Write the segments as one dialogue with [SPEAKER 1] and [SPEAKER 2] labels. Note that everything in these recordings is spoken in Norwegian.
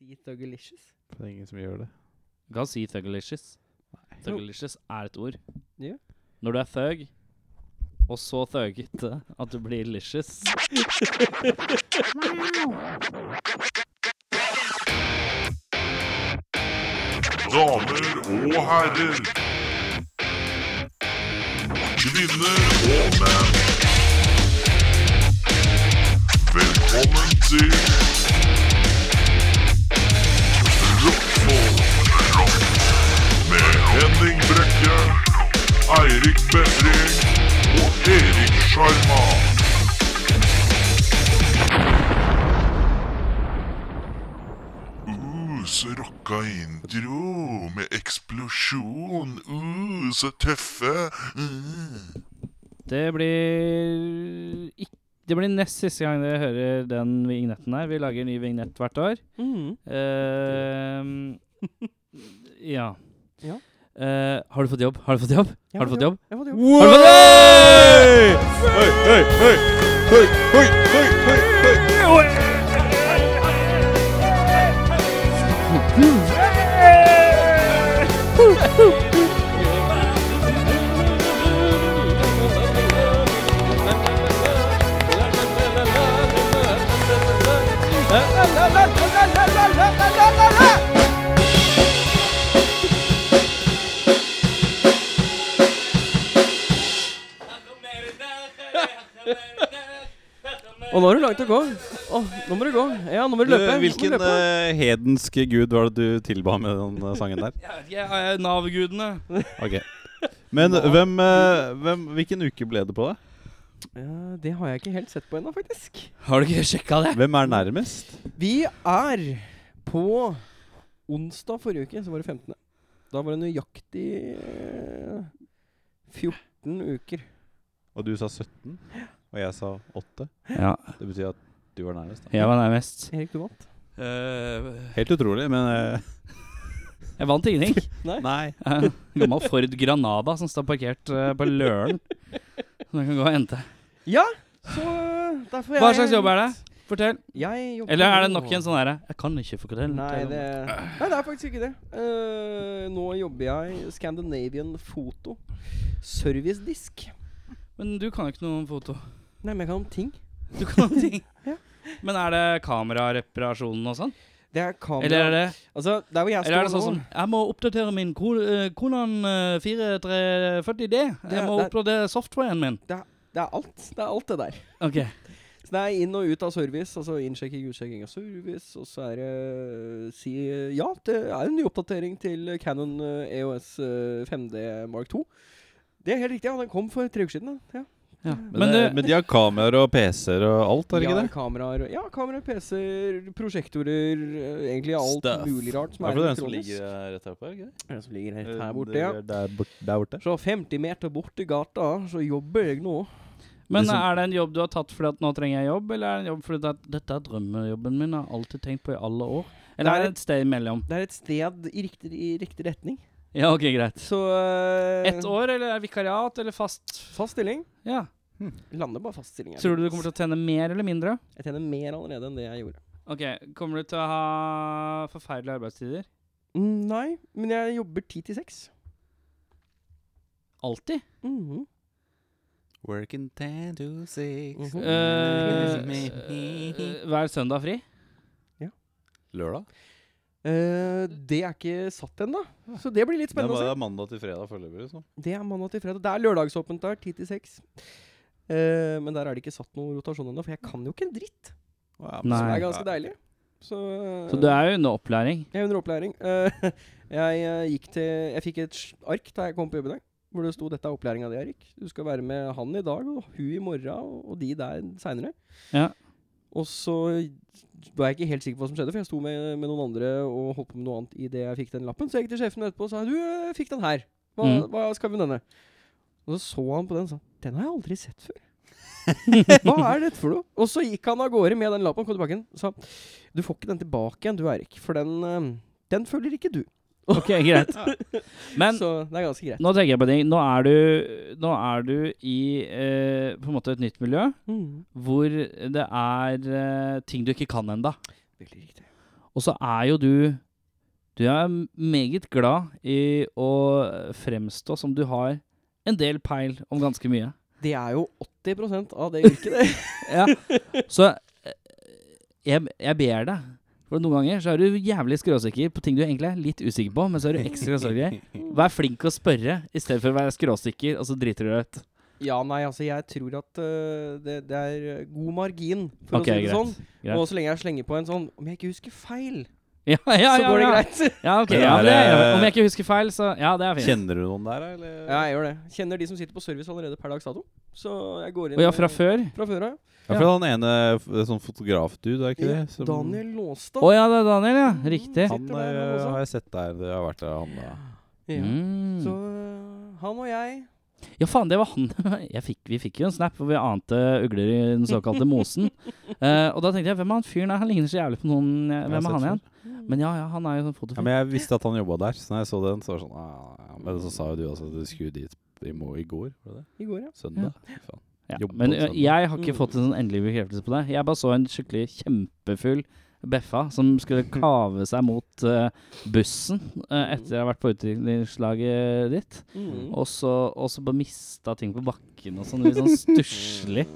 [SPEAKER 1] i Thugalicious?
[SPEAKER 2] For det er ingen som gjør det.
[SPEAKER 3] Du kan si thugalicious.
[SPEAKER 2] Nei.
[SPEAKER 3] Thugalicious er et ord.
[SPEAKER 1] Ja.
[SPEAKER 3] Når du er thug, og så thugete at du blir licious.
[SPEAKER 4] Damer og herrer. Kvinner og menn. Velkommen til Rockfolk Rock med Henning Brekke, Eirik Befring og Erik Sjarma. Uh, så rocka intro med eksplosjon. Uh, så tøffe. Mm.
[SPEAKER 3] Det blir ikk- Det blir nest siste gang dere hører den vignetten her. Vi lager en ny vignett hvert år.
[SPEAKER 1] Mm.
[SPEAKER 3] Ehm, ja.
[SPEAKER 1] Ja.
[SPEAKER 3] Eh, har du fått jobb? Har du fått jobb?
[SPEAKER 1] Jeg
[SPEAKER 3] har du fått jobb?
[SPEAKER 1] Jeg har fått jobb.
[SPEAKER 3] Har du fått jobb?
[SPEAKER 1] Og nå har du langt å gå. Å, nå må du gå. Ja, nå må du løpe. Nå må du
[SPEAKER 2] Hvilken
[SPEAKER 1] løpe.
[SPEAKER 2] eh, hedenske gud var det du tilba med den eh, sangen der?
[SPEAKER 3] Jeg vet ikke, jeg er Nav-gudene.
[SPEAKER 2] Ok Men hvem, eh, hvem, hvilken uke ble det på, da?
[SPEAKER 1] Ja, det har jeg ikke helt sett på ennå, faktisk.
[SPEAKER 3] Har du ikke sjekka det?
[SPEAKER 2] Hvem er nærmest?
[SPEAKER 1] Vi er på onsdag forrige uke, så var det 15. Da var det nøyaktig eh, 14 uker.
[SPEAKER 2] Og du sa 17, og jeg sa 8.
[SPEAKER 3] Ja,
[SPEAKER 2] Det betyr at du var nærmest. da
[SPEAKER 3] jeg var nærmest.
[SPEAKER 1] Erik, du vant.
[SPEAKER 2] Helt utrolig, men eh,
[SPEAKER 3] jeg vant ingenting.
[SPEAKER 2] Nei.
[SPEAKER 3] Eh, Gammel Ford Granada som står parkert eh, på Løren. Så Den kan gå og hente.
[SPEAKER 1] Ja, så eh, derfor
[SPEAKER 3] Hva slags jobb er det? Fortell.
[SPEAKER 1] Jeg jobber
[SPEAKER 3] Eller er det
[SPEAKER 1] nå-
[SPEAKER 3] nok en sånn herre Jeg kan ikke fortelle.
[SPEAKER 1] Nei det, nei, det er faktisk ikke det. Eh, nå jobber jeg i Scandinavian Foto. Servicedisk.
[SPEAKER 3] Men du kan jo ikke noe om foto.
[SPEAKER 1] Nei, men jeg kan om ting.
[SPEAKER 3] Du kan noen ting.
[SPEAKER 1] Ja.
[SPEAKER 3] Men er det kamerareparasjonen og sånn?
[SPEAKER 1] Det er kamera
[SPEAKER 3] Eller er det
[SPEAKER 1] Altså, der hvor jeg
[SPEAKER 3] Eller er det
[SPEAKER 1] står
[SPEAKER 3] sånn som
[SPEAKER 1] nå
[SPEAKER 3] Jeg må oppdatere min kol eh, Konan eh, 4340D.
[SPEAKER 1] Det er-
[SPEAKER 3] Jeg må
[SPEAKER 1] det er-
[SPEAKER 3] oppdatere softwaren min.
[SPEAKER 1] Det er alt. Det er alt det der.
[SPEAKER 3] Ok.
[SPEAKER 1] Så det er inn og ut av service, altså innsjekking, utsjekking av service, og så er det eh, si eh, Ja, det er en ny oppdatering til eh, Canon eh, EOS eh, 5D Mark 2. Det er helt riktig, ja. Den kom for tre uker siden. da. Ja.
[SPEAKER 3] Ja.
[SPEAKER 2] Men,
[SPEAKER 3] Men,
[SPEAKER 2] det,
[SPEAKER 3] du-
[SPEAKER 2] men de har kameraer og PC-er og alt, har de
[SPEAKER 1] ja,
[SPEAKER 2] ikke det?
[SPEAKER 1] Kameraer, ja, kamera, PC-er, prosjektorer eh, Egentlig alt
[SPEAKER 2] Stuff.
[SPEAKER 1] mulig rart som
[SPEAKER 2] Er
[SPEAKER 1] er
[SPEAKER 2] det den som
[SPEAKER 1] elektronisk.
[SPEAKER 2] ligger eh, rett her oppe? er det ikke det?
[SPEAKER 1] Den som ligger helt
[SPEAKER 2] Eh,
[SPEAKER 1] her borte,
[SPEAKER 2] det-
[SPEAKER 1] ja.
[SPEAKER 2] Der, bort, der borte.
[SPEAKER 1] Så 50 meter borti gata, så jobber jeg nå.
[SPEAKER 3] men
[SPEAKER 2] liksom-
[SPEAKER 3] er det en jobb du har tatt fordi at nå trenger jeg jobb, eller er det en jobb fordi at dette er drømmejobben min, jeg har alltid tenkt på i alle år?
[SPEAKER 1] Det
[SPEAKER 3] Eller
[SPEAKER 1] er
[SPEAKER 3] er det et sted imellom?
[SPEAKER 1] Det er et sted i riktig, i riktig retning.
[SPEAKER 3] Ja, ok, greit.
[SPEAKER 1] Så eh,
[SPEAKER 3] Ett år, eller er det vikariat, eller fast?
[SPEAKER 1] Fast stilling.
[SPEAKER 3] Ja.
[SPEAKER 1] Lander bare fast stilling. her.
[SPEAKER 3] Tror du du kommer til å tjene mer eller mindre?
[SPEAKER 1] Jeg tjener mer allerede enn det jeg gjorde.
[SPEAKER 3] Ok, kommer du til å ha forferdelige arbeidstider?
[SPEAKER 1] Mm, Nei, men jeg jobber ti til seks.
[SPEAKER 3] Alltid?
[SPEAKER 1] Mhm.
[SPEAKER 2] Working ten to six.
[SPEAKER 1] Mhm.
[SPEAKER 3] Eh, eh, hver søndag fri?
[SPEAKER 2] Lørdag?
[SPEAKER 1] Eh, det er ikke satt ennå, så det blir litt
[SPEAKER 2] Det er,
[SPEAKER 1] spennende å
[SPEAKER 2] bare- det
[SPEAKER 1] se.
[SPEAKER 2] er mandag til fredag foreløpig. Liksom.
[SPEAKER 1] Det er mandag til fredag. Det er lørdagsåpent der, ti til seks. Eh, men der er det ikke satt noen rotasjon ennå, for jeg kan jo ikke en dritt.
[SPEAKER 2] Å, ja,
[SPEAKER 3] Nei.
[SPEAKER 1] Som
[SPEAKER 2] så
[SPEAKER 1] er ganske deilig. Så, eh,
[SPEAKER 3] Så du er jo under opplæring?
[SPEAKER 1] Jeg er under opplæring. Eh, jeg eh, gikk til Jeg fikk et sj- ark da jeg kom på jobb i dag, hvor det sto 'Dette er opplæringa di, Erik'. Du skal være med han i dag, og hun i morgen, og, og de der seinere.
[SPEAKER 3] Ja.
[SPEAKER 1] Og så var jeg ikke helt sikker på hva som skjedde, for jeg sto med, med noen andre og holdt på med noe annet idet jeg fikk den lappen. Så jeg gikk til sjefen etterpå og sa 'Du, jeg fikk den her. Hva,
[SPEAKER 3] Mm.
[SPEAKER 1] hva skal vi med denne?' Og så så han på den og sa 'Den har jeg aldri sett før'. Hva er dette for noe? Og så gikk han av gårde med den lappen, kom tilbake igjen, og sa du får ikke den tilbake igjen, du Erik, for den, eh, den følger ikke du.
[SPEAKER 3] Ok, greit. Men
[SPEAKER 1] så det er ganske greit.
[SPEAKER 3] nå tenker jeg på ting. Nå er du, nå er du i eh, på en måte et nytt
[SPEAKER 2] Mm.
[SPEAKER 3] miljø hvor det er eh, ting du ikke kan enda.
[SPEAKER 1] Veldig riktig.
[SPEAKER 3] Og så er jo du Du er meget glad i å fremstå som du har en del peil om ganske mye.
[SPEAKER 1] Det er jo 80 av det yrket, det.
[SPEAKER 3] Ja. Så eh, jeg, jeg ber deg. For noen ganger så er du jævlig skråsikker på ting du egentlig er litt usikker på, men så er du ekstra skråsikker. Vær flink å spørre i stedet for å være skråsikker, og så driter du deg ut.
[SPEAKER 1] ja, nei, altså, jeg tror at øh, det, det er god margin, for å
[SPEAKER 3] Ok,
[SPEAKER 1] si det
[SPEAKER 3] greit.
[SPEAKER 1] sånn.
[SPEAKER 3] greit.
[SPEAKER 1] Og så lenge jeg slenger på en sånn Om jeg ikke husker feil,
[SPEAKER 3] Ja, ja, ja,
[SPEAKER 1] så går det
[SPEAKER 3] ja.
[SPEAKER 1] greit.
[SPEAKER 3] Ja, ok.
[SPEAKER 2] Det
[SPEAKER 3] Ja,
[SPEAKER 2] er,
[SPEAKER 3] men det er,
[SPEAKER 2] eh,
[SPEAKER 3] om jeg ikke husker feil, så Ja, det er fint.
[SPEAKER 2] Kjenner du noen der, eller?
[SPEAKER 1] ja, jeg gjør det. Kjenner de som sitter på service allerede per dags dato. Så jeg går inn
[SPEAKER 3] Og ja,
[SPEAKER 1] med-
[SPEAKER 3] fra før?
[SPEAKER 1] Fra før av.
[SPEAKER 2] Ja, for han ene f- sånn fotografdude, er ikke
[SPEAKER 1] Ja,
[SPEAKER 2] det? Som-
[SPEAKER 1] Daniel Låstad.
[SPEAKER 3] Å ja, det er Daniel, ja. Riktig.
[SPEAKER 2] Han
[SPEAKER 1] Sitter der, han
[SPEAKER 2] eh,
[SPEAKER 1] også.
[SPEAKER 2] har jeg sett der. Det har vært der, han da.
[SPEAKER 1] Ja.
[SPEAKER 3] Mm.
[SPEAKER 1] Så øh, han og jeg
[SPEAKER 3] Ja, faen, det var han. Jeg fikk, vi fikk jo en snap hvor vi ante ugler i den såkalte mosen. Eh, og da tenkte jeg, hvem er han fyren der? Han ligner så jævlig på noen eh,
[SPEAKER 2] Jeg har
[SPEAKER 3] Hvem er han
[SPEAKER 2] sett
[SPEAKER 3] igjen? Men ja, ja, han er jo sånn
[SPEAKER 2] Ja,
[SPEAKER 3] fotofyr.
[SPEAKER 2] men jeg visste at han jobba der, så når jeg så den, så var det sånn ah, ja, Men så sa jo du også at du skulle dit i, må i går, var det det?
[SPEAKER 1] i går, ja.
[SPEAKER 2] Søndag? Faen.
[SPEAKER 3] Ja,
[SPEAKER 2] Jobber på
[SPEAKER 3] men ø,
[SPEAKER 2] søndag.
[SPEAKER 3] jeg har ikke
[SPEAKER 1] Mm.
[SPEAKER 3] fått en sånn endelig bekreftelse på det. Jeg bare så en skikkelig kjempefull beffa som skulle kave seg mot ø, bussen ø, etter å ha vært på utviklingslaget ditt.
[SPEAKER 1] Mm.
[SPEAKER 3] Og så, og så bare mista ting på bakken og sånn litt sånn
[SPEAKER 1] Mm.
[SPEAKER 3] stusslig.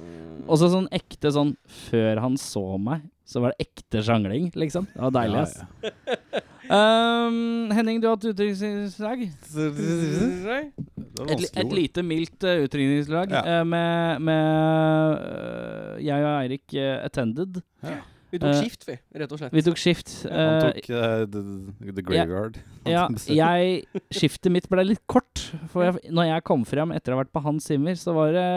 [SPEAKER 3] Og så sånn ekte sånn Før han så meg, så var det ekte sjangling, liksom. Det var deilig, ass.
[SPEAKER 2] Ja,
[SPEAKER 3] Øhm, Henning, du har hatt utdrikningslag.
[SPEAKER 2] ja. Det var
[SPEAKER 3] Et, li- et
[SPEAKER 2] vanskelig ord.
[SPEAKER 3] lite mildt uh, utdrikningslag
[SPEAKER 2] Ja.
[SPEAKER 3] eh, med, med eh, jeg og Eirik eh, attended.
[SPEAKER 1] Vi tok
[SPEAKER 3] Eh,
[SPEAKER 1] skift, vi, rett og slett.
[SPEAKER 3] Vi tok skift.
[SPEAKER 2] Han
[SPEAKER 3] eh,
[SPEAKER 2] tok eh, the, the Graveyard.
[SPEAKER 3] ja, jeg, skiftet mitt ble litt kort. For jeg, når jeg kom frem etter å ha vært på Hans Zimmer, så var det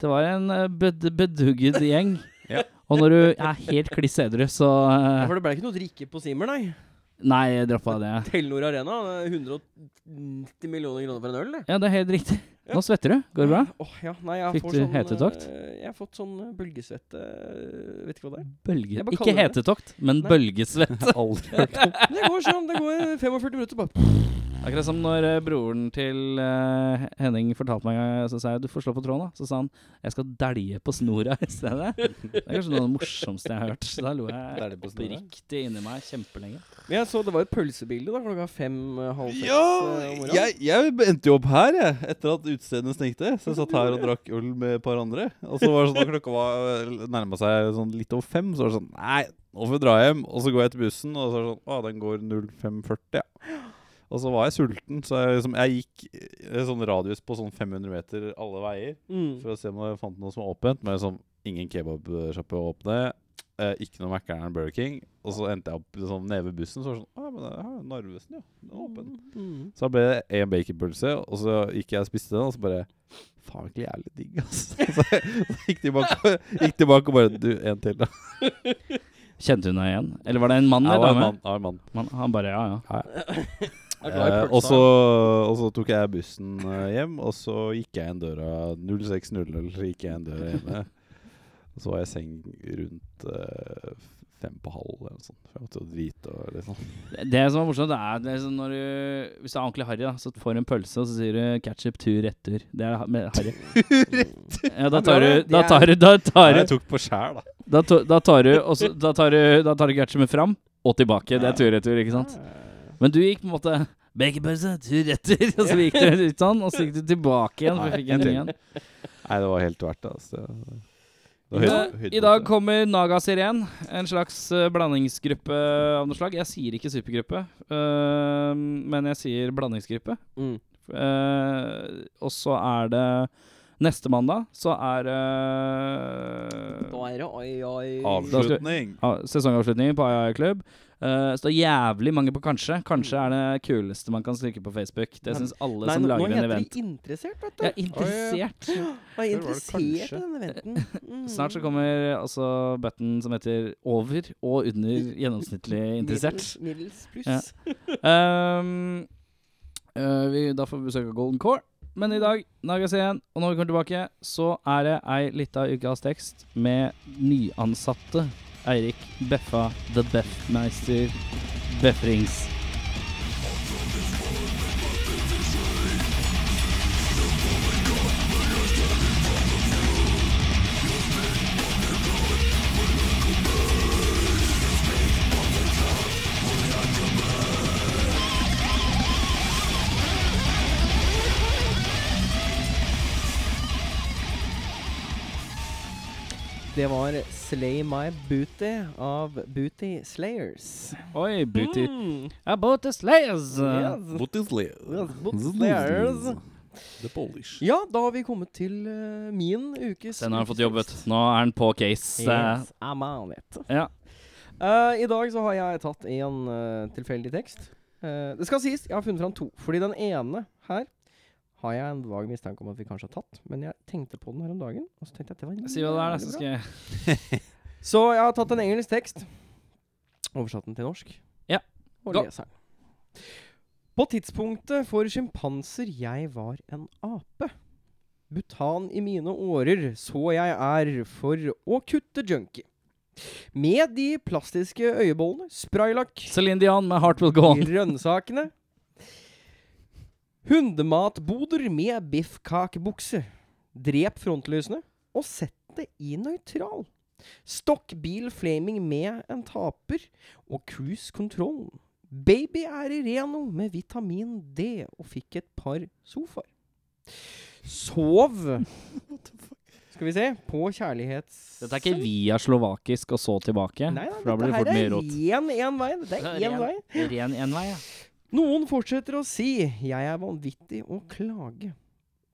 [SPEAKER 3] Det var en eh, bed, bedugget gjeng.
[SPEAKER 2] Ja.
[SPEAKER 3] Og når du er helt kliss edru, så
[SPEAKER 1] Ja,
[SPEAKER 3] eh,
[SPEAKER 1] for det ble ikke noe drikke på Simmer, nei.
[SPEAKER 3] Nei, jeg droppa det.
[SPEAKER 1] Telenor Arena, det er 190 millioner kroner for en øl, eller?
[SPEAKER 3] Ja, det er helt riktig. Nå svetter du. Går det bra?
[SPEAKER 1] Åh, ja, nei, jeg
[SPEAKER 3] Fikk
[SPEAKER 1] får
[SPEAKER 3] du
[SPEAKER 1] sånn, eh,
[SPEAKER 3] hetetokt?
[SPEAKER 1] Jeg har fått sånn eh, bølgesvette eh, Vet ikke hva det er.
[SPEAKER 3] Bølge.
[SPEAKER 1] Jeg bare
[SPEAKER 3] Ikke
[SPEAKER 1] kaller det
[SPEAKER 3] hetetokt, men
[SPEAKER 1] Nei.
[SPEAKER 3] bølgesvett.
[SPEAKER 2] Aldri hørt om.
[SPEAKER 1] Men Det går sånn. Det går 45 minutter bare
[SPEAKER 3] Akkurat som når eh, broren til eh, Henning fortalte meg en gang, så sa jeg du får slå på tråden, da. Så sa han jeg skal dælje på snora i stedet. Det er kanskje noe av det morsomste jeg har hørt. Så da lo jeg
[SPEAKER 2] Dælje på snora?
[SPEAKER 3] oppriktig inni meg kjempelenge.
[SPEAKER 1] Men jeg så det var et pølsebilde da klokka fem, eh, halv seks
[SPEAKER 2] Ja,
[SPEAKER 1] eh, om morgenen.
[SPEAKER 2] jeg, jeg endte jo opp her, jeg, etter at utestedene stengte. Så jeg satt her og drakk øl med et par andre. Og så var det sånn da klokka var nærma seg sånn litt over fem, så var det sånn Nei, nå får vi dra hjem. Og så går jeg til bussen, og så er det sånn Å, den går 05.40, ja. Og så var jeg sulten, så jeg, liksom, jeg gikk eh, sånn radius på sånn 500 meter alle veier
[SPEAKER 1] Mm.
[SPEAKER 2] for å se om jeg fant noe som var åpent. Men liksom, ingen kebabsjappe å åpne. Eh, ikke noe Mækkern Burger King. Og så endte jeg opp liksom, nede ved bussen, så var det sånn Å, men det er jo Narvesen, ja. Den er åpen.
[SPEAKER 1] Mm.
[SPEAKER 2] Så da ble det en baconpølse, og så gikk jeg og spiste den, og så bare Faen, ikke jævlig digg, ass. Så, så gikk de bak, gikk de bak og bare Du, en til, da.
[SPEAKER 3] Kjente hun deg igjen? Eller var det en mann
[SPEAKER 2] Jeg
[SPEAKER 3] eller
[SPEAKER 2] var en
[SPEAKER 3] dame?
[SPEAKER 2] mann. Jeg var en mann.
[SPEAKER 3] Man, han bare ja, ja.
[SPEAKER 1] Jeg er glad i
[SPEAKER 2] Eh,
[SPEAKER 1] pølsa,
[SPEAKER 2] og, så, og så tok jeg bussen eh, hjem, og så gikk jeg inn døra 06.00. Så gikk jeg inn døra hjemme. Og så var jeg i seng rundt eh, fem på halv eller noe sånt. For jeg måtte jo drite og litt sånn.
[SPEAKER 3] Det- Det som er morsomt, det er liksom når du Hvis du er ordentlig harry, da, så får du en pølse, og så sier du ketchup tur retur. Det er ha- med harry.
[SPEAKER 1] Mm. Det er
[SPEAKER 3] Ja, da
[SPEAKER 1] bra,
[SPEAKER 3] tar du
[SPEAKER 1] det.
[SPEAKER 3] Da
[SPEAKER 1] Det
[SPEAKER 3] tar
[SPEAKER 1] er-
[SPEAKER 3] du Da tar
[SPEAKER 2] Nei,
[SPEAKER 3] du
[SPEAKER 2] Jeg tok på skjær, da.
[SPEAKER 3] Da, to, da tar du og så- Da tar du Da tar du ketchupen fram og tilbake. Det er tur-retur, ikke sant? Men du gikk på en måte Baconpølse, tur-retur. Og så gikk du ut sånn, og så gikk du tilbake igjen. For du
[SPEAKER 2] Nei,
[SPEAKER 3] fikk en
[SPEAKER 2] til.
[SPEAKER 3] ny en.
[SPEAKER 2] Nei, det var helt verdt det. Altså. Det var
[SPEAKER 3] I
[SPEAKER 2] høyde-
[SPEAKER 3] dag-
[SPEAKER 2] høydepunktet.
[SPEAKER 3] I dag kommer Naga Siren. En slags eh, blandingsgruppe av noe slag. Jeg sier ikke supergruppe, eh, men jeg sier blandingsgruppe.
[SPEAKER 1] Mm.
[SPEAKER 3] Eh, og så er det Neste mandag så er eh, det
[SPEAKER 1] Da er det oi, oi.
[SPEAKER 2] Avslutning.
[SPEAKER 3] Ja, sesongavslutning på AI Club. Eh, så det er jævlig mange på kanskje. Kanskje er det kuleste man kan stryke på Facebook. Det
[SPEAKER 1] Men-
[SPEAKER 3] syns alle
[SPEAKER 1] Mm. Nei,
[SPEAKER 3] som
[SPEAKER 1] nå, nå
[SPEAKER 3] lager en
[SPEAKER 1] heter
[SPEAKER 3] event.
[SPEAKER 1] de interessert, vet du.
[SPEAKER 3] Jeg er interessert.
[SPEAKER 1] Nå er jeg
[SPEAKER 2] Før var det
[SPEAKER 1] interessert i
[SPEAKER 2] kanskje.
[SPEAKER 1] denne eventen. Mm.
[SPEAKER 3] Snart så kommer altså button som heter over og under gjennomsnittlig
[SPEAKER 1] Middels,
[SPEAKER 3] interessert.
[SPEAKER 1] middels pluss.
[SPEAKER 3] Ja. Um, eh, vi, da får vi besøk av Golden Core. Men i dag, Nagas igjen, og når vi kommer tilbake, så er det ei lita ukas tekst med nyansatte Eirik Beffa The Beffmeister Befrings.
[SPEAKER 1] Det var 'Slay My Booty' av Booty Slayers.
[SPEAKER 3] Oi, booty.
[SPEAKER 1] Mm.
[SPEAKER 3] About the slayers.
[SPEAKER 1] Yes. Yes, Booty Slayers.
[SPEAKER 2] The Polish.
[SPEAKER 1] sånn. Ja, da har vi kommet til eh, min ukes
[SPEAKER 3] Den har han fått jobbet. Nå er han på case. Eh,
[SPEAKER 1] Yes, I'm on it.
[SPEAKER 3] Ja.
[SPEAKER 1] Eh, I dag så har jeg tatt en eh, tilfeldig tekst. Eh, det skal sies, jeg har funnet fram to. Fordi den ene her har jeg en vag mistanke om at vi kanskje har tatt. Men jeg tenkte på den her om dagen, og så tenkte jeg at det var
[SPEAKER 3] Si hva det er, da,
[SPEAKER 1] jævlig
[SPEAKER 3] så
[SPEAKER 1] bra.
[SPEAKER 3] skal jeg
[SPEAKER 1] Så jeg har tatt en engelsk tekst. Oversatt den til norsk.
[SPEAKER 3] Ja.
[SPEAKER 1] Og
[SPEAKER 3] Gå.
[SPEAKER 1] leser den. På tidspunktet for sjimpanser jeg var en ape. Butan i mine årer så jeg er for å kutte junkie. Med de plastiske øyebollene, spraylakk,
[SPEAKER 3] Celine Dion med Heart Will Go On.
[SPEAKER 1] grønnsakene. Hundematboder med biffkakebukse. Drep frontlysene og sett det i nøytral. Stokkbil flaming med en taper og cruise control. Baby er i Reno med vitamin D og fikk et par sofaer. Sov Skal vi se på kjærlighets...
[SPEAKER 3] Dette er ikke via slovakisk og så tilbake.
[SPEAKER 1] Nei, nei,
[SPEAKER 3] for da blir det
[SPEAKER 1] dette
[SPEAKER 3] fort mye
[SPEAKER 1] her
[SPEAKER 3] rot.
[SPEAKER 1] er ren én vei. Dette er én vei.
[SPEAKER 3] Ren envei, ja.
[SPEAKER 1] Noen fortsetter å si 'jeg er vanvittig å klage'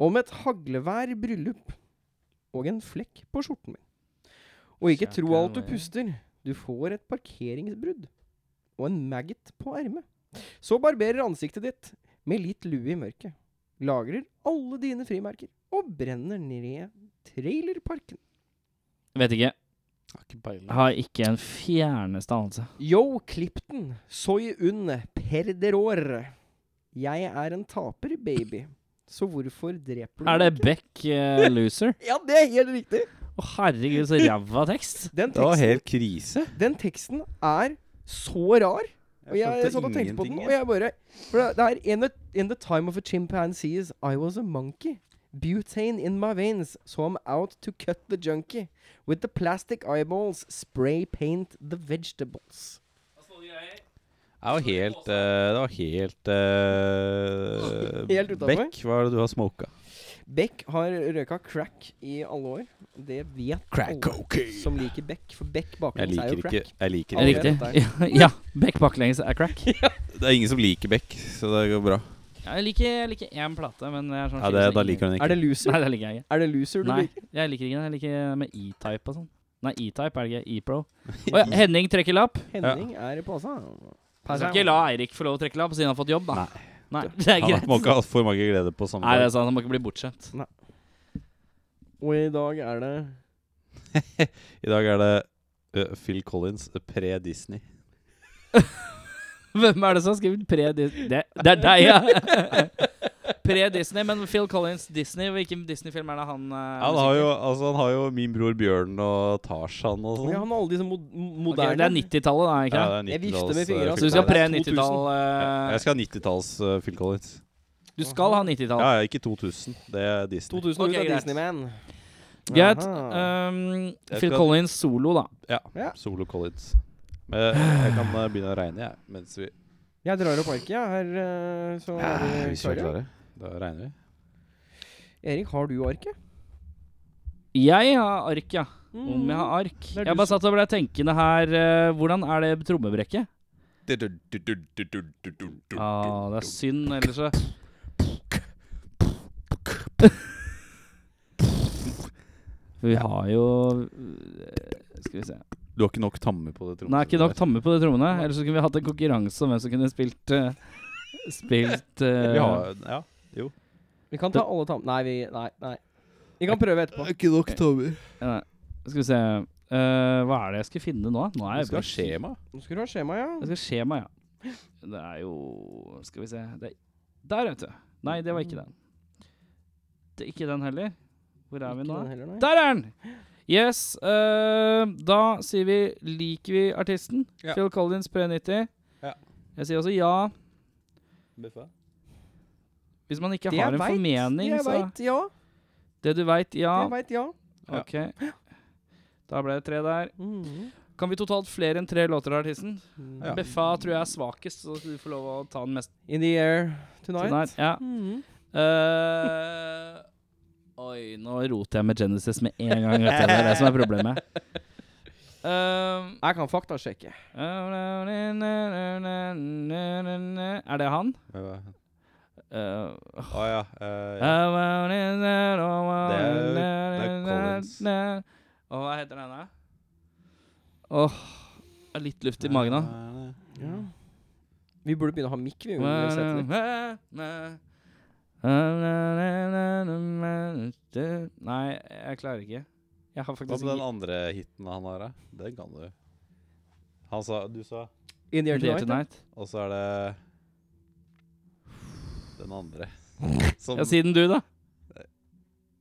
[SPEAKER 1] om et haglevær bryllup og en flekk på skjorten min. Og ikke tro alt du puster, du får et parkeringsbrudd og en maggot på ermet. Så barberer ansiktet ditt med litt lue i mørket, lagrer alle dine frimerker og brenner ned trailerparken.
[SPEAKER 3] Vet ikke.
[SPEAKER 2] Har ikke peiling.
[SPEAKER 3] Har ikke en fjerneste anelse.
[SPEAKER 1] Yo, Clipton, soy un perderor. Jeg er en taper, baby. Så hvorfor dreper du
[SPEAKER 3] Er det
[SPEAKER 1] meg ikke?
[SPEAKER 3] Beck eh, Loser?
[SPEAKER 1] Ja, det er helt riktig.
[SPEAKER 3] Å, herregud, så ræva tekst.
[SPEAKER 1] Den
[SPEAKER 2] Det var
[SPEAKER 1] teksten,
[SPEAKER 2] helt krise.
[SPEAKER 1] den teksten er så rar. Og jeg satt og tenkte på den, og jeg bare For det- det er in the, in the time of a chimpanzees, I was a monkey. Butane in my veins, so I'm out to cut the junkie. With the plastic eyeballs, spray paint the vegetables.
[SPEAKER 2] Det var helt eh, Det var helt eh,
[SPEAKER 1] Helt utenfor.
[SPEAKER 2] Beck, hva er det du har smoka?
[SPEAKER 1] Beck har røyka crack i alle år. Det vet alle Oh, som liker Beck, for Beck
[SPEAKER 2] Jeg
[SPEAKER 1] baklengs er
[SPEAKER 2] liker
[SPEAKER 1] jo
[SPEAKER 2] ikke
[SPEAKER 1] crack.
[SPEAKER 2] Jeg liker
[SPEAKER 1] Aldri
[SPEAKER 2] ikke
[SPEAKER 3] Riktig. Ja, Beck baklengs er crack.
[SPEAKER 2] Det er ingen som liker Beck, så det går bra.
[SPEAKER 3] Ja, Jeg liker, jeg liker én plate, men jeg er sånn
[SPEAKER 2] Ja, det, da liker hun
[SPEAKER 1] Er
[SPEAKER 2] ikke.
[SPEAKER 1] det loser?
[SPEAKER 3] Nei, det liker jeg ikke.
[SPEAKER 1] Er det loser du
[SPEAKER 3] Nei,
[SPEAKER 1] liker?
[SPEAKER 3] jeg liker ikke den. Jeg liker med E-type og sånn. Nei, E-type er det ikke. E-pro. Å ja, Henning trekker lapp.
[SPEAKER 1] Henning er i påsa.
[SPEAKER 3] Du skal ikke la Eirik få lov å trekke lapp siden han har fått jobb, da. Nei, det er
[SPEAKER 2] Han
[SPEAKER 3] greit.
[SPEAKER 2] må ikke ha for mange gleder på samme
[SPEAKER 3] Nei, det
[SPEAKER 2] dag.
[SPEAKER 3] er sant. Han må ikke bli bortskjemt.
[SPEAKER 1] Og i dag er det
[SPEAKER 2] I dag er det eh, Phil Collins pre-Disney.
[SPEAKER 3] Hvem er det som har skrevet pre-Disney? Det, det er deg, ja! Pre-Disney, men Phil Collins Disney. Hvilken Disney-film er det han uh,
[SPEAKER 2] Han har jo, altså, han har jo min bror Bjørn og Tarzan og
[SPEAKER 1] ja,
[SPEAKER 2] sånn.
[SPEAKER 1] Han har alle disse mod moderne
[SPEAKER 3] Det er 90-tallet, da, ikke det?
[SPEAKER 2] det er
[SPEAKER 1] Jeg vifter
[SPEAKER 2] 90-talls,
[SPEAKER 1] med fingrene,
[SPEAKER 2] eh,
[SPEAKER 1] altså.
[SPEAKER 3] Så du skal
[SPEAKER 2] Phil Collins.
[SPEAKER 1] det er
[SPEAKER 3] pre-90-tall Eh,
[SPEAKER 2] Jeg skal ha 90-talls eh, Phil Collins.
[SPEAKER 3] Du skal ha
[SPEAKER 2] Ja,
[SPEAKER 3] 90-tall.
[SPEAKER 2] ja, ikke 2000. Det er
[SPEAKER 1] 2000
[SPEAKER 2] Disney.
[SPEAKER 3] Ok,
[SPEAKER 1] ut av
[SPEAKER 3] greit.
[SPEAKER 1] Disneyman.
[SPEAKER 3] Greit.
[SPEAKER 1] Aha.
[SPEAKER 3] ehm,
[SPEAKER 2] Jeg
[SPEAKER 3] Phil
[SPEAKER 2] skal-
[SPEAKER 3] Collins solo, da.
[SPEAKER 1] Ja.
[SPEAKER 2] Solo Collins. Men jeg kan eh, begynne å regne, jeg. Mens vi
[SPEAKER 1] jeg drar opp arket, jeg. Her, eh, så er vi
[SPEAKER 2] Hvis vi er
[SPEAKER 1] klare.
[SPEAKER 2] klare. Da regner vi.
[SPEAKER 1] Erik, har du arket?
[SPEAKER 3] Jeg har ark, ja. Om jeg har ark.
[SPEAKER 1] er
[SPEAKER 3] Jeg
[SPEAKER 1] du
[SPEAKER 3] bare satt og ble tenkende her eh, Hvordan er det trommebrekket? Ah, det er synd, ellers så Vi har jo eh, Skal vi se
[SPEAKER 2] Du har ikke nok tamme på det trommet.
[SPEAKER 3] Nei, ikke nok tamme på de trommene. Ellers så kunne vi hatt en konkurranse om hvem som kunne spilt eh, Spilt eh,
[SPEAKER 2] Vi har, ja.
[SPEAKER 1] Mm. Vi kan ta alle tam... Nei, vi Nei. nei. Vi kan prøve etterpå.
[SPEAKER 2] Ikke nok tammer.
[SPEAKER 3] nei, Skal vi se Eh, Hva er det jeg skal finne nå? da? Nå er
[SPEAKER 2] Det
[SPEAKER 3] jeg
[SPEAKER 2] skal ha
[SPEAKER 3] bare-
[SPEAKER 2] skjema.
[SPEAKER 1] Nå skal du ha skjema, ja.
[SPEAKER 3] Jeg skal skjema, ja. Det er jo Skal vi se det er, Der, vet du. Nei, det var ikke den. Det er ikke den heller. Hvor er vi nå?
[SPEAKER 1] Ikke den heller, nei.
[SPEAKER 3] Der er den! Yes. eh, da sier vi Liker vi artisten?
[SPEAKER 2] Ja.
[SPEAKER 3] Phil Collins, P90.
[SPEAKER 2] Ja.
[SPEAKER 3] Jeg sier også ja.
[SPEAKER 2] Buffa.
[SPEAKER 3] Hvis man ikke
[SPEAKER 1] Det
[SPEAKER 3] har
[SPEAKER 1] jeg
[SPEAKER 3] en
[SPEAKER 1] vet, Det
[SPEAKER 3] formening,
[SPEAKER 1] jeg
[SPEAKER 3] så
[SPEAKER 1] veit, ja.
[SPEAKER 3] Det du veit,
[SPEAKER 1] Det
[SPEAKER 3] ja.
[SPEAKER 1] jeg veit, ja.
[SPEAKER 2] Ja.
[SPEAKER 3] Ok. Da ble det tre der.
[SPEAKER 1] Mhm.
[SPEAKER 3] Kan vi totalt flere enn tre låter av artisten?
[SPEAKER 2] Ja.
[SPEAKER 3] Beffa tror jeg er svakest, så du får lov å ta den mest
[SPEAKER 1] In the air tonight.
[SPEAKER 3] tonight. Ja.
[SPEAKER 1] Mhm.
[SPEAKER 3] Eh, Å, Oi, nå roter jeg med Genesis med en gang. Vet du. Det er det som er problemet. Ehm,
[SPEAKER 1] Jeg kan faktasjekke.
[SPEAKER 3] er det han?
[SPEAKER 2] Å
[SPEAKER 3] Eh,
[SPEAKER 2] ja. eh, ja.
[SPEAKER 3] Det er,
[SPEAKER 2] det er Collins.
[SPEAKER 3] Og hva heter den, da? Åh, det er litt luft i magen, da.
[SPEAKER 1] Ja. Vi burde begynne å ha mikk, vi. uansett.
[SPEAKER 3] Nei, jeg klarer ikke. Jeg har
[SPEAKER 2] Hva
[SPEAKER 3] faktisk
[SPEAKER 2] med den
[SPEAKER 3] ikke
[SPEAKER 2] andre hiten han har, da? Den kan du. Han sa Du sa
[SPEAKER 1] In the air
[SPEAKER 3] Dear
[SPEAKER 1] tonight. da.
[SPEAKER 3] Tonight.
[SPEAKER 2] Og så er det den andre. Som
[SPEAKER 3] Ja, siden du, da.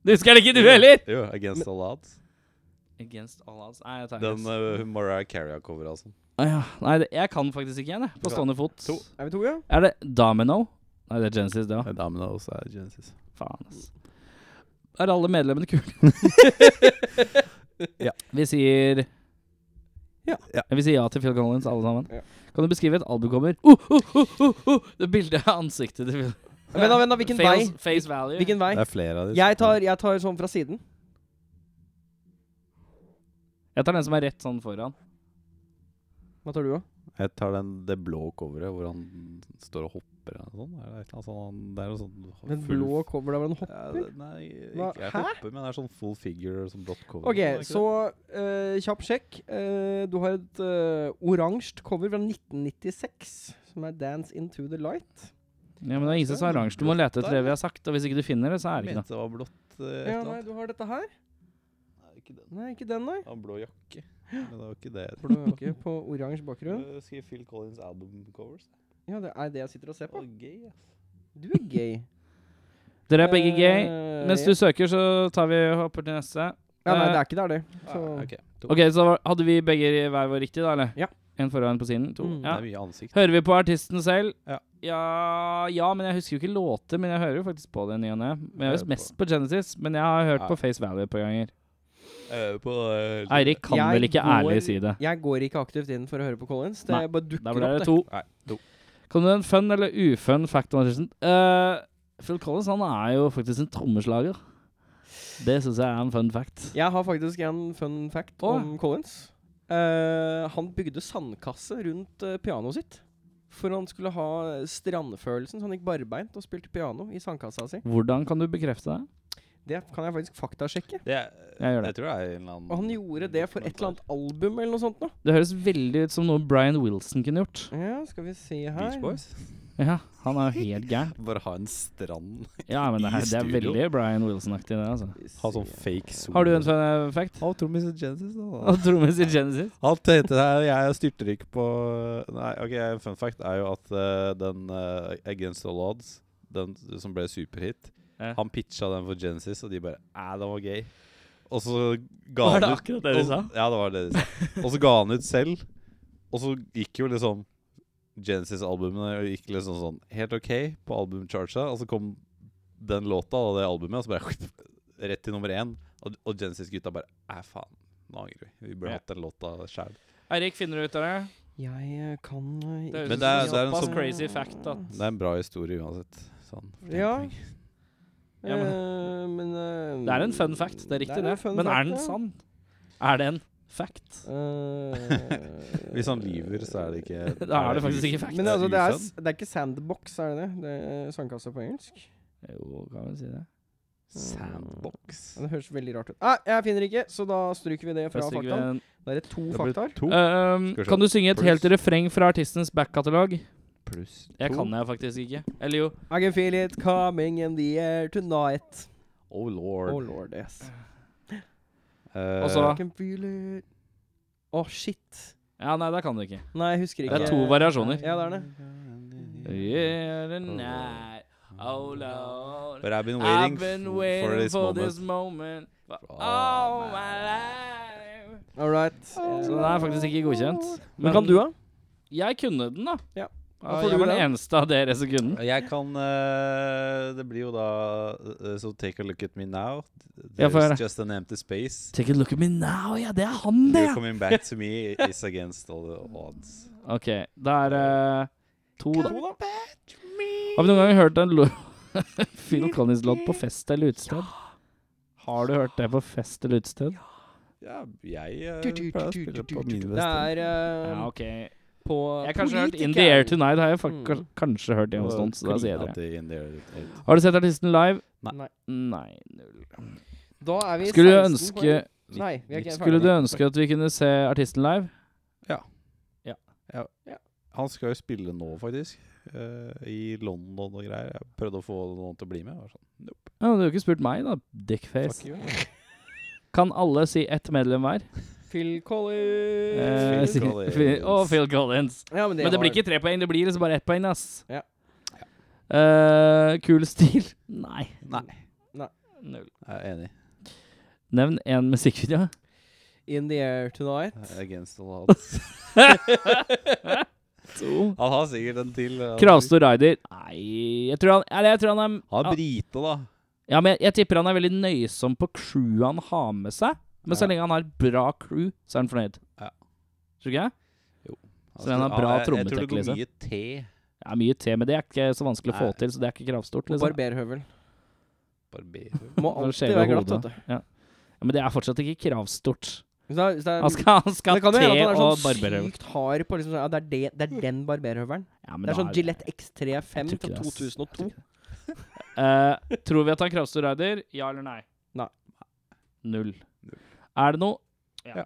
[SPEAKER 3] Du husker det ikke, du heller!
[SPEAKER 2] Jo, Against All Odds.
[SPEAKER 3] Against all odds. Nei, jeg tar
[SPEAKER 2] Den
[SPEAKER 3] Against.
[SPEAKER 2] uh, Mariah Carey-coveret, altså.
[SPEAKER 3] Ah, ja. Nei, det, jeg kan faktisk ikke igjen, jeg. På
[SPEAKER 2] Du kan.
[SPEAKER 3] stående fot.
[SPEAKER 2] To.
[SPEAKER 1] Er vi to, ja?
[SPEAKER 3] Er det Domino? Nei, det er Genesis, det òg.
[SPEAKER 2] Dominoes er Genesis.
[SPEAKER 3] Faen, ass. Er alle medlemmene kule? ja. Vi sier
[SPEAKER 1] Ja.
[SPEAKER 2] Ja.
[SPEAKER 3] Vi sier ja til Phil Collins, alle sammen.
[SPEAKER 1] Ja.
[SPEAKER 3] Kan du beskrive et albumcover? Uh, uh, uh, uh, uh, det bildet av ansiktet til Phil.
[SPEAKER 1] Vent, da, vent, da. Hvilken vei?
[SPEAKER 3] Fails- Face value.
[SPEAKER 1] Hvilken vei?
[SPEAKER 2] Det er flere av de
[SPEAKER 1] Jeg tar, jeg tar sånn fra siden.
[SPEAKER 3] Jeg tar den som er rett sånn foran.
[SPEAKER 1] Hva tar du, da?
[SPEAKER 2] Jeg tar den, det blå coveret hvor han står og hopper eller noe sånt. Er det, et eller annet sånn, han- det er noe sånn
[SPEAKER 1] Den
[SPEAKER 2] full-
[SPEAKER 1] blå cover der hvor den hopper.
[SPEAKER 2] ja, det- Nei,
[SPEAKER 1] Hva?
[SPEAKER 2] ikke jeg
[SPEAKER 1] Hæ?
[SPEAKER 2] hopper, men det er sånn full figure som blått cover.
[SPEAKER 1] OK,
[SPEAKER 2] Er det ikke
[SPEAKER 1] så eh, kjapp sjekk. Eh, du har et uh, oransje cover fra 1996 som er 'Dance Into The Light'.
[SPEAKER 3] Ja, men det er ingen som er oransje. Du må lete etter det vi har sagt. Og hvis ikke du finner det, så
[SPEAKER 2] Jeg
[SPEAKER 3] er det ikke
[SPEAKER 2] mente det
[SPEAKER 3] noe.
[SPEAKER 2] var blått eh, et
[SPEAKER 1] Ja,
[SPEAKER 2] eller
[SPEAKER 1] nei,
[SPEAKER 2] annet.
[SPEAKER 1] du har dette her.
[SPEAKER 2] Nei, ikke den.
[SPEAKER 1] Nei, ikke den, nei.
[SPEAKER 2] Han blå jakke. Men det var ikke det.
[SPEAKER 1] Blå jakke på oransje bakgrunn.
[SPEAKER 2] Du Skriv Phil Collins album covers.
[SPEAKER 1] Ja, det er det jeg sitter og ser på.
[SPEAKER 2] Å, gøy, altså. ass.
[SPEAKER 1] Du er gay.
[SPEAKER 3] Dere er begge gay.
[SPEAKER 1] Eh,
[SPEAKER 3] Mens du eh, søker, så tar vi og hopper til neste.
[SPEAKER 1] Ja, nei, det er ikke der, det. Så
[SPEAKER 2] Ah, ok, to.
[SPEAKER 3] Ok, så var- hadde vi begge hver vår riktig, da? eller?
[SPEAKER 1] Ja.
[SPEAKER 3] En foran på siden? To.
[SPEAKER 1] Mm.
[SPEAKER 3] Ja.
[SPEAKER 2] Det er mye ansikt.
[SPEAKER 3] Hører vi på artisten selv?
[SPEAKER 2] Ja.
[SPEAKER 3] ja ja, men jeg husker jo ikke låter, men jeg hører jo faktisk på det i ny og ne. Men Jeg hører
[SPEAKER 2] Hører
[SPEAKER 3] mest på Genesis, men jeg har hørt
[SPEAKER 2] Ja.
[SPEAKER 3] på Face Value et par ganger.
[SPEAKER 2] Eh, på, eh,
[SPEAKER 3] Eirik kan
[SPEAKER 1] Jeg
[SPEAKER 3] vel ikke
[SPEAKER 1] går-
[SPEAKER 3] ærlig si det.
[SPEAKER 1] jeg går ikke aktivt inn for å høre på Collins. Det
[SPEAKER 3] Nei,
[SPEAKER 1] bare dukker
[SPEAKER 3] Da ble
[SPEAKER 1] opp,
[SPEAKER 3] det
[SPEAKER 1] det.
[SPEAKER 3] to.
[SPEAKER 2] Nei, to.
[SPEAKER 3] Kan du en fun eller ufun fact om artisten? Eh, Phil Collins han er jo faktisk en trommeslager. Det syns jeg er en fun fact.
[SPEAKER 1] Jeg har faktisk en fun fact
[SPEAKER 3] Å.
[SPEAKER 1] om Collins. Eh, han bygde sandkasse rundt eh, pianoet sitt. For han skulle ha strandfølelsen, så han gikk barbeint og spilte piano i sandkassa si.
[SPEAKER 3] Hvordan kan du bekrefte det?
[SPEAKER 1] Det kan jeg faktisk faktasjekke.
[SPEAKER 2] Det er,
[SPEAKER 3] Jeg gjør det.
[SPEAKER 2] Jeg tror det er en eller annen
[SPEAKER 1] Og han gjorde det for et eller annet album eller noe sånt nå
[SPEAKER 3] Det høres veldig ut som noe Brian Wilson kunne gjort.
[SPEAKER 1] Ja, skal vi se her.
[SPEAKER 2] Beach Boys?
[SPEAKER 3] Ja, han er jo helt gæren.
[SPEAKER 2] Bare ha en strand.
[SPEAKER 3] Ja, men det,
[SPEAKER 2] I
[SPEAKER 3] her, det er
[SPEAKER 2] studio.
[SPEAKER 3] veldig Brian Wilson-aktig, det, altså.
[SPEAKER 1] Skal vi
[SPEAKER 2] Ha sånn
[SPEAKER 1] se.
[SPEAKER 2] fake sol.
[SPEAKER 3] Har du en fun fact?
[SPEAKER 2] Ha trommis i Genesis, da.
[SPEAKER 3] Og trommis i Genesis?
[SPEAKER 2] Alt heter her Jeg styrter ikke på Nei, OK, fun fact er jo at eh, den eh, Against All Odds, den som ble superhit,
[SPEAKER 3] Ja.
[SPEAKER 2] han pitcha den for Genesis, og de bare Æ, den var gøy. Og så ga
[SPEAKER 3] Var
[SPEAKER 2] han
[SPEAKER 3] det
[SPEAKER 2] ut
[SPEAKER 3] akkurat det de
[SPEAKER 2] og-
[SPEAKER 3] sa?
[SPEAKER 2] Ja, det var det de sa. Og så ga han ut selv, og så gikk jo liksom Genesis-albumene gikk liksom sånn helt OK på albumcharta, og så kom den låta og det albumet, og så bare rett til nummer én. Og, og Genesis-gutta bare Æ, faen. Nå angrer vi. Vi burde
[SPEAKER 3] Ja.
[SPEAKER 2] hatt den låta sjæl.
[SPEAKER 3] Eirik, finner du ut av det?
[SPEAKER 1] Jeg eh, kan eh,
[SPEAKER 3] Det høres
[SPEAKER 2] Men
[SPEAKER 3] ut
[SPEAKER 2] det er-
[SPEAKER 3] som
[SPEAKER 2] det er en
[SPEAKER 3] såpass
[SPEAKER 2] sånn-
[SPEAKER 3] crazy fact at
[SPEAKER 2] Det er en bra historie uansett. Sånn.
[SPEAKER 1] Ja.
[SPEAKER 2] fortjening.
[SPEAKER 3] Ja, men-
[SPEAKER 1] eh, men eh,
[SPEAKER 3] Det er en fun fact, det er riktig
[SPEAKER 1] en
[SPEAKER 3] det.
[SPEAKER 1] fun
[SPEAKER 3] Men
[SPEAKER 1] fact,
[SPEAKER 3] er den
[SPEAKER 1] ja.
[SPEAKER 3] sann? Er det en fact?
[SPEAKER 1] Eh,
[SPEAKER 2] Hvis han lyver, så er det ikke
[SPEAKER 3] Da er det faktisk ikke fact.
[SPEAKER 1] Men altså, det er,
[SPEAKER 2] usann.
[SPEAKER 1] det er ikke sandbox, er det det? det er sandkasse på engelsk?
[SPEAKER 3] Jo, kan vi si det.
[SPEAKER 2] Sandbox.
[SPEAKER 1] Ja, Det høres veldig rart ut. Nei, jeg finner ikke, så da stryker vi det fra
[SPEAKER 3] Først fikk vi
[SPEAKER 1] faktaen.
[SPEAKER 3] en-
[SPEAKER 1] Da er det to
[SPEAKER 2] Det blir
[SPEAKER 1] faktaer.
[SPEAKER 2] to
[SPEAKER 3] Eh,
[SPEAKER 2] Skal
[SPEAKER 3] Øhm,
[SPEAKER 2] vi se.
[SPEAKER 3] kan du synge et
[SPEAKER 2] Pluss.
[SPEAKER 3] helt refreng fra artistens backkatalog?
[SPEAKER 2] pluss to.
[SPEAKER 3] Jeg kan det faktisk ikke. Eller jo.
[SPEAKER 1] I can feel it coming in the air tonight.
[SPEAKER 2] Oh lord.
[SPEAKER 1] Oh lord, yes.
[SPEAKER 2] Eh,
[SPEAKER 3] Og så-
[SPEAKER 1] I can feel it Å, shit.
[SPEAKER 3] Ja, nei, det kan du ikke.
[SPEAKER 1] Nei, jeg husker
[SPEAKER 2] Det
[SPEAKER 1] ikke.
[SPEAKER 2] er
[SPEAKER 3] to variasjoner.
[SPEAKER 1] Ja, det er det.
[SPEAKER 3] Yeah, the night. Oh, Lord.
[SPEAKER 2] But I've been waiting,
[SPEAKER 3] I've been
[SPEAKER 2] f-
[SPEAKER 3] waiting for this
[SPEAKER 2] moment.
[SPEAKER 3] moment. For
[SPEAKER 2] Oh,
[SPEAKER 3] all
[SPEAKER 2] man.
[SPEAKER 3] my life.
[SPEAKER 1] All right.
[SPEAKER 3] Så den er faktisk ikke godkjent.
[SPEAKER 1] Men kan du, da?
[SPEAKER 3] Jeg kunne den, da.
[SPEAKER 1] Ja.
[SPEAKER 3] Ja,
[SPEAKER 1] får
[SPEAKER 3] jeg
[SPEAKER 1] du
[SPEAKER 3] var den
[SPEAKER 1] den?
[SPEAKER 3] eneste av dere som kunne den.
[SPEAKER 2] Jeg kan eh, Det blir jo da eh, So take a look at me now.
[SPEAKER 3] Ja,
[SPEAKER 2] There's
[SPEAKER 3] få høre.
[SPEAKER 2] just an empty space.
[SPEAKER 3] Take a look at me now. Ja, det er han, det!
[SPEAKER 2] You coming back to me is against all the odds.
[SPEAKER 3] OK, det er eh, to, da. Har vi noen gang hørt en lo- Phil Collins-låt på fest eller utested? Har du hørt det på fest eller utested?
[SPEAKER 2] Ja, jeg eh,
[SPEAKER 1] Du, du,
[SPEAKER 2] pleier å
[SPEAKER 1] du, du,
[SPEAKER 2] spille
[SPEAKER 1] du,
[SPEAKER 2] på
[SPEAKER 1] du,
[SPEAKER 2] mine
[SPEAKER 1] Det er
[SPEAKER 2] fester.
[SPEAKER 1] eh,
[SPEAKER 3] Ja, ok.
[SPEAKER 1] på
[SPEAKER 3] Jeg har kanskje hørt In the
[SPEAKER 1] Political.
[SPEAKER 3] Air Tonight har jeg fak
[SPEAKER 1] Mm.
[SPEAKER 3] kans- kanskje hørt hjemme hos noen, så da sier jeg det.
[SPEAKER 2] In the air tonight.
[SPEAKER 3] Har du sett artisten live?
[SPEAKER 2] Nei.
[SPEAKER 1] Nei.
[SPEAKER 3] Nei, null.
[SPEAKER 1] Da er vi
[SPEAKER 3] Skulle du
[SPEAKER 1] 16 poeng.
[SPEAKER 3] ønske
[SPEAKER 1] Nei, vi er ikke
[SPEAKER 3] Skulle du
[SPEAKER 1] ferdige.
[SPEAKER 3] ønske at vi kunne se artisten live?
[SPEAKER 2] Han skal jo spille nå, faktisk. eh, I London og greier. Jeg prøvde å få noen til å bli med. Jeg var sånn, nope,
[SPEAKER 3] Ja, men Du har jo ikke spurt meg, da,
[SPEAKER 2] fuck
[SPEAKER 3] dickface.
[SPEAKER 2] you.
[SPEAKER 3] Kan alle si ett medlem hver?
[SPEAKER 1] Phil Collins.
[SPEAKER 3] Eh, si-
[SPEAKER 2] Collins.
[SPEAKER 3] Phil- Og Phil Collins.
[SPEAKER 1] ja, men det,
[SPEAKER 3] Men det
[SPEAKER 1] har-
[SPEAKER 3] blir ikke tre poeng, det blir liksom bare ett poeng, ass.
[SPEAKER 1] Ja.
[SPEAKER 3] Eh, kul stil? Nei.
[SPEAKER 2] Nei.
[SPEAKER 1] Nei.
[SPEAKER 3] Null.
[SPEAKER 2] Jeg er enig.
[SPEAKER 3] Nevn én musikkvideo.
[SPEAKER 1] In the air tonight.
[SPEAKER 2] Jeg er Against all odds.
[SPEAKER 3] To.
[SPEAKER 2] Han har sikkert en til. eh,
[SPEAKER 3] Kravstor Rider. Nei jeg tror han, eller jeg tror han er
[SPEAKER 2] Han
[SPEAKER 3] ja.
[SPEAKER 2] er brite, da.
[SPEAKER 3] Ja, men jeg, jeg tipper han er veldig nøysom på crewet han har med seg. Men så
[SPEAKER 2] Ja.
[SPEAKER 3] lenge han har et bra crew, så er han fornøyd.
[SPEAKER 2] Ja.
[SPEAKER 3] Tror ikke jeg? Så han har
[SPEAKER 2] Altså, Ja,
[SPEAKER 3] bra
[SPEAKER 2] jeg- Jeg tror det
[SPEAKER 3] trommeteknikk,
[SPEAKER 2] går mye te.
[SPEAKER 3] Det er mye te, men det er ikke så vanskelig å få
[SPEAKER 2] Nei.
[SPEAKER 3] til, så det er ikke kravstort.
[SPEAKER 1] Og
[SPEAKER 3] Liksom.
[SPEAKER 1] barberhøvel.
[SPEAKER 2] Barber.
[SPEAKER 1] Må
[SPEAKER 3] Og
[SPEAKER 1] alltid
[SPEAKER 3] skjeve
[SPEAKER 1] være glatt,
[SPEAKER 3] hodet.
[SPEAKER 1] vet du.
[SPEAKER 3] Ja, men det er fortsatt ikke kravstort.
[SPEAKER 1] Så det er- så det er-
[SPEAKER 3] Han skal, han skal
[SPEAKER 1] det kan jo
[SPEAKER 3] te
[SPEAKER 1] hende at han er
[SPEAKER 3] og
[SPEAKER 1] sånn
[SPEAKER 3] barberhøvel.
[SPEAKER 1] sykt hard på liksom, sånn, ja, det, er det, det er den barberhøvelen.
[SPEAKER 3] Ja, men
[SPEAKER 1] Det er
[SPEAKER 3] da
[SPEAKER 1] sånn
[SPEAKER 3] er
[SPEAKER 1] Gillette X35
[SPEAKER 3] Jeg tror
[SPEAKER 1] til
[SPEAKER 3] ikke det, ass.
[SPEAKER 1] 2002.
[SPEAKER 3] Eh, tror vi at han er kravstor rider? Ja eller nei?
[SPEAKER 1] Nei.
[SPEAKER 3] Null.
[SPEAKER 2] Null.
[SPEAKER 3] Er det noe?
[SPEAKER 2] Ja.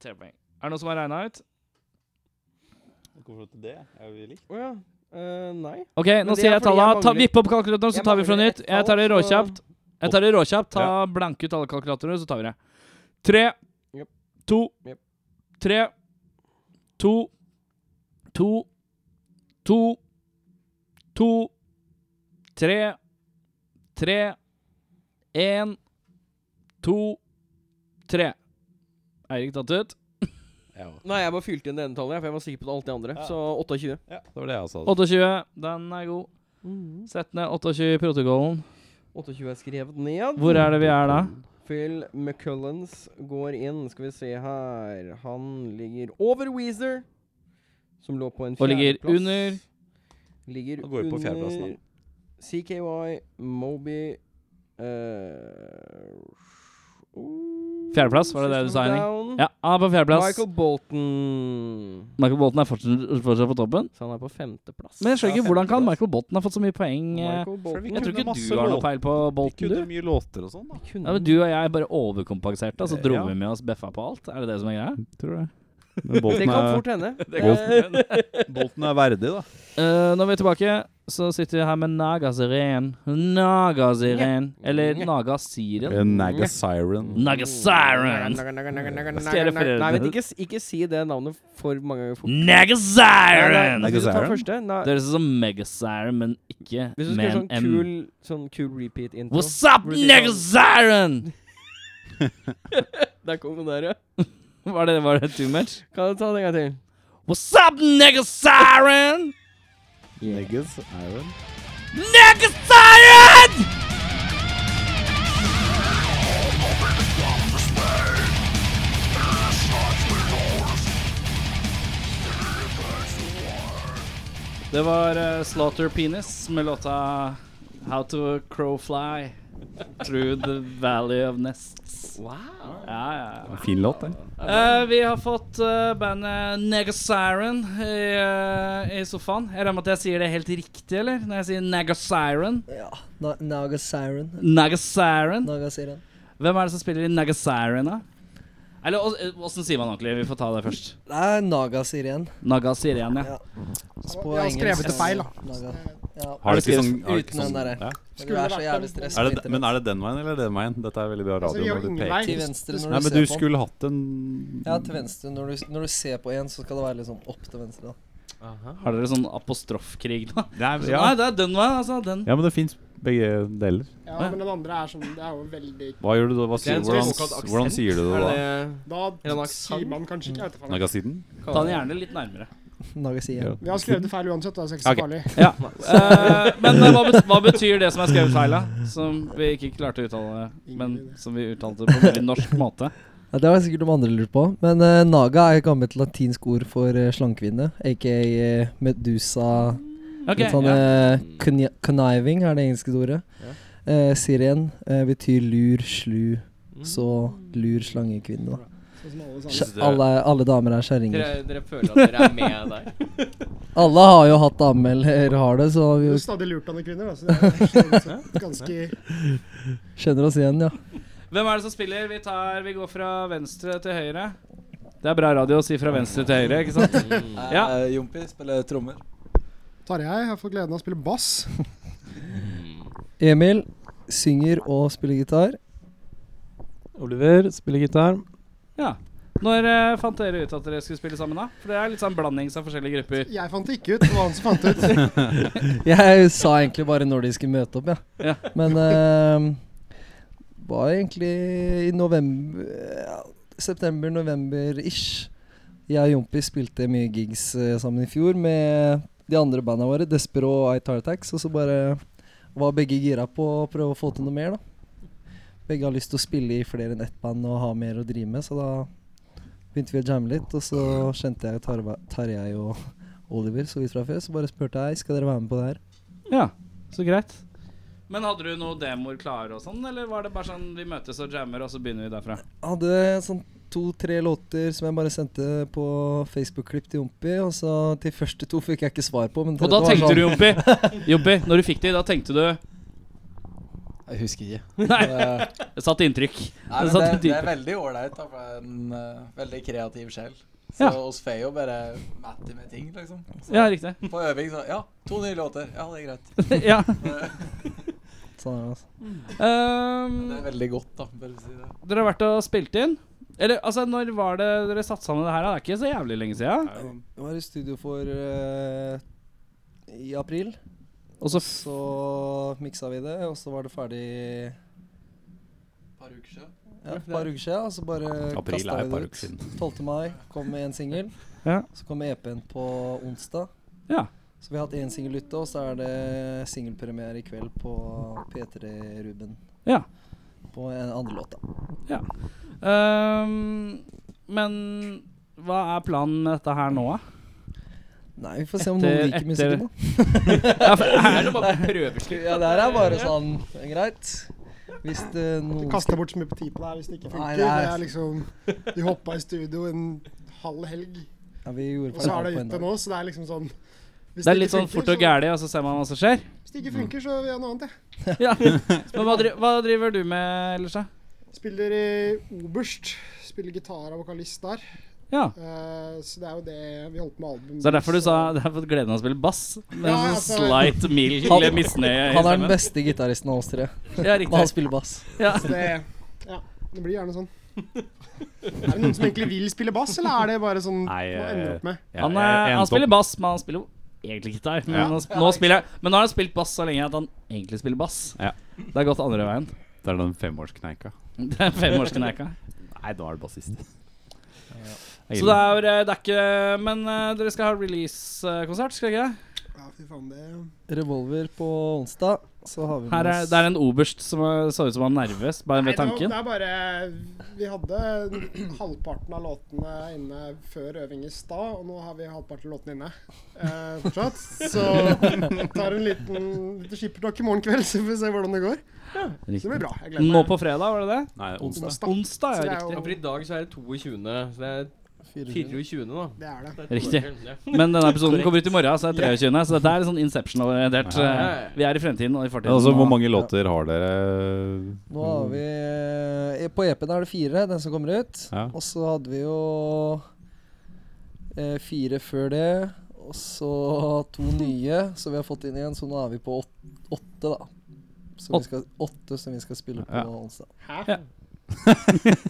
[SPEAKER 3] Tre poeng. Er det noen som har regna ut?
[SPEAKER 2] Hvorfor til det? Er vi likt?
[SPEAKER 1] Å ja. Eh, nei.
[SPEAKER 3] OK, nå
[SPEAKER 1] det
[SPEAKER 3] sier
[SPEAKER 1] er fordi
[SPEAKER 3] jeg
[SPEAKER 1] jeg
[SPEAKER 3] tallene. Ta,
[SPEAKER 1] mangler-
[SPEAKER 3] vipp opp kalkulatoren, så
[SPEAKER 1] Jeg
[SPEAKER 3] tar vi fra
[SPEAKER 1] mangler
[SPEAKER 3] nytt.
[SPEAKER 1] ett
[SPEAKER 3] Jeg tar det
[SPEAKER 1] tall, så-
[SPEAKER 3] råkjapt. Jeg tar det råkjapt. Ta blank ut alle kalkulatorer, så tar vi det. Tre,
[SPEAKER 1] Jep.
[SPEAKER 3] to,
[SPEAKER 1] Jep.
[SPEAKER 3] tre, to, to, to, to, tre, tre, én, to, tre. Eirik tatt ut.
[SPEAKER 2] Ja.
[SPEAKER 1] Nei, jeg bare fylte inn det ene tallet, jeg, for jeg var sikker på alt det andre.
[SPEAKER 2] Ja.
[SPEAKER 1] Så 28.
[SPEAKER 2] ja, det var det jeg sa.
[SPEAKER 3] 28. Den er god. Sett ned 28 i protokollen.
[SPEAKER 1] 28 er skrevet ned.
[SPEAKER 3] Hvor er det vi er da?
[SPEAKER 1] Phil McCullens går inn. Skal vi se her Han ligger over Weezer, som lå på en
[SPEAKER 3] Og ligger
[SPEAKER 1] fjerdeplass.
[SPEAKER 3] under-
[SPEAKER 1] Ligger
[SPEAKER 2] Han går jo på fjerdeplassen, da.
[SPEAKER 1] under CKY, Moby eh, oh,
[SPEAKER 3] Fjerdeplass, var det det du
[SPEAKER 1] System
[SPEAKER 3] sa, Henning?
[SPEAKER 1] Down.
[SPEAKER 3] Ja, han er på fjerdeplass.
[SPEAKER 1] Michael
[SPEAKER 3] Michael,
[SPEAKER 1] Bolton.
[SPEAKER 3] Bolton er fortsatt, fortsatt på toppen.
[SPEAKER 1] Så han er på femteplass.
[SPEAKER 3] Men jeg skjønner
[SPEAKER 2] Ja,
[SPEAKER 3] ikke hvordan kan
[SPEAKER 2] femteplass.
[SPEAKER 3] Michael Bolton ha fått så mye poeng. eh,
[SPEAKER 1] Michael
[SPEAKER 2] vi
[SPEAKER 1] Bolton.
[SPEAKER 3] Jeg tror
[SPEAKER 2] kunne
[SPEAKER 3] ikke
[SPEAKER 2] masse
[SPEAKER 3] du har noe
[SPEAKER 2] låter.
[SPEAKER 3] peil på
[SPEAKER 2] Vi
[SPEAKER 3] Bolton,
[SPEAKER 2] kunne
[SPEAKER 3] du.
[SPEAKER 2] mye låter og sånn, da.
[SPEAKER 3] Ja, men du og jeg bare overkompenserte,
[SPEAKER 1] Eh,
[SPEAKER 3] og så dro
[SPEAKER 2] Ja.
[SPEAKER 3] vi med oss beffa på alt. Er det det som er greia?
[SPEAKER 2] Tror det. Men
[SPEAKER 1] Det
[SPEAKER 2] Bolten
[SPEAKER 1] kan
[SPEAKER 2] er,
[SPEAKER 1] fort hende.
[SPEAKER 2] Bolten er verdig, da.
[SPEAKER 3] Eh, når vi er tilbake, så sitter vi her med Naga Siren. Naga Siren. Eller Naga Siren.
[SPEAKER 2] Naga Siren.
[SPEAKER 3] Naga Siren. Skal jeg referere
[SPEAKER 1] Nei, men
[SPEAKER 3] til-
[SPEAKER 1] ikke, s- ikke si det navnet for mange ganger fort.
[SPEAKER 3] Naga
[SPEAKER 1] Nei, nei,
[SPEAKER 3] Siren!
[SPEAKER 1] Hvis du tar
[SPEAKER 2] Siren?
[SPEAKER 1] første nei,
[SPEAKER 3] Det høres ut som Mega Siren, men ikke
[SPEAKER 1] Hvis du
[SPEAKER 3] med
[SPEAKER 1] skal
[SPEAKER 3] en
[SPEAKER 1] sånn
[SPEAKER 3] M.
[SPEAKER 1] kul Sånn kul repeat intro
[SPEAKER 3] What's up,
[SPEAKER 1] Rudy
[SPEAKER 3] Naga
[SPEAKER 1] Jones.
[SPEAKER 3] Siren?
[SPEAKER 1] Der kom den der, ja.
[SPEAKER 3] Var det, var det too much?
[SPEAKER 1] Kan du ta den en gang til?
[SPEAKER 3] What's up, Naga Siren?
[SPEAKER 2] Naga Siren.
[SPEAKER 3] Naga Siren! Det var eh, Slaughter Penis med låta How to Crow Fly Through the Valley of Nests. Wow. Ja, ja, ja.
[SPEAKER 2] Fin låt, den.
[SPEAKER 3] Eh, vi har fått eh, bandet Negasiren i, eh, i sofaen. Jeg regner med at jeg sier det helt riktig, eller? Når jeg sier Negasiren.
[SPEAKER 5] Ja. Na Naga Siren.
[SPEAKER 3] Negasiren.
[SPEAKER 5] Naga Siren.
[SPEAKER 3] Hvem er det som spiller i Negasiren, da? Eller ås- eh, åssen sier man ordentlig? Vi får ta det først.
[SPEAKER 5] Det er Naga Siren.
[SPEAKER 3] Nagasiren, ja.
[SPEAKER 5] Ja.
[SPEAKER 6] Jeg har skrevet det feil, da.
[SPEAKER 5] Naga. Ja.
[SPEAKER 2] Har du ikke sånn,
[SPEAKER 5] Uten
[SPEAKER 2] har du ikke
[SPEAKER 5] den
[SPEAKER 2] sånn
[SPEAKER 5] derre.
[SPEAKER 2] ja.
[SPEAKER 5] Du er så jævlig stresset.
[SPEAKER 2] er det, Men er det den veien eller den veien? Dette er veldig bra
[SPEAKER 6] Altså, vi
[SPEAKER 2] radio.
[SPEAKER 6] har
[SPEAKER 2] når du
[SPEAKER 6] ingen
[SPEAKER 2] peker.
[SPEAKER 6] vei.
[SPEAKER 5] Til venstre når
[SPEAKER 2] Nei,
[SPEAKER 5] du
[SPEAKER 2] men du
[SPEAKER 5] ser på.
[SPEAKER 2] skulle hatt en
[SPEAKER 5] Ja, til venstre. Når du, når du ser på en, så skal det være liksom opp til venstre. da.
[SPEAKER 3] Har dere sånn apostrofkrig nå? Sånn,
[SPEAKER 2] Nei, ja.
[SPEAKER 3] Nei, det er den veien, altså. Den.
[SPEAKER 2] ja, men det fins begge deler.
[SPEAKER 6] Ja, men den andre er sånn Det er jo veldig
[SPEAKER 2] Hva gjør du da? Hva
[SPEAKER 1] Det er
[SPEAKER 2] sier,
[SPEAKER 1] en
[SPEAKER 2] hvordan,
[SPEAKER 1] såkalt aksent.
[SPEAKER 2] hvordan sier du det da?
[SPEAKER 1] Er det
[SPEAKER 6] Da
[SPEAKER 1] en aksent?
[SPEAKER 6] sier man kanskje ikke jeg vet ikke faen.
[SPEAKER 2] Naga Siren?
[SPEAKER 3] Ta den gjerne litt nærmere.
[SPEAKER 5] Naga Siren.
[SPEAKER 6] Vi har skrevet det feil uansett, da. så det er ikke
[SPEAKER 2] Ok.
[SPEAKER 6] så farlig.
[SPEAKER 3] Ja. Eh, men eh, hva, bet hva betyr det som er skrevet feil, da? Som vi ikke klarte å uttale, men som vi uttalte på en veldig norsk måte.
[SPEAKER 5] Ja, det har sikkert de andre lurt på. Men eh, naga er et gammelt latinsk ord for eh, slangkvinne. Aka eh, medusa.
[SPEAKER 3] Ok,
[SPEAKER 5] litt sånn
[SPEAKER 3] ja.
[SPEAKER 5] eh, conni- conniving er det engelske ordet. Eh, siren eh, betyr lur, slu, så lur slangekvinne, da.
[SPEAKER 6] Sånn som alle
[SPEAKER 5] Sja-
[SPEAKER 6] sammen.
[SPEAKER 2] det-
[SPEAKER 5] Alle, alle damer er
[SPEAKER 7] Dere,
[SPEAKER 5] kjerringer.
[SPEAKER 7] dere føler at dere er med der.
[SPEAKER 5] Alle har jo hatt dame eller har det, så
[SPEAKER 6] Du
[SPEAKER 5] vi
[SPEAKER 6] er stadig lurt av noen kvinner, da. Så det er sånn ganske
[SPEAKER 5] kjenner oss igjen, ja.
[SPEAKER 3] Hvem er det som spiller? Vi, tar, vi går fra venstre til høyre. Det er bra radio å si fra venstre til høyre, ikke sant? Ja.
[SPEAKER 8] Eh, Jompi spiller trommer.
[SPEAKER 6] Tarjei har fått gleden av å spille bass.
[SPEAKER 5] Emil synger og spiller gitar.
[SPEAKER 9] Oliver spiller gitar.
[SPEAKER 3] ja. Når eh, fant dere ut at dere skulle spille sammen, da? For det er litt sånn blandings av forskjellige grupper.
[SPEAKER 6] Jeg fant det ikke ut. Det var han som fant det ut.
[SPEAKER 5] Jeg sa egentlig bare når de skulle møte opp, ja.
[SPEAKER 3] Ja.
[SPEAKER 5] Men eh, var egentlig i november ja, September-november-ish. Jeg og Jompi spilte mye gigs eh, sammen i fjor med de andre banda våre, Despero og Itar Attacks, og så bare var begge gira på å prøve å få til noe mer, da. Begge har lyst til å spille i flere enn ett band og ha mer å drive med, så da begynte vi å jamme litt, og så kjente jeg Tarva- Tarjei og Oliver så vidt fra før, så bare spurte jeg skal dere være med på det her.
[SPEAKER 3] Ja, så greit. Men hadde du noen demoer klare og sånn, eller var det bare sånn vi møtes og jammer, og så begynner vi derfra?
[SPEAKER 5] hadde sånn to-tre låter som jeg bare sendte på Facebook-klipp til Jompi. Og så de første to fikk jeg ikke svar på. Men
[SPEAKER 3] Og da tenkte
[SPEAKER 5] tredje var sånn,
[SPEAKER 3] du, Jompi Jompi, når du fikk de, da tenkte du
[SPEAKER 8] Jeg husker ikke.
[SPEAKER 3] Nei,
[SPEAKER 8] Eh,
[SPEAKER 3] det satt inntrykk.
[SPEAKER 8] Nei,
[SPEAKER 3] Det
[SPEAKER 8] men
[SPEAKER 3] satt
[SPEAKER 8] det,
[SPEAKER 3] litt
[SPEAKER 8] det er
[SPEAKER 3] dypere.
[SPEAKER 8] veldig ålreit. da, for det er En eh, veldig kreativ sjel. Så
[SPEAKER 3] Ja.
[SPEAKER 8] oss får jo bare matti med ting, liksom. Så
[SPEAKER 3] Ja, riktig.
[SPEAKER 8] På øving så Ja, to nye låter. Ja, det er greit.
[SPEAKER 3] ja.
[SPEAKER 5] sånn, er det, altså.
[SPEAKER 8] Men Det
[SPEAKER 3] Ehm,
[SPEAKER 8] er veldig godt, da. Bare si det.
[SPEAKER 3] dere har vært og spilt inn? Eller altså, når var det dere satt sammen det her? da? Det er ikke så jævlig lenge siden.
[SPEAKER 5] Jeg var i studio for eh, i april.
[SPEAKER 3] Og så f-
[SPEAKER 5] Så miksa vi det, og så var det ferdig
[SPEAKER 8] Et par uker siden.
[SPEAKER 5] ja, et par uker siden. Og så bare
[SPEAKER 2] April er
[SPEAKER 5] kasta vi
[SPEAKER 2] et
[SPEAKER 5] det
[SPEAKER 2] par
[SPEAKER 5] ut.
[SPEAKER 2] uker siden.
[SPEAKER 5] 12. mai kom med en singel.
[SPEAKER 3] Ja.
[SPEAKER 5] Så kom EP-en på onsdag.
[SPEAKER 3] Ja.
[SPEAKER 5] Så vi har hatt én singel ute, og så er det singelpremiere i kveld på P3 Ruben.
[SPEAKER 3] Ja.
[SPEAKER 5] På en andre låta.
[SPEAKER 3] ehm, Men hva er planen med dette her nå, da?
[SPEAKER 5] Nei, vi får se om
[SPEAKER 3] Etter-
[SPEAKER 5] noen liker
[SPEAKER 3] etter-
[SPEAKER 5] musikken, da.
[SPEAKER 3] Ja, for er det bare
[SPEAKER 5] Ja, det her er bare sånn Greit. Hvis det noen
[SPEAKER 6] Kasta bort så mye på tid på deg hvis det ikke
[SPEAKER 5] Nei,
[SPEAKER 6] funker.
[SPEAKER 5] det
[SPEAKER 6] Det
[SPEAKER 5] er-
[SPEAKER 6] er liksom Du hoppa i studio en halv helg,
[SPEAKER 5] ja, Vi gjorde
[SPEAKER 6] og så er
[SPEAKER 5] ferdig
[SPEAKER 6] det
[SPEAKER 5] på en
[SPEAKER 6] ute
[SPEAKER 5] dag.
[SPEAKER 6] nå, så det er liksom sånn hvis
[SPEAKER 3] Det er
[SPEAKER 6] ikke
[SPEAKER 3] litt sånn
[SPEAKER 6] funker,
[SPEAKER 3] fort og
[SPEAKER 6] så-
[SPEAKER 3] gæli, og så ser man hva som skjer.
[SPEAKER 6] Hvis det ikke funker, så gjør jeg noe annet, jeg.
[SPEAKER 3] Ja. Men hva, dri hva driver du med ellers, da?
[SPEAKER 6] Spiller i oberst. Spiller gitar og vokalist der.
[SPEAKER 3] Ja.
[SPEAKER 6] Eh, så det er jo det vi holdt på med album.
[SPEAKER 3] Så det er derfor du sa det er for gleden av å spille bass. Med
[SPEAKER 6] Ja,
[SPEAKER 3] en
[SPEAKER 6] altså-
[SPEAKER 3] sånn slight mild
[SPEAKER 5] Han-
[SPEAKER 3] misnøye i
[SPEAKER 5] Han er den
[SPEAKER 3] stemmen.
[SPEAKER 5] beste gitaristen av oss tre.
[SPEAKER 3] Ja,
[SPEAKER 5] Og han
[SPEAKER 3] riktig.
[SPEAKER 5] spiller bass.
[SPEAKER 3] Ja.
[SPEAKER 6] Så det, ja, det blir gjerne sånn. Er det noen som egentlig vil spille bass, eller er det bare sånn
[SPEAKER 2] Nei,
[SPEAKER 6] man
[SPEAKER 2] eh,
[SPEAKER 6] ender opp med?
[SPEAKER 2] Ja,
[SPEAKER 3] Han,
[SPEAKER 2] jeg-
[SPEAKER 3] er,
[SPEAKER 2] jeg endte
[SPEAKER 3] han spiller
[SPEAKER 2] opp-
[SPEAKER 3] bass, men han spiller jo egentlig gitar. Men,
[SPEAKER 2] Ja.
[SPEAKER 3] nå, sp- nå spiller, jeg- men nå har han spilt bass så lenge at han egentlig spiller bass.
[SPEAKER 2] Ja.
[SPEAKER 3] Det har gått andre veien.
[SPEAKER 2] Det er den femårskneika.
[SPEAKER 3] Det er femårskneika.
[SPEAKER 2] Nei, da er det bassist.
[SPEAKER 3] Så det er, eh, det er ikke Men eh, dere skal ha release-konsert, skal dere ikke det?
[SPEAKER 6] Ja, fy faen, det
[SPEAKER 5] Revolver på onsdag, så har vi
[SPEAKER 3] Her
[SPEAKER 5] med
[SPEAKER 3] er,
[SPEAKER 5] oss
[SPEAKER 3] det er en oberst som eh, så ut som han var nervøs bare
[SPEAKER 6] Nei,
[SPEAKER 3] ved
[SPEAKER 6] det var-
[SPEAKER 3] tanken.
[SPEAKER 6] Det er bare Vi hadde halvparten av låtene inne før øving i stad, og nå har vi halvparten av låtene inne eh, fortsatt. Så tar en liten lite skippertak i morgen kveld, så får vi se hvordan det går. Så det blir bra. Jeg gleder
[SPEAKER 3] Nå
[SPEAKER 6] meg.
[SPEAKER 3] på fredag, var det det?
[SPEAKER 2] Nei, onsdag.
[SPEAKER 6] Onsdag.
[SPEAKER 3] Onsdag,
[SPEAKER 6] Så det
[SPEAKER 3] ja.
[SPEAKER 6] er
[SPEAKER 3] Riktig.
[SPEAKER 6] jo-
[SPEAKER 1] Ja, for i dag så er det 22. Så det er 24. da.
[SPEAKER 6] Det er det.
[SPEAKER 1] Det er to
[SPEAKER 3] Riktig.
[SPEAKER 1] dager, ja.
[SPEAKER 3] Men denne episoden kommer ut i morgen, så det er 23. Så dette er litt sånn Inception-orientert.
[SPEAKER 2] Ja,
[SPEAKER 1] ja, ja.
[SPEAKER 3] eh, Vi er i fremtiden og i
[SPEAKER 2] Ja,
[SPEAKER 3] fortiden.
[SPEAKER 2] altså, hvor
[SPEAKER 3] og-
[SPEAKER 2] mange låter har dere?
[SPEAKER 5] Nå har vi eh, På EP-en er det fire, den som kommer ut.
[SPEAKER 2] Ja.
[SPEAKER 5] Og så hadde vi jo eh, fire før det. Og så to nye, så vi har fått inn igjen. Så nå er vi på åt- åtte, da. Som
[SPEAKER 3] Åt-
[SPEAKER 5] vi skal, åtte som vi skal spille på
[SPEAKER 2] Ja.
[SPEAKER 5] onsdag.
[SPEAKER 6] Hæ?
[SPEAKER 3] Ja.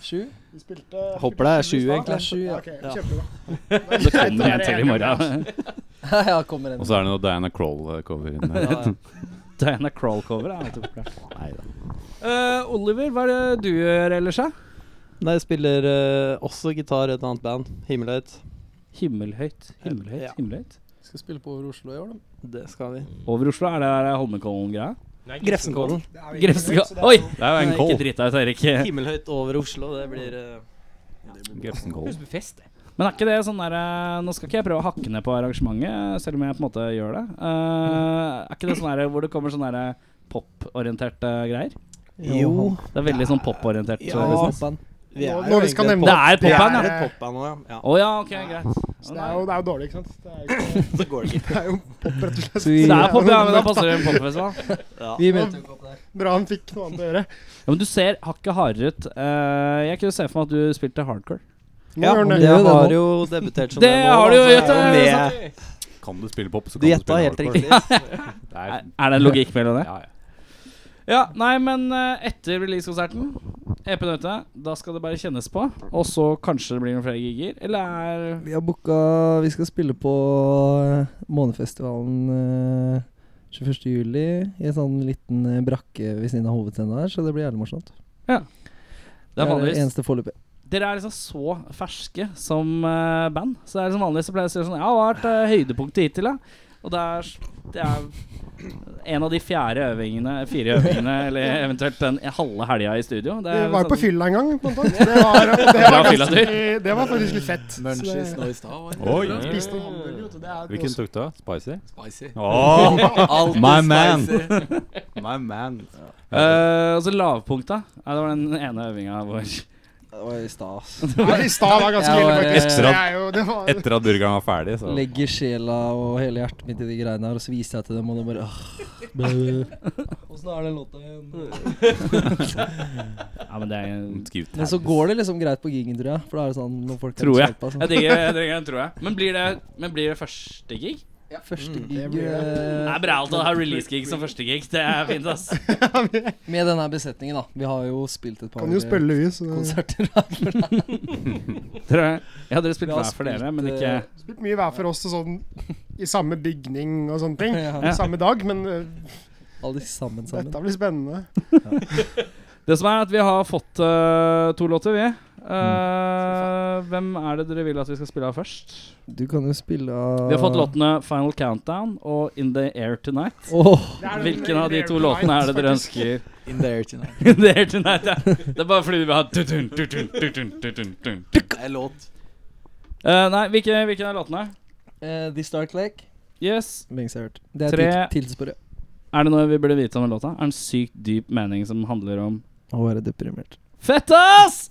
[SPEAKER 5] Sju?
[SPEAKER 6] Vi spilte
[SPEAKER 8] Håper det er
[SPEAKER 6] spilte
[SPEAKER 8] sju,
[SPEAKER 6] i
[SPEAKER 5] egentlig.
[SPEAKER 6] stad.
[SPEAKER 5] Det er sju, ja.
[SPEAKER 6] Ja, ok, kjempebra.
[SPEAKER 3] Det kommer en til i morgen.
[SPEAKER 5] ja, kommer en.
[SPEAKER 2] Og så er det noe Diana eh, Crawl-cover inni
[SPEAKER 1] Ja, ja.
[SPEAKER 3] Diana Crawl-cover er alltid populært.
[SPEAKER 2] Neida.
[SPEAKER 3] Eh, Oliver, hva er det du gjør ellers, da?
[SPEAKER 9] Nei, jeg spiller eh, også gitar i et annet band. Himmelhøyt.
[SPEAKER 3] Himmelhøyt, himmelhøyt,
[SPEAKER 9] Ja.
[SPEAKER 3] himmelhøyt.
[SPEAKER 5] Skal spille på Over Oslo i år, da.
[SPEAKER 9] Det skal vi.
[SPEAKER 3] Over Oslo, er det der Holmenkollen-greia?
[SPEAKER 1] Nei,
[SPEAKER 9] Grefsenkollen.
[SPEAKER 3] Grefsenkollen Oi!
[SPEAKER 2] Det er jo en
[SPEAKER 3] Ikke
[SPEAKER 2] call.
[SPEAKER 3] drit deg ut, Erik.
[SPEAKER 9] Himmelhøyt over Oslo, det blir eh,
[SPEAKER 2] Grefsenkål.
[SPEAKER 3] Men er ikke det sånn derre Nå skal ikke jeg prøve å hakke Eh, ned på arrangementet, selv om jeg på en måte gjør det. Eh, er ikke det sånn derre hvor det kommer sånn derre poporienterte greier?
[SPEAKER 9] Jo,
[SPEAKER 3] Det er veldig sånn poporientert.
[SPEAKER 9] Ja.
[SPEAKER 3] eh, business.
[SPEAKER 5] Popband.
[SPEAKER 9] vi er
[SPEAKER 6] Når
[SPEAKER 9] jo
[SPEAKER 6] vi skal
[SPEAKER 9] egentlig et
[SPEAKER 6] nevne-
[SPEAKER 3] Det er
[SPEAKER 9] pop- vi
[SPEAKER 3] popband, ja.
[SPEAKER 9] er et popband nå, ja.
[SPEAKER 3] Å ja, ok, greit.
[SPEAKER 6] Så det er jo, det er jo dårlig, ikke sant? Det er, jo
[SPEAKER 9] ja.
[SPEAKER 6] ikke,
[SPEAKER 9] Så går det ikke.
[SPEAKER 6] det er jo pop, rett og slett.
[SPEAKER 5] Så vi-
[SPEAKER 3] Så det er pop, ja, men da passer det en popfestival.
[SPEAKER 5] Vi mente
[SPEAKER 6] Bra han fikk noe annet å gjøre.
[SPEAKER 3] Ja, men du ser hakket hardere ut. Eh, jeg kunne se for meg at du spilte hardcore.
[SPEAKER 6] Nå gjør han det.
[SPEAKER 5] det
[SPEAKER 9] jeg
[SPEAKER 5] er
[SPEAKER 9] har
[SPEAKER 5] det nå.
[SPEAKER 9] jo debutert som
[SPEAKER 3] Det
[SPEAKER 9] nå,
[SPEAKER 3] har du jo,
[SPEAKER 9] da, så jeg
[SPEAKER 3] Jette,
[SPEAKER 9] er jo
[SPEAKER 3] sant?
[SPEAKER 9] med.
[SPEAKER 2] Kan du spille pop, så
[SPEAKER 9] Du
[SPEAKER 2] kan du
[SPEAKER 9] gjetta
[SPEAKER 2] spille
[SPEAKER 9] helt
[SPEAKER 2] hardcore.
[SPEAKER 9] riktig.
[SPEAKER 2] Det er,
[SPEAKER 3] Er, er det en logikk mellom det?
[SPEAKER 2] ja, ja.
[SPEAKER 3] Ja, nei, men eh, etter releasekonserten, EP-en ute, da skal det bare kjennes på. Og så kanskje det blir noen flere gigger. Eller er
[SPEAKER 5] Vi har booka Vi skal spille på eh, Månefestivalen eh, 21. juli i en sånn liten eh, brakke ved siden av hovedscenen her, så det blir jævlig morsomt.
[SPEAKER 3] Det er
[SPEAKER 5] det
[SPEAKER 3] vanligvis
[SPEAKER 5] eneste foreløpig.
[SPEAKER 3] Dere er liksom så ferske som eh, band. Så det er liksom vanligvis så pleier jeg å si sånn Ja, hva har vært eh, høydepunktet hittil, da? Og det er, det er en av de fjerde øvingene, fire øvingene, eller eventuelt den halve helga i studio. Det
[SPEAKER 6] Vi
[SPEAKER 3] er
[SPEAKER 6] var
[SPEAKER 3] sånn-
[SPEAKER 6] på fylla en gang. På en tomt. det, var, det,
[SPEAKER 3] Bra
[SPEAKER 6] var
[SPEAKER 3] fylla, du.
[SPEAKER 6] ganske, det var faktisk litt fett. Så
[SPEAKER 8] Munchies
[SPEAKER 6] det-
[SPEAKER 8] nå i stad. var det?
[SPEAKER 2] Oi.
[SPEAKER 8] Bra.
[SPEAKER 6] Spiste en hamburger, vet du. Det er
[SPEAKER 2] Hvilken tok du? da? Spicy?
[SPEAKER 8] Spicy.
[SPEAKER 2] Oh,
[SPEAKER 8] Alltid
[SPEAKER 2] My man.
[SPEAKER 8] spicy.
[SPEAKER 2] my man.
[SPEAKER 3] Eh, Og så lavpunkta. Ja, det var den ene øvinga vår.
[SPEAKER 5] Det var i stas.
[SPEAKER 6] Ja, I stad var ganske
[SPEAKER 5] Jeg
[SPEAKER 6] ille,
[SPEAKER 5] var,
[SPEAKER 6] faktisk.
[SPEAKER 2] eh,
[SPEAKER 6] Det er jo, det var,
[SPEAKER 2] Etter at burgeren var ferdig, så
[SPEAKER 5] Legger sjela og hele hjertet mitt i de greiene her, og så viser jeg til dem, og de bare Åssen er den låta igjen?
[SPEAKER 3] Ja, men det er
[SPEAKER 2] Skriv
[SPEAKER 5] Men så går det liksom greit på gigen, tror jeg. For da er det sånn når folk
[SPEAKER 3] Tror jeg.
[SPEAKER 5] Hjelpa,
[SPEAKER 3] Jeg digger, jeg digger den, tror jeg. Men blir det, men blir det første gig?
[SPEAKER 5] Første
[SPEAKER 6] det
[SPEAKER 5] gig
[SPEAKER 6] blir
[SPEAKER 3] Det
[SPEAKER 5] eh,
[SPEAKER 3] er bra alt å ha release gig som første gig. Det er fint, ass.
[SPEAKER 5] med denne besetningen, da. Vi har jo spilt et par eh,
[SPEAKER 6] kan jo spille, vi. Så det
[SPEAKER 5] konserter.
[SPEAKER 3] Dere, ja, dere spilte
[SPEAKER 5] Vi har
[SPEAKER 3] hver for dere,
[SPEAKER 5] spilt,
[SPEAKER 3] men ikke
[SPEAKER 5] eh,
[SPEAKER 6] spilt mye hver for oss og sånn i samme bygning og sånne ting.
[SPEAKER 5] Ja.
[SPEAKER 6] Samme dag, men eh,
[SPEAKER 5] Alle sammen sammen.
[SPEAKER 6] dette blir spennende.
[SPEAKER 3] Det som er at vi har fått eh, to låter, vi.
[SPEAKER 8] Mm.
[SPEAKER 3] Eh, hvem er det dere vil at vi skal spille av først?
[SPEAKER 5] Du kan jo spille av
[SPEAKER 3] Vi har fått låtene 'Final Countdown' og 'In The Air Tonight'.
[SPEAKER 5] Åh,
[SPEAKER 6] Det er den
[SPEAKER 3] Hvilken av de to
[SPEAKER 6] Rare
[SPEAKER 3] låtene er det
[SPEAKER 6] Night,
[SPEAKER 3] dere
[SPEAKER 6] faktisk.
[SPEAKER 3] ønsker?
[SPEAKER 8] In the air tonight.
[SPEAKER 3] In the air tonight, ja. Det er bare fordi vi vil ha tutun, tutun, tutun, tutun, tutun.
[SPEAKER 8] Det er låt.
[SPEAKER 3] Eh, Nei, hvilken hvilken er låtene?
[SPEAKER 5] eh, The Stark Lake.
[SPEAKER 3] Yes.
[SPEAKER 5] Lenge siden jeg har hørt. Det er
[SPEAKER 3] Tre.
[SPEAKER 5] Tre. tilsporet.
[SPEAKER 3] Er det noe vi burde vite om den låta? Er det en sykt dyp mening som handler om
[SPEAKER 5] Å være deprimert.
[SPEAKER 3] Fett, ass!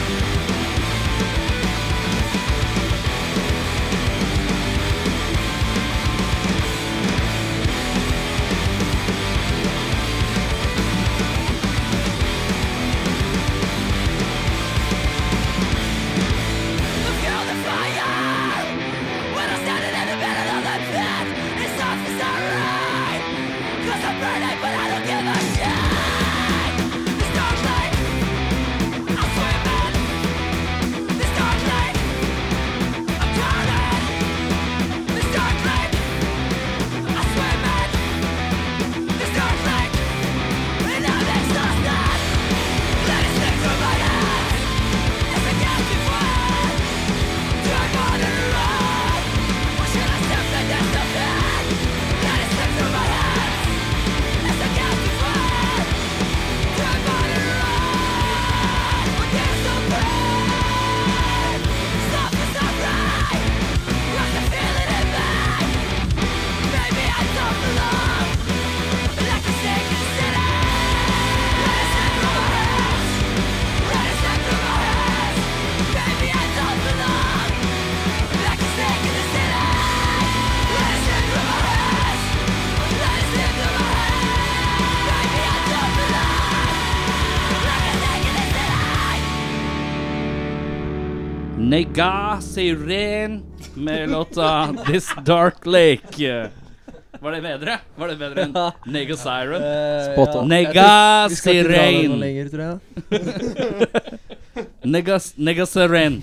[SPEAKER 3] Nega Siren med låta 'This Dark Lake'. Var det bedre? Var det bedre enn Nega Siren?
[SPEAKER 5] Spot
[SPEAKER 3] Nega
[SPEAKER 5] Vi skal ikke dra det noe
[SPEAKER 3] Siren.
[SPEAKER 5] lenger, tror jeg.
[SPEAKER 3] Nega Nega Siren.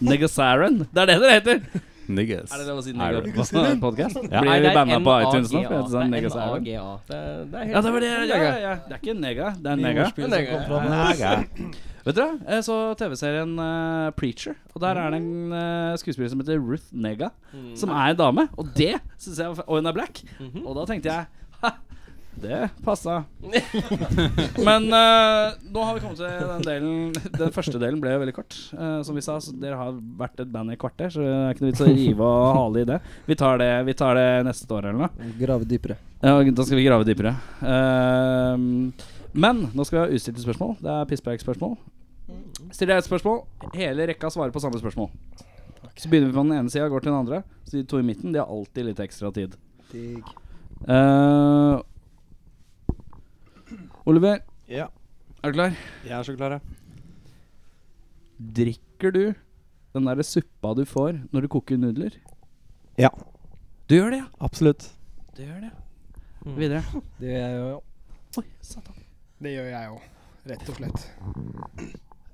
[SPEAKER 3] Nega Siren? Det er det det heter!
[SPEAKER 2] Niggas.
[SPEAKER 3] Er det lov å si
[SPEAKER 2] Er
[SPEAKER 3] Nega
[SPEAKER 2] det-
[SPEAKER 3] på en podcast?
[SPEAKER 2] Ja.
[SPEAKER 3] Blir vi banna på iTunes nå? for at det er Nega
[SPEAKER 7] NAGA.
[SPEAKER 3] Siren?
[SPEAKER 7] Det er
[SPEAKER 3] Ja,
[SPEAKER 7] helt
[SPEAKER 3] det var det. Ja, ja, ja. Det er ikke Nega, det er Nega.
[SPEAKER 5] Ordspill som kom fram.
[SPEAKER 3] Vet dere, jeg så TV-serien eh, Preacher, og der er det en eh, skuespiller som heter Ruth Nega, som er en dame, og det synes jeg var f- Og hun er black. Og da tenkte jeg ha, Det passa. Men eh, nå har vi kommet til den delen Den første delen ble jo veldig kort. Eh, som vi sa, så dere har vært et band i et kvarter, så det er ikke noe vits å rive og hale i det. Vi tar det, vi tar det neste år eller noe.
[SPEAKER 5] Grave dypere.
[SPEAKER 3] Ja, da skal vi grave dypere. Ehm, men nå skal vi ha utstilte spørsmål. Det er pisspreik-spørsmål. Stiller jeg et spørsmål, hele rekka svarer på samme spørsmål. Så begynner vi på den ene sida og går til den andre. Så de to i midten de har alltid litt ekstra tid.
[SPEAKER 5] Digg.
[SPEAKER 3] Eh, Oliver,
[SPEAKER 8] Ja.
[SPEAKER 3] er du klar?
[SPEAKER 8] Jeg er så klar, jeg.
[SPEAKER 3] Drikker du den derre suppa du får når du koker nudler?
[SPEAKER 8] Ja.
[SPEAKER 3] Du gjør det, ja?
[SPEAKER 8] Absolutt.
[SPEAKER 3] Du gjør det. ja.
[SPEAKER 8] Mm.
[SPEAKER 3] Videre.
[SPEAKER 5] Det gjør jeg jo.
[SPEAKER 3] Oi, satan.
[SPEAKER 6] Det gjør jeg òg, rett og slett.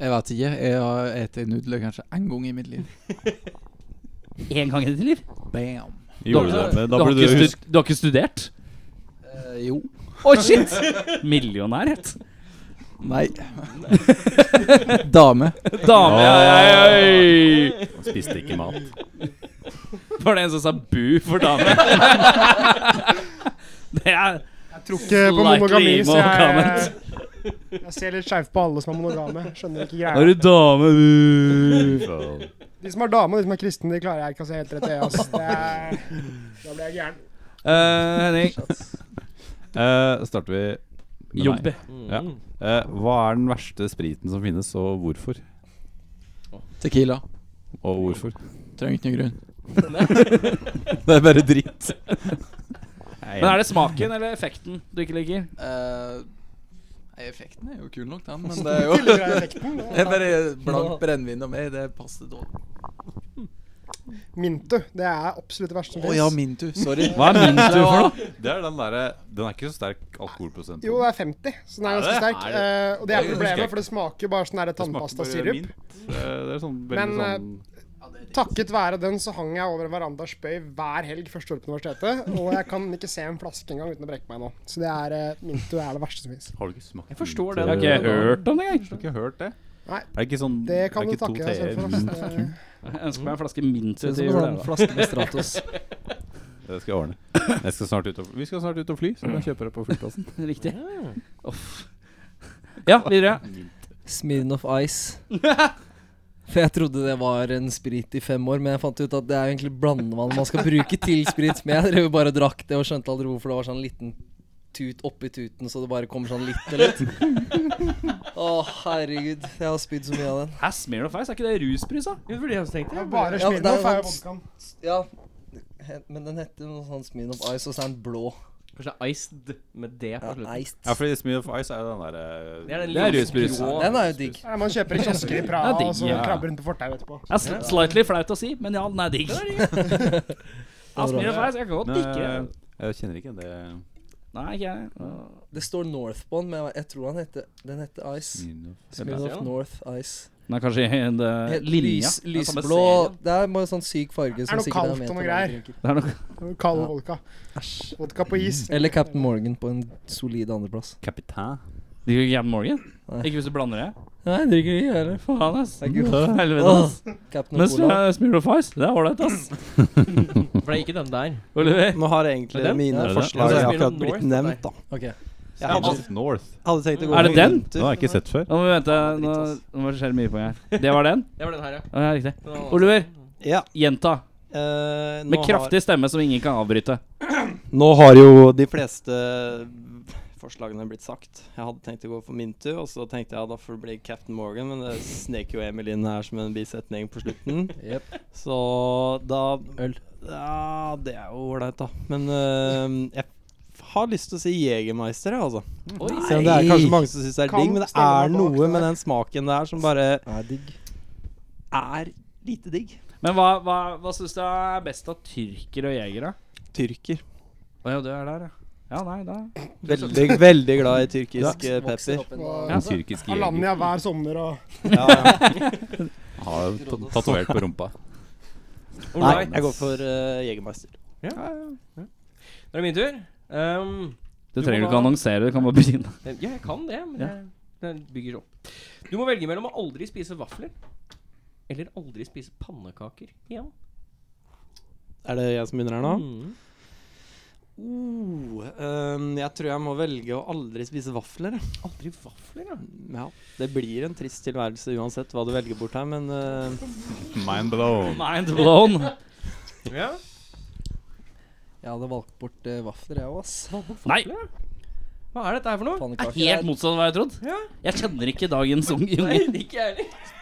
[SPEAKER 10] Jeg vet ikke. Jeg har spist nudler kanskje én gang i mitt liv.
[SPEAKER 3] Én gang i ditt liv?
[SPEAKER 10] Bam.
[SPEAKER 2] Gjorde du det? Men Da
[SPEAKER 3] har
[SPEAKER 2] burde
[SPEAKER 3] ikke
[SPEAKER 2] du
[SPEAKER 3] stu-
[SPEAKER 2] huske
[SPEAKER 3] du har ikke studert?
[SPEAKER 10] Eh, jo.
[SPEAKER 3] Å, shit! Millionærhet.
[SPEAKER 10] Nei. Dame.
[SPEAKER 3] Dame. Oi, oi,
[SPEAKER 2] Spiste ikke mat.
[SPEAKER 3] oi. Var det en som sa bu for dame? det er
[SPEAKER 6] Jeg tror ikke på
[SPEAKER 3] Slightly
[SPEAKER 6] monogami, så jeg,
[SPEAKER 3] monogamous.
[SPEAKER 6] jeg ser litt skjevt på alle som er monogame. Skjønner ikke
[SPEAKER 3] Er
[SPEAKER 6] greia.
[SPEAKER 3] du dame,
[SPEAKER 1] Eh,
[SPEAKER 3] bu?
[SPEAKER 6] De som er dame, og de som er kristne, de klarer jeg ikke å se helt rett i. ass. Det er- Da blir jeg gæren.
[SPEAKER 3] Eh, Henning.
[SPEAKER 2] Eh, starter vi med meg.
[SPEAKER 3] Jobbe.
[SPEAKER 1] Mm.
[SPEAKER 2] Ja. Eh, hva er den verste spriten som finnes, og hvorfor?
[SPEAKER 10] Tequila.
[SPEAKER 2] Og hvorfor?
[SPEAKER 10] Trenger ikke noen grunn.
[SPEAKER 2] Det er bare dritt.
[SPEAKER 3] Men er det smaken eller effekten du ikke liker?
[SPEAKER 10] Eh, nei, effekten er jo kul nok, den, men det er jo
[SPEAKER 6] Tidligere er effekten, det
[SPEAKER 10] Det er bare blankt brennevin og meg. Det passer dårlig.
[SPEAKER 6] Mintu. Det er absolutt det verste som
[SPEAKER 10] Å ja,
[SPEAKER 6] finnes.
[SPEAKER 10] min tur. Sorry.
[SPEAKER 2] Hva er min tur for
[SPEAKER 10] Ja.
[SPEAKER 2] noe? Det er den derre Den er ikke så sterk alkoholprosent.
[SPEAKER 6] Jo, det er 50, så den er
[SPEAKER 2] Er det?
[SPEAKER 6] ganske sterk.
[SPEAKER 2] Er det?
[SPEAKER 6] eh, Og det er
[SPEAKER 2] Det husker jeg
[SPEAKER 6] problemet,
[SPEAKER 2] ikke.
[SPEAKER 6] for det smaker bare sånn der tannpastasirup.
[SPEAKER 2] Det er sånn veldig
[SPEAKER 6] veldig Men, eh,
[SPEAKER 2] sånn
[SPEAKER 6] Takket være den så hang jeg over en veranda og spøy hver helg første året på universitetet. Og jeg kan ikke se en flaske engang uten å brekke meg nå. Så det er eh, Mintu er det verste som fins.
[SPEAKER 2] Har du ikke smakt
[SPEAKER 1] Jeg forstår
[SPEAKER 3] Jeg
[SPEAKER 1] det.
[SPEAKER 3] har
[SPEAKER 1] da.
[SPEAKER 3] ikke hørt om det
[SPEAKER 2] Du
[SPEAKER 3] engang.
[SPEAKER 2] har ikke hørt det?
[SPEAKER 6] Nei.
[SPEAKER 2] Er det ikke sånn
[SPEAKER 6] Det kan
[SPEAKER 2] er
[SPEAKER 6] du
[SPEAKER 2] ikke to
[SPEAKER 6] takke deg selv for.
[SPEAKER 2] teer?
[SPEAKER 6] ass. Det-
[SPEAKER 3] Jeg ønsker meg en flaske mint
[SPEAKER 5] Ser
[SPEAKER 3] til
[SPEAKER 5] ut som en
[SPEAKER 3] jul.
[SPEAKER 5] sånn
[SPEAKER 3] jeg, da.
[SPEAKER 5] flaske med Stratos.
[SPEAKER 2] Det skal jeg ordne. Jeg skal snart ut og, vi skal snart ut og fly, så kan jeg kjøpe det på flyplassen.
[SPEAKER 3] Riktig. Uff. Ja, videre.
[SPEAKER 5] Smirnoff Ice. For jeg trodde det var en sprit i fem år, men jeg fant ut at det er egentlig blandevann man skal bruke til sprit. Men jeg drev jo bare og drakk det og skjønte aldri hvorfor det var sånn liten tut oppi tuten, så det bare kommer sånn litt og litt. Å, herregud. Jeg har spydd så mye av den.
[SPEAKER 3] Hæ, smear of ice? Er ikke det rusbrus, da?
[SPEAKER 1] Ja, for det jeg også tenkte.
[SPEAKER 6] Ja, bare
[SPEAKER 5] Ja, det er
[SPEAKER 6] Smirnoff
[SPEAKER 5] jo
[SPEAKER 6] er jo
[SPEAKER 5] sant.
[SPEAKER 6] vodkaen.
[SPEAKER 5] Ja, he- men den heter jo noe sånn Smirnoff Ice, og så er den blå.
[SPEAKER 1] Kanskje iced med det på
[SPEAKER 5] Ja,
[SPEAKER 1] slutten.
[SPEAKER 5] iced.
[SPEAKER 2] Ja, fordi Smooth of Ice er jo den eh, derre
[SPEAKER 1] Det er den lille
[SPEAKER 2] rusbrus.
[SPEAKER 1] skrå-
[SPEAKER 5] Den er jo digg.
[SPEAKER 6] Det er det Man kjøper i kiosker i Praha,
[SPEAKER 3] Ja, det-
[SPEAKER 6] og så
[SPEAKER 3] ja.
[SPEAKER 6] krabber rundt på fortauet etterpå.
[SPEAKER 3] Det er sl slightly flaut å si, men ja, den er digg. Ja, Smear of ice, jeg kan godt
[SPEAKER 2] Men
[SPEAKER 3] ikke
[SPEAKER 2] eh, jeg kjenner ikke det
[SPEAKER 3] Nei, ikke jeg.
[SPEAKER 5] Det står Northbond, men jeg- jeg tror han heter, den heter Ice.
[SPEAKER 2] Smirnoff.
[SPEAKER 5] Smirnoff North Ice.
[SPEAKER 3] Den er kanskje en eh,
[SPEAKER 5] Helt
[SPEAKER 3] linja.
[SPEAKER 5] Lys,
[SPEAKER 3] Det er samme
[SPEAKER 5] lysblå
[SPEAKER 3] serien.
[SPEAKER 5] Det er bare sånn syk farge.
[SPEAKER 6] Er
[SPEAKER 5] Som
[SPEAKER 6] noe
[SPEAKER 5] sikkert
[SPEAKER 6] kaldt
[SPEAKER 5] med
[SPEAKER 6] og noe
[SPEAKER 5] til
[SPEAKER 6] greier.
[SPEAKER 5] alle drikker.
[SPEAKER 3] Det er nok
[SPEAKER 6] Kald
[SPEAKER 5] Ja.
[SPEAKER 6] vodka. Vodka på is.
[SPEAKER 5] Eller Captain Morgan på en solid andreplass.
[SPEAKER 2] Kapitan.
[SPEAKER 3] De gjør Jan Morgan.
[SPEAKER 5] Nei.
[SPEAKER 3] Ikke hvis du blander det.
[SPEAKER 5] Nei, jeg drikker ikke jeg heller.
[SPEAKER 3] Faen, ass.
[SPEAKER 5] Det er ikke godt.
[SPEAKER 3] Helvete, ass.
[SPEAKER 5] Captain
[SPEAKER 3] Men
[SPEAKER 5] og Cola.
[SPEAKER 3] Smear of Ice, det er ålreit, ass.
[SPEAKER 1] For det er ikke den der.
[SPEAKER 3] Oliver.
[SPEAKER 8] Nå har jeg egentlig
[SPEAKER 1] Er det den?
[SPEAKER 8] mine
[SPEAKER 2] Er det den?
[SPEAKER 8] forslag
[SPEAKER 2] Ja, det
[SPEAKER 1] er
[SPEAKER 8] jeg har akkurat
[SPEAKER 1] North,
[SPEAKER 8] blitt
[SPEAKER 1] det er.
[SPEAKER 8] nevnt, da.
[SPEAKER 5] Ok.
[SPEAKER 8] Jeg hadde,
[SPEAKER 2] North.
[SPEAKER 8] hadde tenkt å gå
[SPEAKER 3] Er det
[SPEAKER 8] for
[SPEAKER 3] den?
[SPEAKER 8] Winter.
[SPEAKER 2] Den har jeg ikke sett før.
[SPEAKER 3] Nå må vi vente. Nå, nå skjer det mye poeng her. Det var den?
[SPEAKER 1] Det var den her, ja.
[SPEAKER 3] Å, Ja, riktig.
[SPEAKER 1] Den andre.
[SPEAKER 3] Oliver,
[SPEAKER 8] Ja.
[SPEAKER 3] gjenta.
[SPEAKER 8] eh, nå
[SPEAKER 3] Med
[SPEAKER 8] har-
[SPEAKER 3] kraftig stemme som ingen kan avbryte.
[SPEAKER 8] Nå har jo de fleste forslagene blitt sagt. Jeg hadde tenkt å gå for Mintu, og så tenkte jeg ja, da får det bli Captain Morgan, men det snek jo Emil inn her som en bisetning på slutten.
[SPEAKER 5] Jep.
[SPEAKER 8] Så da
[SPEAKER 5] Øl.
[SPEAKER 8] Ja, det er jo ålreit, da. Men eh, jeg har lyst til å si Jegermeister, jeg, altså. Selv om det er kanskje mange som syns det er
[SPEAKER 6] Kan
[SPEAKER 8] digg, men det
[SPEAKER 6] stille meg bak
[SPEAKER 8] er noe
[SPEAKER 6] der.
[SPEAKER 8] med den smaken der som bare
[SPEAKER 5] Er digg.
[SPEAKER 8] er lite digg.
[SPEAKER 3] Men hva, hva, hva syns du er best av tyrkere og jegere?
[SPEAKER 8] Tyrker.
[SPEAKER 3] Å ja, du er der, ja. Ja, nei, da
[SPEAKER 8] Veldig, veldig glad i tyrkisk eh, pepper.
[SPEAKER 6] Og
[SPEAKER 2] En tyrkisk jeger.
[SPEAKER 6] Alanya hver sommer og
[SPEAKER 8] Ja, ja.
[SPEAKER 2] Har ta- tatovert på rumpa.
[SPEAKER 8] Nei,
[SPEAKER 1] Alright.
[SPEAKER 8] jeg går for uh, Jegermeister.
[SPEAKER 1] Da er det min tur. Ehm,
[SPEAKER 3] Du
[SPEAKER 1] Du må
[SPEAKER 3] trenger du ikke
[SPEAKER 1] da-
[SPEAKER 3] annonsere, du kan bare begynne.
[SPEAKER 1] eh, ja, jeg kan det, men
[SPEAKER 3] Ja.
[SPEAKER 1] jeg, den bygger seg opp. Du må velge mellom å aldri spise vafler eller aldri spise pannekaker igjen.
[SPEAKER 8] Er det jeg som begynner her nå?
[SPEAKER 1] Mm.
[SPEAKER 9] Oh, ehm, jeg tror jeg må velge å aldri spise vafler. jeg.
[SPEAKER 7] Aldri vafler, ja.
[SPEAKER 9] Ja, det blir en trist tilværelse uansett hva du velger bort her, men eh,
[SPEAKER 2] Mind blown.
[SPEAKER 3] Mind blown.
[SPEAKER 5] Jeg hadde valgt bort eh, vafler, jeg òg, ass.
[SPEAKER 3] Nei,
[SPEAKER 7] Hva er dette her for noe?
[SPEAKER 3] det er
[SPEAKER 5] Pannekaker
[SPEAKER 3] helt motsatt av hva jeg trodde.
[SPEAKER 7] Ja.
[SPEAKER 3] Jeg kjenner ikke dagens unge unge.
[SPEAKER 7] ikke jeg heller.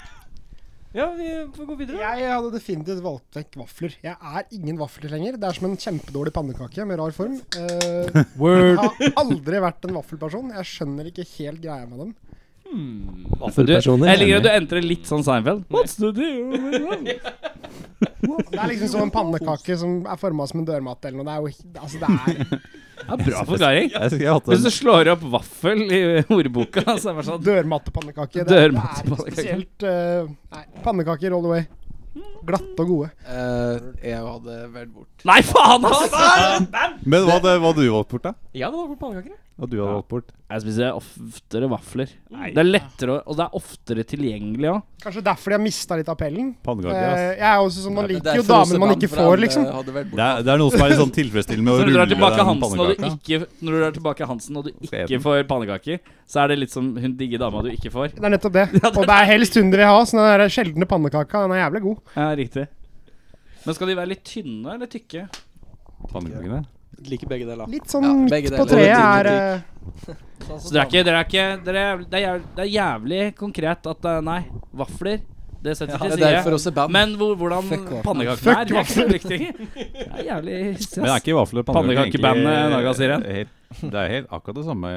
[SPEAKER 7] Ja, vi får gå videre.
[SPEAKER 6] Jeg hadde definitivt valgt vekk vafler. Jeg er ingen vafler lenger. Det er som en kjempedårlig pannekake med rar form. Eh, jeg
[SPEAKER 3] Word.
[SPEAKER 6] har aldri vært en vaffelperson. Jeg skjønner ikke helt greia med dem.
[SPEAKER 3] Du,
[SPEAKER 8] Vaffelpersoner.
[SPEAKER 3] jeg liker at du entrer litt sånn Seinfeld. What's the deal? with that?
[SPEAKER 6] Det er liksom som en pannekake som er forma som en dørmatte eller noe. Det er jo Altså, det er
[SPEAKER 3] Ja, bra forklaring.
[SPEAKER 2] Jeg skulle hatt
[SPEAKER 3] Hvis du
[SPEAKER 2] en
[SPEAKER 3] slår opp vaffel i ordboka, så er det bare sånn
[SPEAKER 6] dørmattepannekake. Det, er- det er ikke
[SPEAKER 3] Dørmattepannekake.
[SPEAKER 6] spesielt eh, Nei, pannekaker all the way. Glatte og gode.
[SPEAKER 8] Eh, jeg hadde valgt bort
[SPEAKER 3] Nei, faen, ass!
[SPEAKER 2] Men hva hadde hva hadde du valgt bort, da?
[SPEAKER 7] Jeg hadde valgt pannekaker. jeg.
[SPEAKER 2] Hva du hadde valgt bort?
[SPEAKER 3] Jeg spiser oftere vafler. Det er lettere å- og det er oftere tilgjengelig òg.
[SPEAKER 6] Kanskje derfor de har mista litt appellen.
[SPEAKER 2] Pannekaker,
[SPEAKER 6] Eh,
[SPEAKER 2] ass.
[SPEAKER 6] jeg er også sånn, Man
[SPEAKER 8] Det er
[SPEAKER 6] liker jo
[SPEAKER 8] derfor også
[SPEAKER 6] damer man ikke
[SPEAKER 8] Bamfra hadde-
[SPEAKER 6] får, liksom.
[SPEAKER 8] Hadde valgt bort.
[SPEAKER 2] Det er, det er noe som er litt sånn tilfredsstillende med å
[SPEAKER 3] Når du
[SPEAKER 2] rulle
[SPEAKER 3] drar
[SPEAKER 2] den
[SPEAKER 3] tilbake Hansen og du
[SPEAKER 2] pannekaka.
[SPEAKER 3] ikke Når du drar tilbake Hansen og du
[SPEAKER 2] Se
[SPEAKER 3] ikke
[SPEAKER 2] den.
[SPEAKER 3] får pannekaker, så er det litt som hun digge dama du ikke får.
[SPEAKER 6] Det er nettopp det. Og det er helst hun de vil ha, så den der sjeldne pannekaka den er jævlig god.
[SPEAKER 3] Ja, riktig. Men skal de være litt tynne eller tykke?
[SPEAKER 2] Pannekakene.
[SPEAKER 9] liker begge deler.
[SPEAKER 6] Litt sånn
[SPEAKER 8] Ja, begge
[SPEAKER 6] midt på
[SPEAKER 8] deler.
[SPEAKER 6] treet
[SPEAKER 8] Både
[SPEAKER 6] er
[SPEAKER 8] digg og
[SPEAKER 6] eh,
[SPEAKER 3] Så dere er ikke, dere er ikke dere er, det, er jævlig, det er jævlig konkret at eh, Nei, vafler, det setter
[SPEAKER 8] Det
[SPEAKER 3] vi
[SPEAKER 8] er
[SPEAKER 3] til side.
[SPEAKER 8] derfor også band.
[SPEAKER 3] Men hvor, hvordan
[SPEAKER 5] Fuck vafler.
[SPEAKER 3] pannekakene er, det er ikke så viktig. Det er jævlig hissig,
[SPEAKER 2] Men det er
[SPEAKER 3] ass.
[SPEAKER 2] ikke vafler
[SPEAKER 3] Pannekakebandet Naga sier
[SPEAKER 2] helt, Det er helt akkurat det samme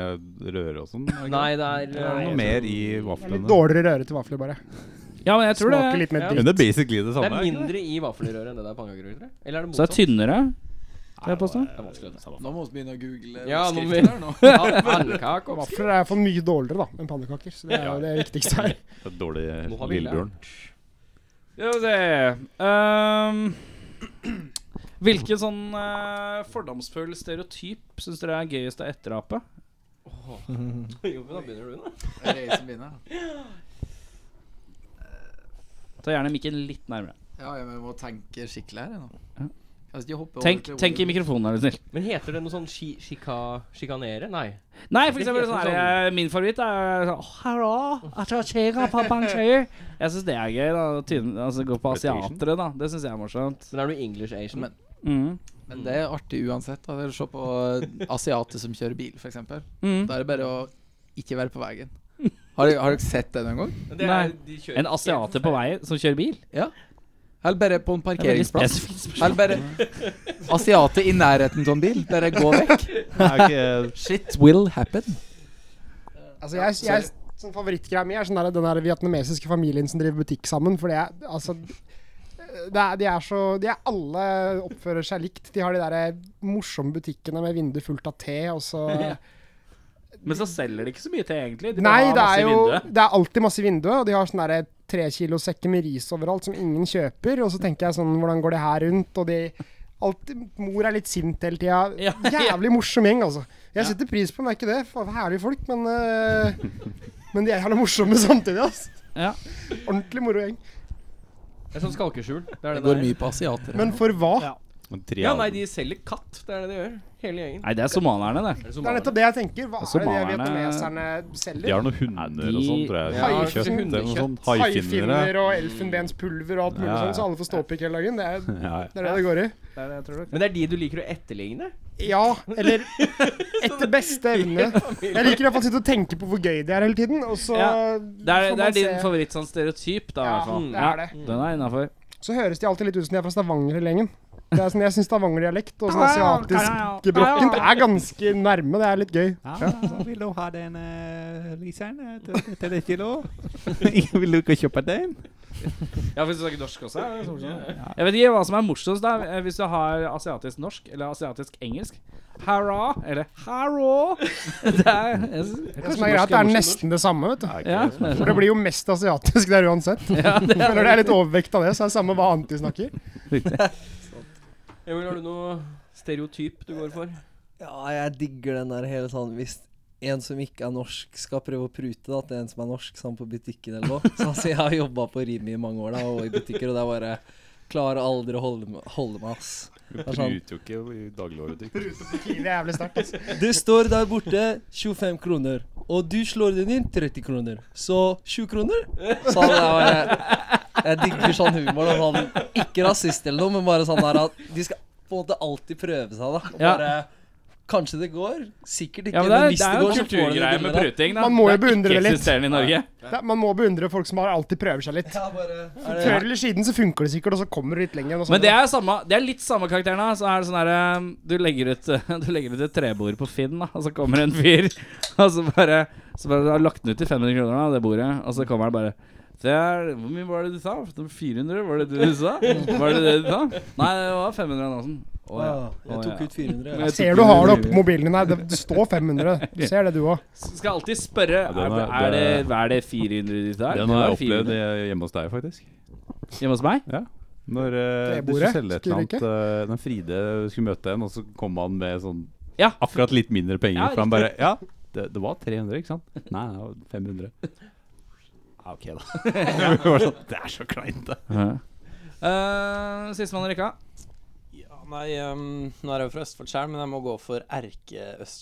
[SPEAKER 2] røre og sånn. er det ikke?
[SPEAKER 7] Nei, det er
[SPEAKER 2] Det er
[SPEAKER 7] eh,
[SPEAKER 2] noe mer i
[SPEAKER 6] litt
[SPEAKER 2] vaflene.
[SPEAKER 6] dårligere røre til vafler, bare.
[SPEAKER 3] Ja, men jeg tror det
[SPEAKER 6] Smaker litt mer
[SPEAKER 2] Men
[SPEAKER 7] Ja.
[SPEAKER 6] dritt.
[SPEAKER 2] det er basically det
[SPEAKER 7] Det
[SPEAKER 2] samme.
[SPEAKER 7] er
[SPEAKER 2] er ikke det?
[SPEAKER 7] mindre i vaffelrøret enn det der pannekakerøret. tror jeg. Eller er
[SPEAKER 3] Så
[SPEAKER 7] det
[SPEAKER 3] det
[SPEAKER 7] motsatt?
[SPEAKER 3] er tynnere.
[SPEAKER 7] Nei,
[SPEAKER 3] jeg påstå.
[SPEAKER 7] det er vanskelig å vite.
[SPEAKER 8] Nå må vi begynne å google
[SPEAKER 7] Ja, nå må vi-
[SPEAKER 8] skriften her nå.
[SPEAKER 7] Ja, Pannekake og vafler.
[SPEAKER 6] Vafler er iallfall mye dårligere da, enn pannekaker. Så det er jo det viktigste her.
[SPEAKER 2] Det er Dårlig
[SPEAKER 7] Nå har vi
[SPEAKER 2] villbjørn.
[SPEAKER 3] Skal vi se Ehm, Hvilken sånn eh, fordomsfull stereotyp syns dere er gøyest å etterape?
[SPEAKER 7] Jo, men da begynner du, da.
[SPEAKER 8] Er det jeg som begynner?
[SPEAKER 3] Ta gjerne mikken litt nærmere.
[SPEAKER 8] Ja, jeg må tenke skikkelig her jeg, nå.
[SPEAKER 3] Ja.
[SPEAKER 8] Altså, de hopper over
[SPEAKER 3] Tenk,
[SPEAKER 8] til
[SPEAKER 3] tenk i
[SPEAKER 8] ordet-
[SPEAKER 3] mikrofonen, er du snill.
[SPEAKER 7] Men heter det noe sånn shi, shika, sjikanere? Nei.
[SPEAKER 3] Nei, for eksempel sånn her eh, Min favoritt er sånn «Åh, Hallo, at jeg kjører på bankjøyer». Jeg syns det er gøy. da Tyn, altså Gå på asiatere, da. Det syns jeg er morsomt.
[SPEAKER 7] Men er du English Asian?
[SPEAKER 8] Men-
[SPEAKER 3] Mm.
[SPEAKER 8] Men det er artig uansett. da. Det er å Se på eh, asiater som kjører bil, f.eks.
[SPEAKER 3] Mm.
[SPEAKER 8] Da er det bare å ikke være på veien. Har, dere- har dere sett det noen gang?
[SPEAKER 7] Det
[SPEAKER 3] Nei.
[SPEAKER 7] de kjører
[SPEAKER 3] En asiater på vei som kjører bil?
[SPEAKER 8] Eller bare på en
[SPEAKER 3] Det er veldig
[SPEAKER 8] parkeringsplass?
[SPEAKER 3] spesifikt. spørsmål.
[SPEAKER 8] Eller bare asiater i nærheten av en bil? Bare gå vekk? Shit will happen.
[SPEAKER 6] Altså, jeg, jeg, sånn Favorittgreia mi er sånn der, den der vietnamesiske familien som driver butikk sammen. For det er altså det er, de er så De er alle oppfører seg likt. De har de der eh, morsomme butikkene med vindu fullt av te, og så
[SPEAKER 3] Men så selger de ikke så mye til, egentlig. De bare
[SPEAKER 6] Nei,
[SPEAKER 3] har
[SPEAKER 6] det
[SPEAKER 3] masse
[SPEAKER 6] er
[SPEAKER 3] i
[SPEAKER 6] jo
[SPEAKER 3] vinduet.
[SPEAKER 6] Det er alltid masse i vinduet, og de har sånne der eh, tre kilo sekker med ris overalt som ingen kjøper. Og så tenker jeg sånn, hvordan går det her rundt? Og de alltid, Mor er litt sint hele tida.
[SPEAKER 3] Ja.
[SPEAKER 6] Jævlig morsom gjeng, altså. Jeg setter pris på dem, det er ikke det. Faen, herlige folk, men eh, Men de er jævla morsomme samtidig, altså.
[SPEAKER 3] Ja.
[SPEAKER 6] Ordentlig moro gjeng.
[SPEAKER 7] Det er sånn skalkeskjul. Det er
[SPEAKER 8] Det
[SPEAKER 7] det
[SPEAKER 8] går
[SPEAKER 7] der.
[SPEAKER 8] mye på asiater.
[SPEAKER 6] Men for hva?
[SPEAKER 7] Ja, nei, de selger katt. Det er det de gjør. Hele gjengen.
[SPEAKER 3] Nei, det er somalierne, det.
[SPEAKER 7] Er
[SPEAKER 6] Det er nettopp det jeg tenker. Hva er det de
[SPEAKER 3] Somalierne-
[SPEAKER 6] vietnameserne
[SPEAKER 2] De
[SPEAKER 6] selger?
[SPEAKER 2] har noen hunder
[SPEAKER 3] Ja,
[SPEAKER 2] og sånn,
[SPEAKER 3] de-
[SPEAKER 2] tror jeg.
[SPEAKER 7] Ja,
[SPEAKER 2] Kjøtt
[SPEAKER 6] kanskje
[SPEAKER 2] eller noe sånt.
[SPEAKER 6] Haifinner
[SPEAKER 2] Haifinnere.
[SPEAKER 6] og elfenbenspulver og alt mulig
[SPEAKER 2] Ja, ja.
[SPEAKER 6] sånn, så alle får ståpikk hele dagen. Det er,
[SPEAKER 2] Ja, ja.
[SPEAKER 6] det er det det går i.
[SPEAKER 7] Men det er de du liker å etterligne?
[SPEAKER 6] Ja, eller etter beste evne. Jeg liker i hvert fall å sitte og tenke på hvor gøy de er hele tiden, og så
[SPEAKER 3] Ja, Det er,
[SPEAKER 6] får
[SPEAKER 3] det
[SPEAKER 6] man
[SPEAKER 3] er din
[SPEAKER 6] se.
[SPEAKER 3] favoritt sånn stereotyp, da, i
[SPEAKER 6] Ja,
[SPEAKER 3] hvert fall.
[SPEAKER 7] Mm.
[SPEAKER 6] det er det.
[SPEAKER 3] Ja, Den er innafor.
[SPEAKER 6] Så høres de alltid litt ut som de er fra Stavanger-gjengen. Det er sånn, jeg syns Stavanger-dialekt og sånn asiatisk brokkent er ganske nærme. Det er litt gøy.
[SPEAKER 2] vil du ha den liseren til, et kilo? vil du ikke kjøpe den?
[SPEAKER 3] Ja, hvis du snakker norsk også. Jeg vet ikke hva som er morsomst, da. eh, Hvis du har asiatisk norsk eller asiatisk engelsk. Hara eller haro. Det er jeg synes-
[SPEAKER 6] Det som er greit, det er nesten det samme, vet du.
[SPEAKER 3] Ja.
[SPEAKER 6] For det blir jo mest asiatisk der uansett. Men når det er litt overvekt av det, så er det samme hva annet de snakker.
[SPEAKER 7] Emil, har du noe stereotyp du går for?
[SPEAKER 5] Ja, jeg digger den der hele sånn Hvis en som ikke er norsk, skal prøve å prute da, til en som er norsk, sammen på butikken eller noe. Så altså, jeg har jobba på Rimi i mange år da, og i butikker, og det er bare Klarer aldri å holde, m- holde meg, ass. Det er sånn,
[SPEAKER 11] jo ikke i dagligvarebutikk.
[SPEAKER 6] Tidlig er jævlig sterkt. Altså.
[SPEAKER 5] det står der borte 25 kroner, og du slår den inn 30 kroner. Så 7 kroner? Så han er bare Jeg digger sånn humor. da, Sånn, ikke rasist eller noe, men bare sånn der at de skal på en måte alltid prøve seg, da. Og
[SPEAKER 3] Ja.
[SPEAKER 5] bare Kanskje det går. Sikkert ikke.
[SPEAKER 3] Ja, men det
[SPEAKER 5] men
[SPEAKER 3] er,
[SPEAKER 5] hvis
[SPEAKER 3] det er jo
[SPEAKER 5] går, så får du det
[SPEAKER 3] kulturgreier med
[SPEAKER 5] billigere.
[SPEAKER 3] pruting. da.
[SPEAKER 6] Man må jo
[SPEAKER 3] Det er
[SPEAKER 6] beundre det litt.
[SPEAKER 3] Ikke-eksisterende i Norge.
[SPEAKER 6] Det er- Man må beundre folk som har- alltid prøver seg litt.
[SPEAKER 5] Ja, bare, er det,
[SPEAKER 6] Før eller siden så funker det sikkert, og så kommer du litt lenger. enn oss
[SPEAKER 3] Men det
[SPEAKER 6] andre.
[SPEAKER 3] er, samme, det er litt samme karakteren. da Så er det sånn her, um, du, legger ut, du legger ut et trebord på Finn, da og så kommer en fyr Og så bare Så bare du har lagt den ut til 500 kroner, da det bordet, og så kommer han bare det er, Hvor mye var det du sa? 400? Var det det du sa? Var det det du sa? Nei, det var 500 Nansen. Å ja.
[SPEAKER 5] Å, jeg tok ut 400. jeg.
[SPEAKER 3] Men jeg
[SPEAKER 6] Ser du har det opp på mobilen din her. Det det står 500. Du ser det, du òg.
[SPEAKER 3] Skal alltid spørre
[SPEAKER 11] Ja, den
[SPEAKER 3] er,
[SPEAKER 11] er-
[SPEAKER 3] er, det, er det 400 ditt der?
[SPEAKER 2] Den har jeg opplevd eh, hjemme hos deg, faktisk.
[SPEAKER 3] hjemme hos meg.
[SPEAKER 2] Når eh, du
[SPEAKER 6] Trebordet,
[SPEAKER 2] skulle selge et
[SPEAKER 6] skulle
[SPEAKER 2] eller
[SPEAKER 6] du
[SPEAKER 2] annet eh, Når Fride skulle møte en, og så kom han med sånn
[SPEAKER 3] Ja.
[SPEAKER 2] akkurat litt mindre penger.
[SPEAKER 3] Ja,
[SPEAKER 2] for han bare Ja, det, det var 300, ikke sant? Nei, det var 500. Ja, ok, da. Det var sånn, det er så kleint, det.
[SPEAKER 3] Uh, Sistemann i rekka.
[SPEAKER 8] Ja, nei, ehm, nå er jeg jo fra Østfold sjøl, men jeg må gå for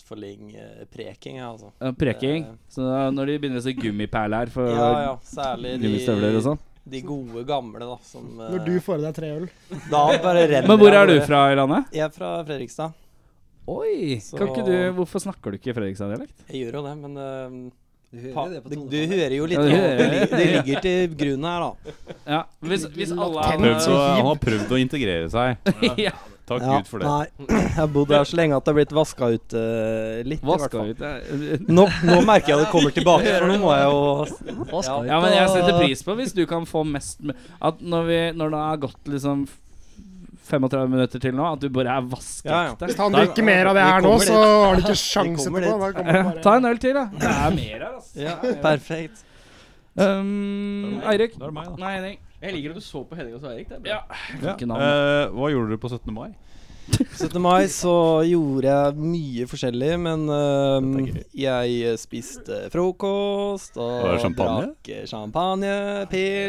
[SPEAKER 8] erke-østfolding-preking. jeg, altså.
[SPEAKER 3] Ja, Preking.
[SPEAKER 8] Eh.
[SPEAKER 3] Så da, når de begynner å se gummiperler for
[SPEAKER 8] Ja, ja, særlig
[SPEAKER 3] gummistøvler og
[SPEAKER 8] de,
[SPEAKER 3] sånn.
[SPEAKER 8] de gode gamle, da. Som, eh,
[SPEAKER 6] Når du får i deg tre øl.
[SPEAKER 8] da bare renner
[SPEAKER 3] Men hvor
[SPEAKER 8] jeg
[SPEAKER 3] er du
[SPEAKER 8] bare-
[SPEAKER 3] fra i landet?
[SPEAKER 8] Jeg er fra Fredrikstad.
[SPEAKER 3] Oi!
[SPEAKER 8] Så-
[SPEAKER 3] Kan ikke du, hvorfor snakker du ikke Fredrikstad-dialekt?
[SPEAKER 8] Jeg gjør jo det, men ehm,
[SPEAKER 5] Du hører
[SPEAKER 8] pa,
[SPEAKER 5] det på
[SPEAKER 8] du, du
[SPEAKER 5] tonen.
[SPEAKER 8] hører jo litt
[SPEAKER 3] Ja,
[SPEAKER 8] det,
[SPEAKER 3] det hører
[SPEAKER 8] det,
[SPEAKER 3] jeg.
[SPEAKER 8] li- det ligger til grunn her, da.
[SPEAKER 3] Ja, hvis, hvis alle
[SPEAKER 2] Prøvd å,
[SPEAKER 3] hadde
[SPEAKER 2] han har prøvd å integrere seg.
[SPEAKER 3] ja,
[SPEAKER 2] Takk
[SPEAKER 8] Ja,
[SPEAKER 2] Gud for det.
[SPEAKER 8] Nei, jeg har bodd her så lenge at det har blitt vaska ut eh, litt, i hvert
[SPEAKER 3] vaska
[SPEAKER 8] fall.
[SPEAKER 3] ut det.
[SPEAKER 8] Nå, nå merker jeg det kommer tilbake, for nå må jeg jo
[SPEAKER 5] Hva skal
[SPEAKER 3] Ja,
[SPEAKER 5] vi
[SPEAKER 3] men
[SPEAKER 5] ta-
[SPEAKER 3] jeg setter pris på hvis du kan få mest m- At når, vi, når det har gått liksom f- 35 minutter til nå, at du bare er
[SPEAKER 8] Ja, ja.
[SPEAKER 3] vaskeekte.
[SPEAKER 6] Hvis han
[SPEAKER 8] Da-
[SPEAKER 6] drikker mer av det her
[SPEAKER 8] Vi
[SPEAKER 6] nå,
[SPEAKER 8] kommer
[SPEAKER 6] så
[SPEAKER 8] dit.
[SPEAKER 6] har han ikke sjans
[SPEAKER 8] kommer
[SPEAKER 6] etterpå. Da
[SPEAKER 8] dit.
[SPEAKER 6] kommer han
[SPEAKER 3] Ta
[SPEAKER 6] bare
[SPEAKER 3] en øl til, da. Det er mer her, altså.
[SPEAKER 8] Ja, perfekt.
[SPEAKER 3] Um, Eirik.
[SPEAKER 2] Da er det meg, da.
[SPEAKER 3] Nei, Henning.
[SPEAKER 1] Jeg liker at du så på Henning og så Erik. Det er bra.
[SPEAKER 3] Ja.
[SPEAKER 2] Ja.
[SPEAKER 3] Ikke navn.
[SPEAKER 2] Eh, hva gjorde dere på 17. mai?
[SPEAKER 8] 17. mai så gjorde jeg mye forskjellig, men øhm, jeg eh, spiste frokost og
[SPEAKER 2] Var det champagne?
[SPEAKER 8] drakk eh, champagne,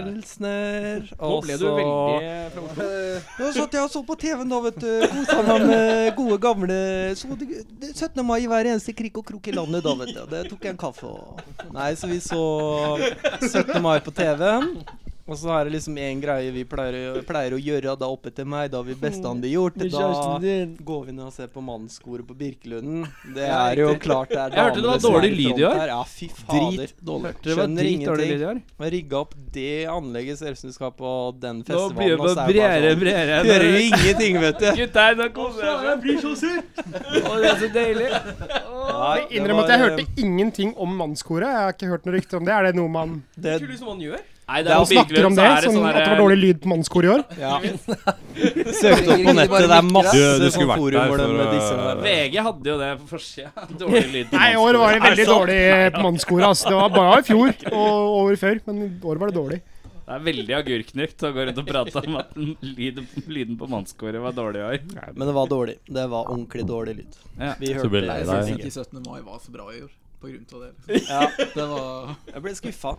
[SPEAKER 8] pilsner
[SPEAKER 1] Nå ble du veldig fra Oslo.
[SPEAKER 8] Nå satt sånn jeg og så på TV-en da, vet du. Kosa meg med gode, gamle så det, det, 17. mai i hver eneste krik og krok i landet da, vet du. Det tok jeg en kaffe og Nei, så vi så 17. mai på TV-en. Og så er det liksom én greie vi pleier, å- pleier å gjøre da oppe til meg, da vi bestandig gjort. Da Går vi ned og ser på mannskoret på Birkelunden? Det er jo klart det er
[SPEAKER 3] Jeg hørte det var
[SPEAKER 8] damene som
[SPEAKER 3] dårlig
[SPEAKER 8] er
[SPEAKER 3] lyd i
[SPEAKER 8] front
[SPEAKER 3] år.
[SPEAKER 8] her. Ja, fy fader.
[SPEAKER 3] dårlig. Det var
[SPEAKER 8] Skjønner
[SPEAKER 3] dritdårlig lyd
[SPEAKER 8] ingenting.
[SPEAKER 3] i år.
[SPEAKER 8] Men rigga opp det anlegget ser ut som du skal på
[SPEAKER 3] Nå blir
[SPEAKER 8] den
[SPEAKER 3] det
[SPEAKER 8] festivalen. og så
[SPEAKER 3] bare
[SPEAKER 8] er det
[SPEAKER 3] bredere, bredere.
[SPEAKER 8] bare sånn- Hører jo ingenting, vet du.
[SPEAKER 3] Gutter, nå koser jeg meg. Jeg blir så sur. Å, det er så deilig.
[SPEAKER 8] Ja, det
[SPEAKER 6] Innrøm at
[SPEAKER 8] var,
[SPEAKER 6] jeg hørte
[SPEAKER 8] eh,
[SPEAKER 6] ingenting om mannskoret. Jeg har ikke hørt noe rykte om det. Er det noe man
[SPEAKER 8] det,
[SPEAKER 1] Tror du som han gjør?
[SPEAKER 3] Nei,
[SPEAKER 6] Man
[SPEAKER 8] er sånn jo
[SPEAKER 6] snakker om det? Som at det var dårlig lyd på mannskoret i år?
[SPEAKER 8] ja. Søkte opp på nettet. Det er
[SPEAKER 2] Du-
[SPEAKER 8] masse
[SPEAKER 2] du skulle
[SPEAKER 8] sånn
[SPEAKER 2] vært
[SPEAKER 8] forum
[SPEAKER 2] der
[SPEAKER 8] hvor de
[SPEAKER 2] for å-
[SPEAKER 8] disse der.
[SPEAKER 3] VG hadde jo det på forsida. Dårlig lyd.
[SPEAKER 6] Nei, i år var det veldig
[SPEAKER 8] sånn?
[SPEAKER 6] dårlig eh, på mannskoret. ass. Det var bare i fjor og året før, men i år var det dårlig.
[SPEAKER 3] Det er veldig agurknykt å gå rundt og prate om at den lyden, lyden på mannskoret var dårlig i år.
[SPEAKER 8] Men det var dårlig. Det var ordentlig dårlig lyd.
[SPEAKER 3] Ja.
[SPEAKER 8] Vi
[SPEAKER 2] Så
[SPEAKER 8] hørte
[SPEAKER 2] ble lei deg.
[SPEAKER 8] det. synes
[SPEAKER 2] Nei.
[SPEAKER 8] ikke.
[SPEAKER 12] Ikke 17. mai var så bra i år, på grunn av det. Liksom.
[SPEAKER 8] Ja,
[SPEAKER 12] Det var
[SPEAKER 8] jeg ble skuffa.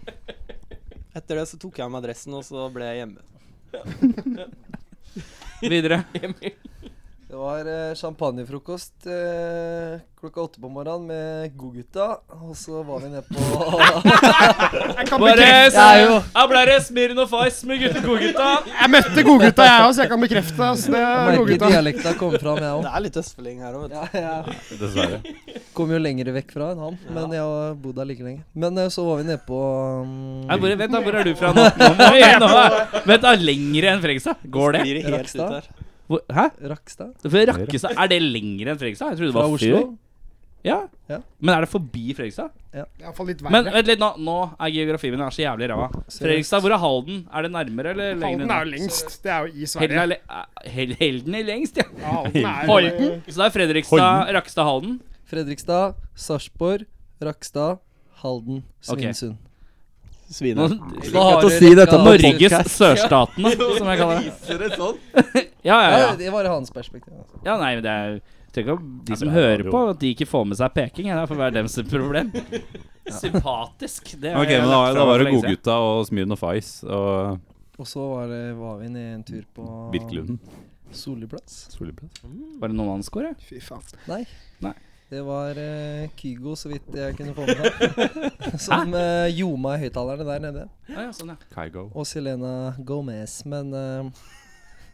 [SPEAKER 8] Etter det så tok jeg av meg dressen, og så ble jeg hjemme.
[SPEAKER 3] Videre.
[SPEAKER 5] Det var eh, champagnefrokost eh, klokka åtte på morgenen med godgutta. Og så var vi nede på
[SPEAKER 6] Jeg, kan
[SPEAKER 3] Bare
[SPEAKER 6] bekrefte,
[SPEAKER 3] så Her ble det Smirnov Ice med gutte- godgutta.
[SPEAKER 6] jeg møtte godgutta, jeg òg, så jeg kan bekrefte ass. det. er
[SPEAKER 5] Merket
[SPEAKER 6] Godgutta.
[SPEAKER 5] dialekta kom fram, jeg òg.
[SPEAKER 8] Det er litt østfolding her òg, vet du.
[SPEAKER 5] Ja, jeg
[SPEAKER 2] Dessverre.
[SPEAKER 5] kom jo lenger vekk fra enn han, men jeg har bodd der like lenge. Men eh, så var vi nede på
[SPEAKER 3] Nei,
[SPEAKER 5] um,
[SPEAKER 3] hvor, vent, da, hvor er du fra nå? Nå må vi- nå er- Vent, da, lengre enn Fredrikstad? Går det?
[SPEAKER 8] Blir det helt
[SPEAKER 5] Rakstad?
[SPEAKER 8] ut her.
[SPEAKER 3] Hvor, hæ?
[SPEAKER 5] Rakkestad.
[SPEAKER 3] For Rakkestad, er det lengre enn Fredrikstad? Jeg trodde det
[SPEAKER 5] Fra
[SPEAKER 3] var
[SPEAKER 5] Oslo.
[SPEAKER 3] før. Ja.
[SPEAKER 5] Ja.
[SPEAKER 3] Men er det forbi Fredrikstad?
[SPEAKER 6] Det er i hvert fall litt
[SPEAKER 3] Men
[SPEAKER 6] verre.
[SPEAKER 3] vent litt, nå, nå er geografien min er så jævlig ræva. Fredrikstad, hvor er Halden? Er det nærmere eller lenger?
[SPEAKER 6] Halden er jo lengst. Det er jo i
[SPEAKER 3] Helden
[SPEAKER 6] Sverige.
[SPEAKER 3] er, le eh, Hel- Helden er lengst, ja.
[SPEAKER 6] Ja, Halden er jo-
[SPEAKER 3] Holden. Så det er Fredrikstad, Rakkestad, Halden.
[SPEAKER 5] Fredrikstad, Sarpsborg, Rakkestad, Halden,
[SPEAKER 3] Ok.
[SPEAKER 5] Svinesund.
[SPEAKER 8] Svine.
[SPEAKER 3] Nå,
[SPEAKER 5] Da har
[SPEAKER 8] Godt å
[SPEAKER 5] dere
[SPEAKER 8] si dette
[SPEAKER 5] rekka-
[SPEAKER 8] på
[SPEAKER 3] Norges sørstatene, som jeg kaller det.
[SPEAKER 6] sånn.
[SPEAKER 3] Ja, ja,
[SPEAKER 5] Ja,
[SPEAKER 3] ja.
[SPEAKER 5] det var i hans perspektiv. altså.
[SPEAKER 3] ja nei, men det er Tenk om de som hører på, at de ikke får med seg peking. ja, Det får være deres problem. Sympatisk. Det har
[SPEAKER 2] Ok,
[SPEAKER 3] jeg
[SPEAKER 2] men da, da
[SPEAKER 3] lagt fra meg
[SPEAKER 2] var
[SPEAKER 3] for
[SPEAKER 2] det
[SPEAKER 3] lenge siden.
[SPEAKER 2] Godgutta og Smirnoff Ice og
[SPEAKER 5] Og så var, det, var vi ned en tur på
[SPEAKER 2] Birkelunden.
[SPEAKER 5] Solid plass.
[SPEAKER 2] Soliplass.
[SPEAKER 3] Var det noen annen score?
[SPEAKER 6] Fy faen.
[SPEAKER 5] Nei.
[SPEAKER 3] Nei.
[SPEAKER 5] Det var eh, Kygo, så vidt jeg kunne få med meg. som eh, ljoma i høyttalerne der nede.
[SPEAKER 3] Ja, ja, sånn, ja.
[SPEAKER 2] Kygo.
[SPEAKER 5] Og Selena Gomez. Men eh,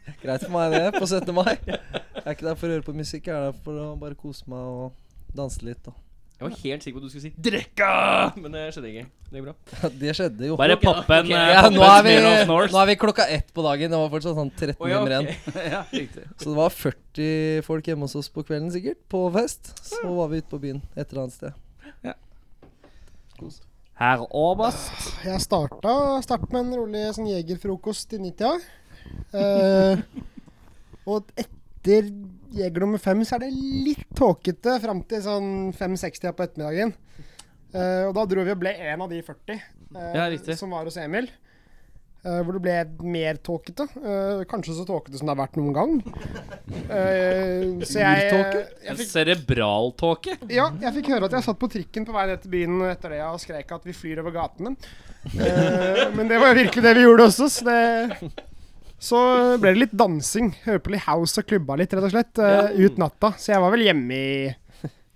[SPEAKER 5] greit for meg, det, på 17. mai. Jeg er ikke der for å høre på musikk, jeg er der for å bare kose meg og danse litt. Da.
[SPEAKER 7] Jeg var helt sikker på at du skulle si 'drekka', men det skjedde ikke. Det gikk bra.
[SPEAKER 5] Det skjedde jo.
[SPEAKER 3] Bare
[SPEAKER 7] Ok, da.
[SPEAKER 3] poppen
[SPEAKER 7] Ok,
[SPEAKER 3] okay,
[SPEAKER 5] ja, nå, er vi,
[SPEAKER 3] Smirnoff
[SPEAKER 5] nå
[SPEAKER 3] Norse.
[SPEAKER 5] er vi klokka ett på dagen. Det var fortsatt sånn 13
[SPEAKER 7] Å ja,
[SPEAKER 5] nummer igjen.
[SPEAKER 7] ok.
[SPEAKER 3] ja, riktig.
[SPEAKER 5] Så det var 40 folk hjemme hos oss på kvelden sikkert, på fest. Så var vi ute på byen et eller annet sted.
[SPEAKER 3] Herr Oberst.
[SPEAKER 6] Jeg starta, starta med en rolig sånn jegerfrokost i 90-a. Eh, og etter jeger nummer fem så er det litt tåkete fram til sånn 5-60 på ettermiddagen. Eh, og da dro vi og ble en av de 40 eh,
[SPEAKER 3] Ja, riktig.
[SPEAKER 6] som var hos Emil. eh, hvor det ble mer tåkete. Eh, kanskje så tåkete som det har vært noen gang. Eh, så jeg, jeg fikk
[SPEAKER 3] Cerebraltåke.
[SPEAKER 6] ja, jeg fikk høre at jeg satt på trikken på vei ned til byen etter det og skrek at vi flyr over gatene. Eh, men det var virkelig det vi gjorde også, så det Så ble det litt dansing. Hørte på litt house og klubba litt, rett og slett, eh, ut natta. Så jeg var vel hjemme i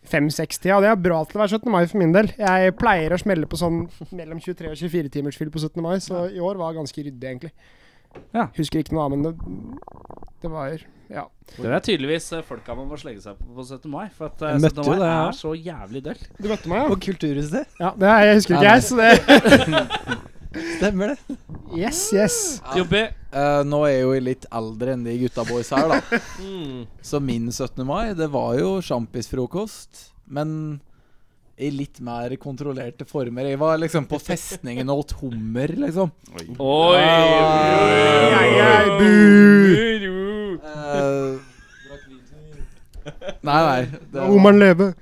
[SPEAKER 6] 5-6-tida, og det er bra til å være 17. mai for min del. Jeg pleier å smelle på sånn mellom 23 og 24 timers fyll på 17. mai, så i år var ganske ryddig, egentlig.
[SPEAKER 3] Ja.
[SPEAKER 6] Husker ikke noe av, men det, det var Ja.
[SPEAKER 3] Det er tydeligvis eh, folka man må slenge seg på på 17. mai. For at eh,
[SPEAKER 5] Jeg
[SPEAKER 3] 17.
[SPEAKER 5] møtte
[SPEAKER 3] mai
[SPEAKER 5] jo det, ja.
[SPEAKER 3] er så jævlig dølt.
[SPEAKER 6] Du møtte meg, ja?
[SPEAKER 5] På kulturhuset.
[SPEAKER 6] ja det, jeg husker ikke, jeg, så det
[SPEAKER 5] Stemmer det.
[SPEAKER 6] Yes, yes.
[SPEAKER 3] Jobbe.
[SPEAKER 8] Eh, nå er jeg jo litt eldre enn de gutta boys her, da.
[SPEAKER 3] Hmm.
[SPEAKER 8] Så min 17. mai, det var jo sjampisfrokost. Men i litt mer kontrollerte former. Jeg var liksom på festningen og åt hummer, liksom.
[SPEAKER 3] Oi,
[SPEAKER 6] Ai, ai, bu!
[SPEAKER 8] Eh, nei, nei. Det
[SPEAKER 6] Oman leve.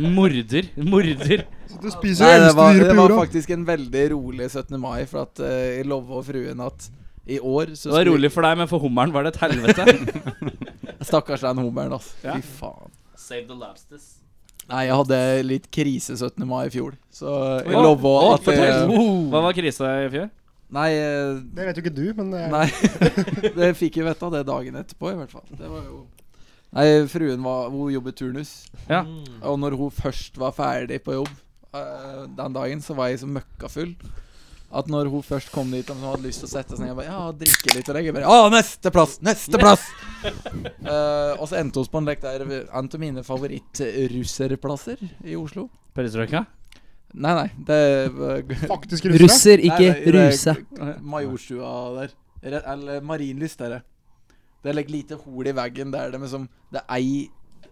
[SPEAKER 3] Morder. Morder.
[SPEAKER 6] Du spiser
[SPEAKER 8] Nei, det var,
[SPEAKER 6] elstedyret
[SPEAKER 8] det
[SPEAKER 6] på
[SPEAKER 8] var
[SPEAKER 6] jorda.
[SPEAKER 8] faktisk en veldig rolig 17. mai, for at eh, jeg lova fruen at i år så
[SPEAKER 3] Det var rolig for deg, men for hummeren var det et helvete.
[SPEAKER 8] Stakkars den hummeren, altså.
[SPEAKER 3] Ja.
[SPEAKER 8] Fy faen.
[SPEAKER 3] Save the lobsters.
[SPEAKER 8] Nei, jeg hadde litt krise 17. mai i fjor, så jeg
[SPEAKER 3] Å,
[SPEAKER 8] lova
[SPEAKER 3] å,
[SPEAKER 8] at jeg,
[SPEAKER 3] Hva var krisa i fjor?
[SPEAKER 8] Nei, eh,
[SPEAKER 6] Det vet jo ikke du, men det er
[SPEAKER 8] nei. det fikk jeg vite det dagen etterpå, i hvert fall. Det var jo Nei, fruen var Hun jobbet turnus, Mm.
[SPEAKER 3] Ja.
[SPEAKER 8] og når hun først var ferdig på jobb eh, den dagen, så var jeg så møkkafull. At når hun først kom dit og hun hadde lyst til å sette seg ned, jeg bare Ja, drikke litt og legge bare Å, neste plass! Neste plass! Eh, og så endte vi på en lek der ved- en av mine favoritt-russerplasser i Oslo.
[SPEAKER 3] Perestrøyka?
[SPEAKER 8] Nei, nei. Det er
[SPEAKER 6] faktisk russere.
[SPEAKER 8] Nei, nei, det er Majorstua der. Re- Eller Marienlyst, der. er. Det er like lite hol i veggen der det, liksom, det er ei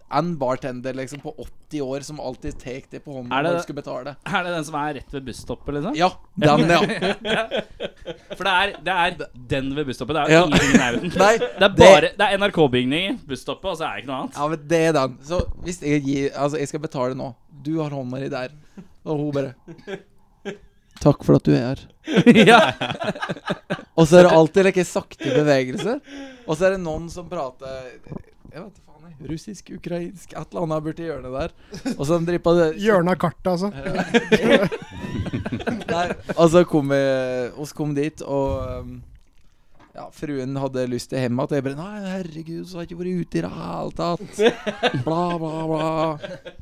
[SPEAKER 8] en bartender liksom på 80 år som alltid tar det på hånda
[SPEAKER 3] Er det
[SPEAKER 8] når du
[SPEAKER 3] det?
[SPEAKER 8] skal betale.
[SPEAKER 3] Er det den som er rett ved busstoppet, liksom?
[SPEAKER 8] Ja, den, ja.
[SPEAKER 3] For det er, det er den ved busstoppet. Det er
[SPEAKER 8] Ja.
[SPEAKER 3] jo ingenting i nærheten.
[SPEAKER 8] Nei,
[SPEAKER 3] Det er bare Det er NRK-bygning i busstoppet, og så er det ikke noe annet.
[SPEAKER 8] Ja, men det er den. Så hvis jeg gir Altså, jeg skal betale nå. Du har hånda di der. Og hun bare Takk for at du er her.
[SPEAKER 3] ja.
[SPEAKER 8] Og så er det alltid like sakte bevegelser. Og så er det noen som prater Jeg vet ikke faen jeg, Russisk, ukrainsk, et eller annet borti hjørnet der. Og så driver på det
[SPEAKER 6] Hjørnet av kartet, altså.
[SPEAKER 8] Nei, Og så kom vi oss kom dit, og um, ja, fruen hadde lyst til hjem igjen. Og jeg bare Nei, herregud, så har jeg ikke vært ute i det hele tatt. Bla, bla, bla.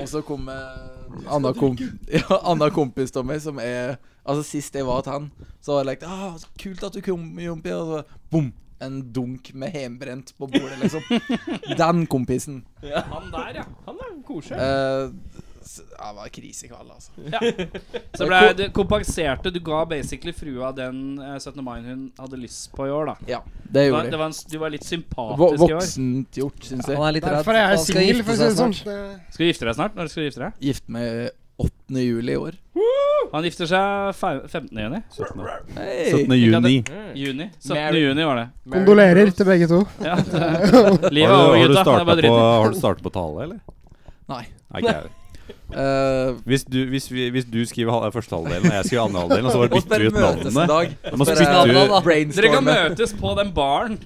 [SPEAKER 8] Og så kom eh, Anna, kom, ja, Anna kompis av meg, som er Altså, sist jeg var til han, så var jeg like ah, så Kult at du kom, Jompi. Og så bom! En dunk med hjemmebrent på bordet, liksom. Den kompisen.
[SPEAKER 7] Han der, ja. Han er koselig.
[SPEAKER 8] Eh, s- ja, det var krise i kveld, altså.
[SPEAKER 3] Så ble, du kompenserte. Du ga basically frua den eh, 17. mai hun hadde lyst på i år, da.
[SPEAKER 8] Ja, det
[SPEAKER 3] Det
[SPEAKER 8] gjorde
[SPEAKER 3] var,
[SPEAKER 8] jeg.
[SPEAKER 3] det var en, s- du var litt
[SPEAKER 8] Vo-
[SPEAKER 3] sympatisk i år.
[SPEAKER 8] Voksent gjort, syns jeg.
[SPEAKER 5] Han er litt redd.
[SPEAKER 6] Derfor er jeg
[SPEAKER 5] Han skal
[SPEAKER 6] singel,
[SPEAKER 5] gifte
[SPEAKER 6] for å si det
[SPEAKER 5] seg
[SPEAKER 6] sånn.
[SPEAKER 5] snart.
[SPEAKER 3] Skal du gifte deg snart? Når skal du gifte deg?
[SPEAKER 8] Gift meg 8. juli i år.
[SPEAKER 3] Han gifter seg fe- 15. juni.
[SPEAKER 2] 17. juni.
[SPEAKER 3] Juni. 17.
[SPEAKER 8] Mary-
[SPEAKER 3] juni var det.
[SPEAKER 6] Kondolerer til begge to.
[SPEAKER 3] Ja, det
[SPEAKER 2] Har
[SPEAKER 3] livet
[SPEAKER 2] du,
[SPEAKER 3] er
[SPEAKER 2] har
[SPEAKER 3] over,
[SPEAKER 2] du
[SPEAKER 3] gutta. Det er
[SPEAKER 2] startet
[SPEAKER 3] bare
[SPEAKER 2] på,
[SPEAKER 3] dritt.
[SPEAKER 2] har du startet på tale, eller?
[SPEAKER 8] Nei.
[SPEAKER 2] Nei, ikke jeg.
[SPEAKER 8] Eh,
[SPEAKER 2] Hvis du, hvis vi, hvis du skriver hal- første halvdelen, og jeg skriver andre halvdelen, og så bare
[SPEAKER 8] og
[SPEAKER 2] bytter vi
[SPEAKER 8] spør
[SPEAKER 2] ut
[SPEAKER 8] møtes en
[SPEAKER 2] navnene
[SPEAKER 8] dag.
[SPEAKER 2] Da må
[SPEAKER 8] Spør,
[SPEAKER 2] spytte
[SPEAKER 8] eh,
[SPEAKER 2] ut-
[SPEAKER 3] Dere kan
[SPEAKER 8] Brainstorme.
[SPEAKER 3] møtes på den baren.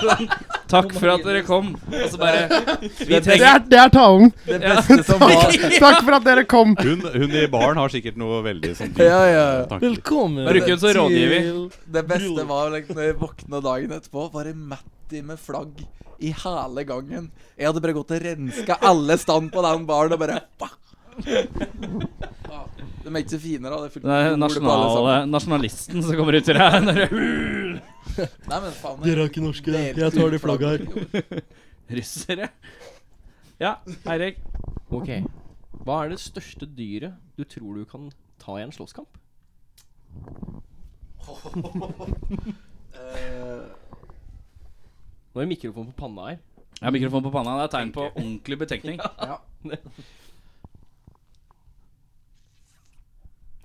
[SPEAKER 3] Takk for at dere kom. Og så bare Vi
[SPEAKER 6] Det
[SPEAKER 3] trenger
[SPEAKER 6] er, det er talen.
[SPEAKER 8] Det beste som var
[SPEAKER 6] Takk for at dere kom.
[SPEAKER 2] Hun, hun i baren har sikkert noe veldig sånn dypt
[SPEAKER 8] Ja, ja.
[SPEAKER 2] tanker.
[SPEAKER 5] Velkommen
[SPEAKER 3] Bruker hun som rådgiver.
[SPEAKER 8] Det beste var liksom, når jeg våkna dagen etterpå, bare Matti med flagg i hele gangen. Jeg hadde bare gått og renska alle stand på den baren og bare bah! Ja, De er ikke så fine, da. Det er fullt
[SPEAKER 3] Det er
[SPEAKER 8] blod på alle
[SPEAKER 3] nasjonale,
[SPEAKER 8] sammen.
[SPEAKER 3] nasjonalisten som kommer ut i det her.
[SPEAKER 8] Nei, men faen
[SPEAKER 5] Dere er ikke norske. Jeg tar de flagga her.
[SPEAKER 3] Russere. Ja, Eirik.
[SPEAKER 7] Ok. Hva er det største dyret du tror du kan ta i en slåsskamp? Nå er mikrofonen på panna her.
[SPEAKER 3] Jeg har mikrofon på panna. Det er tegn på ordentlig betenkning.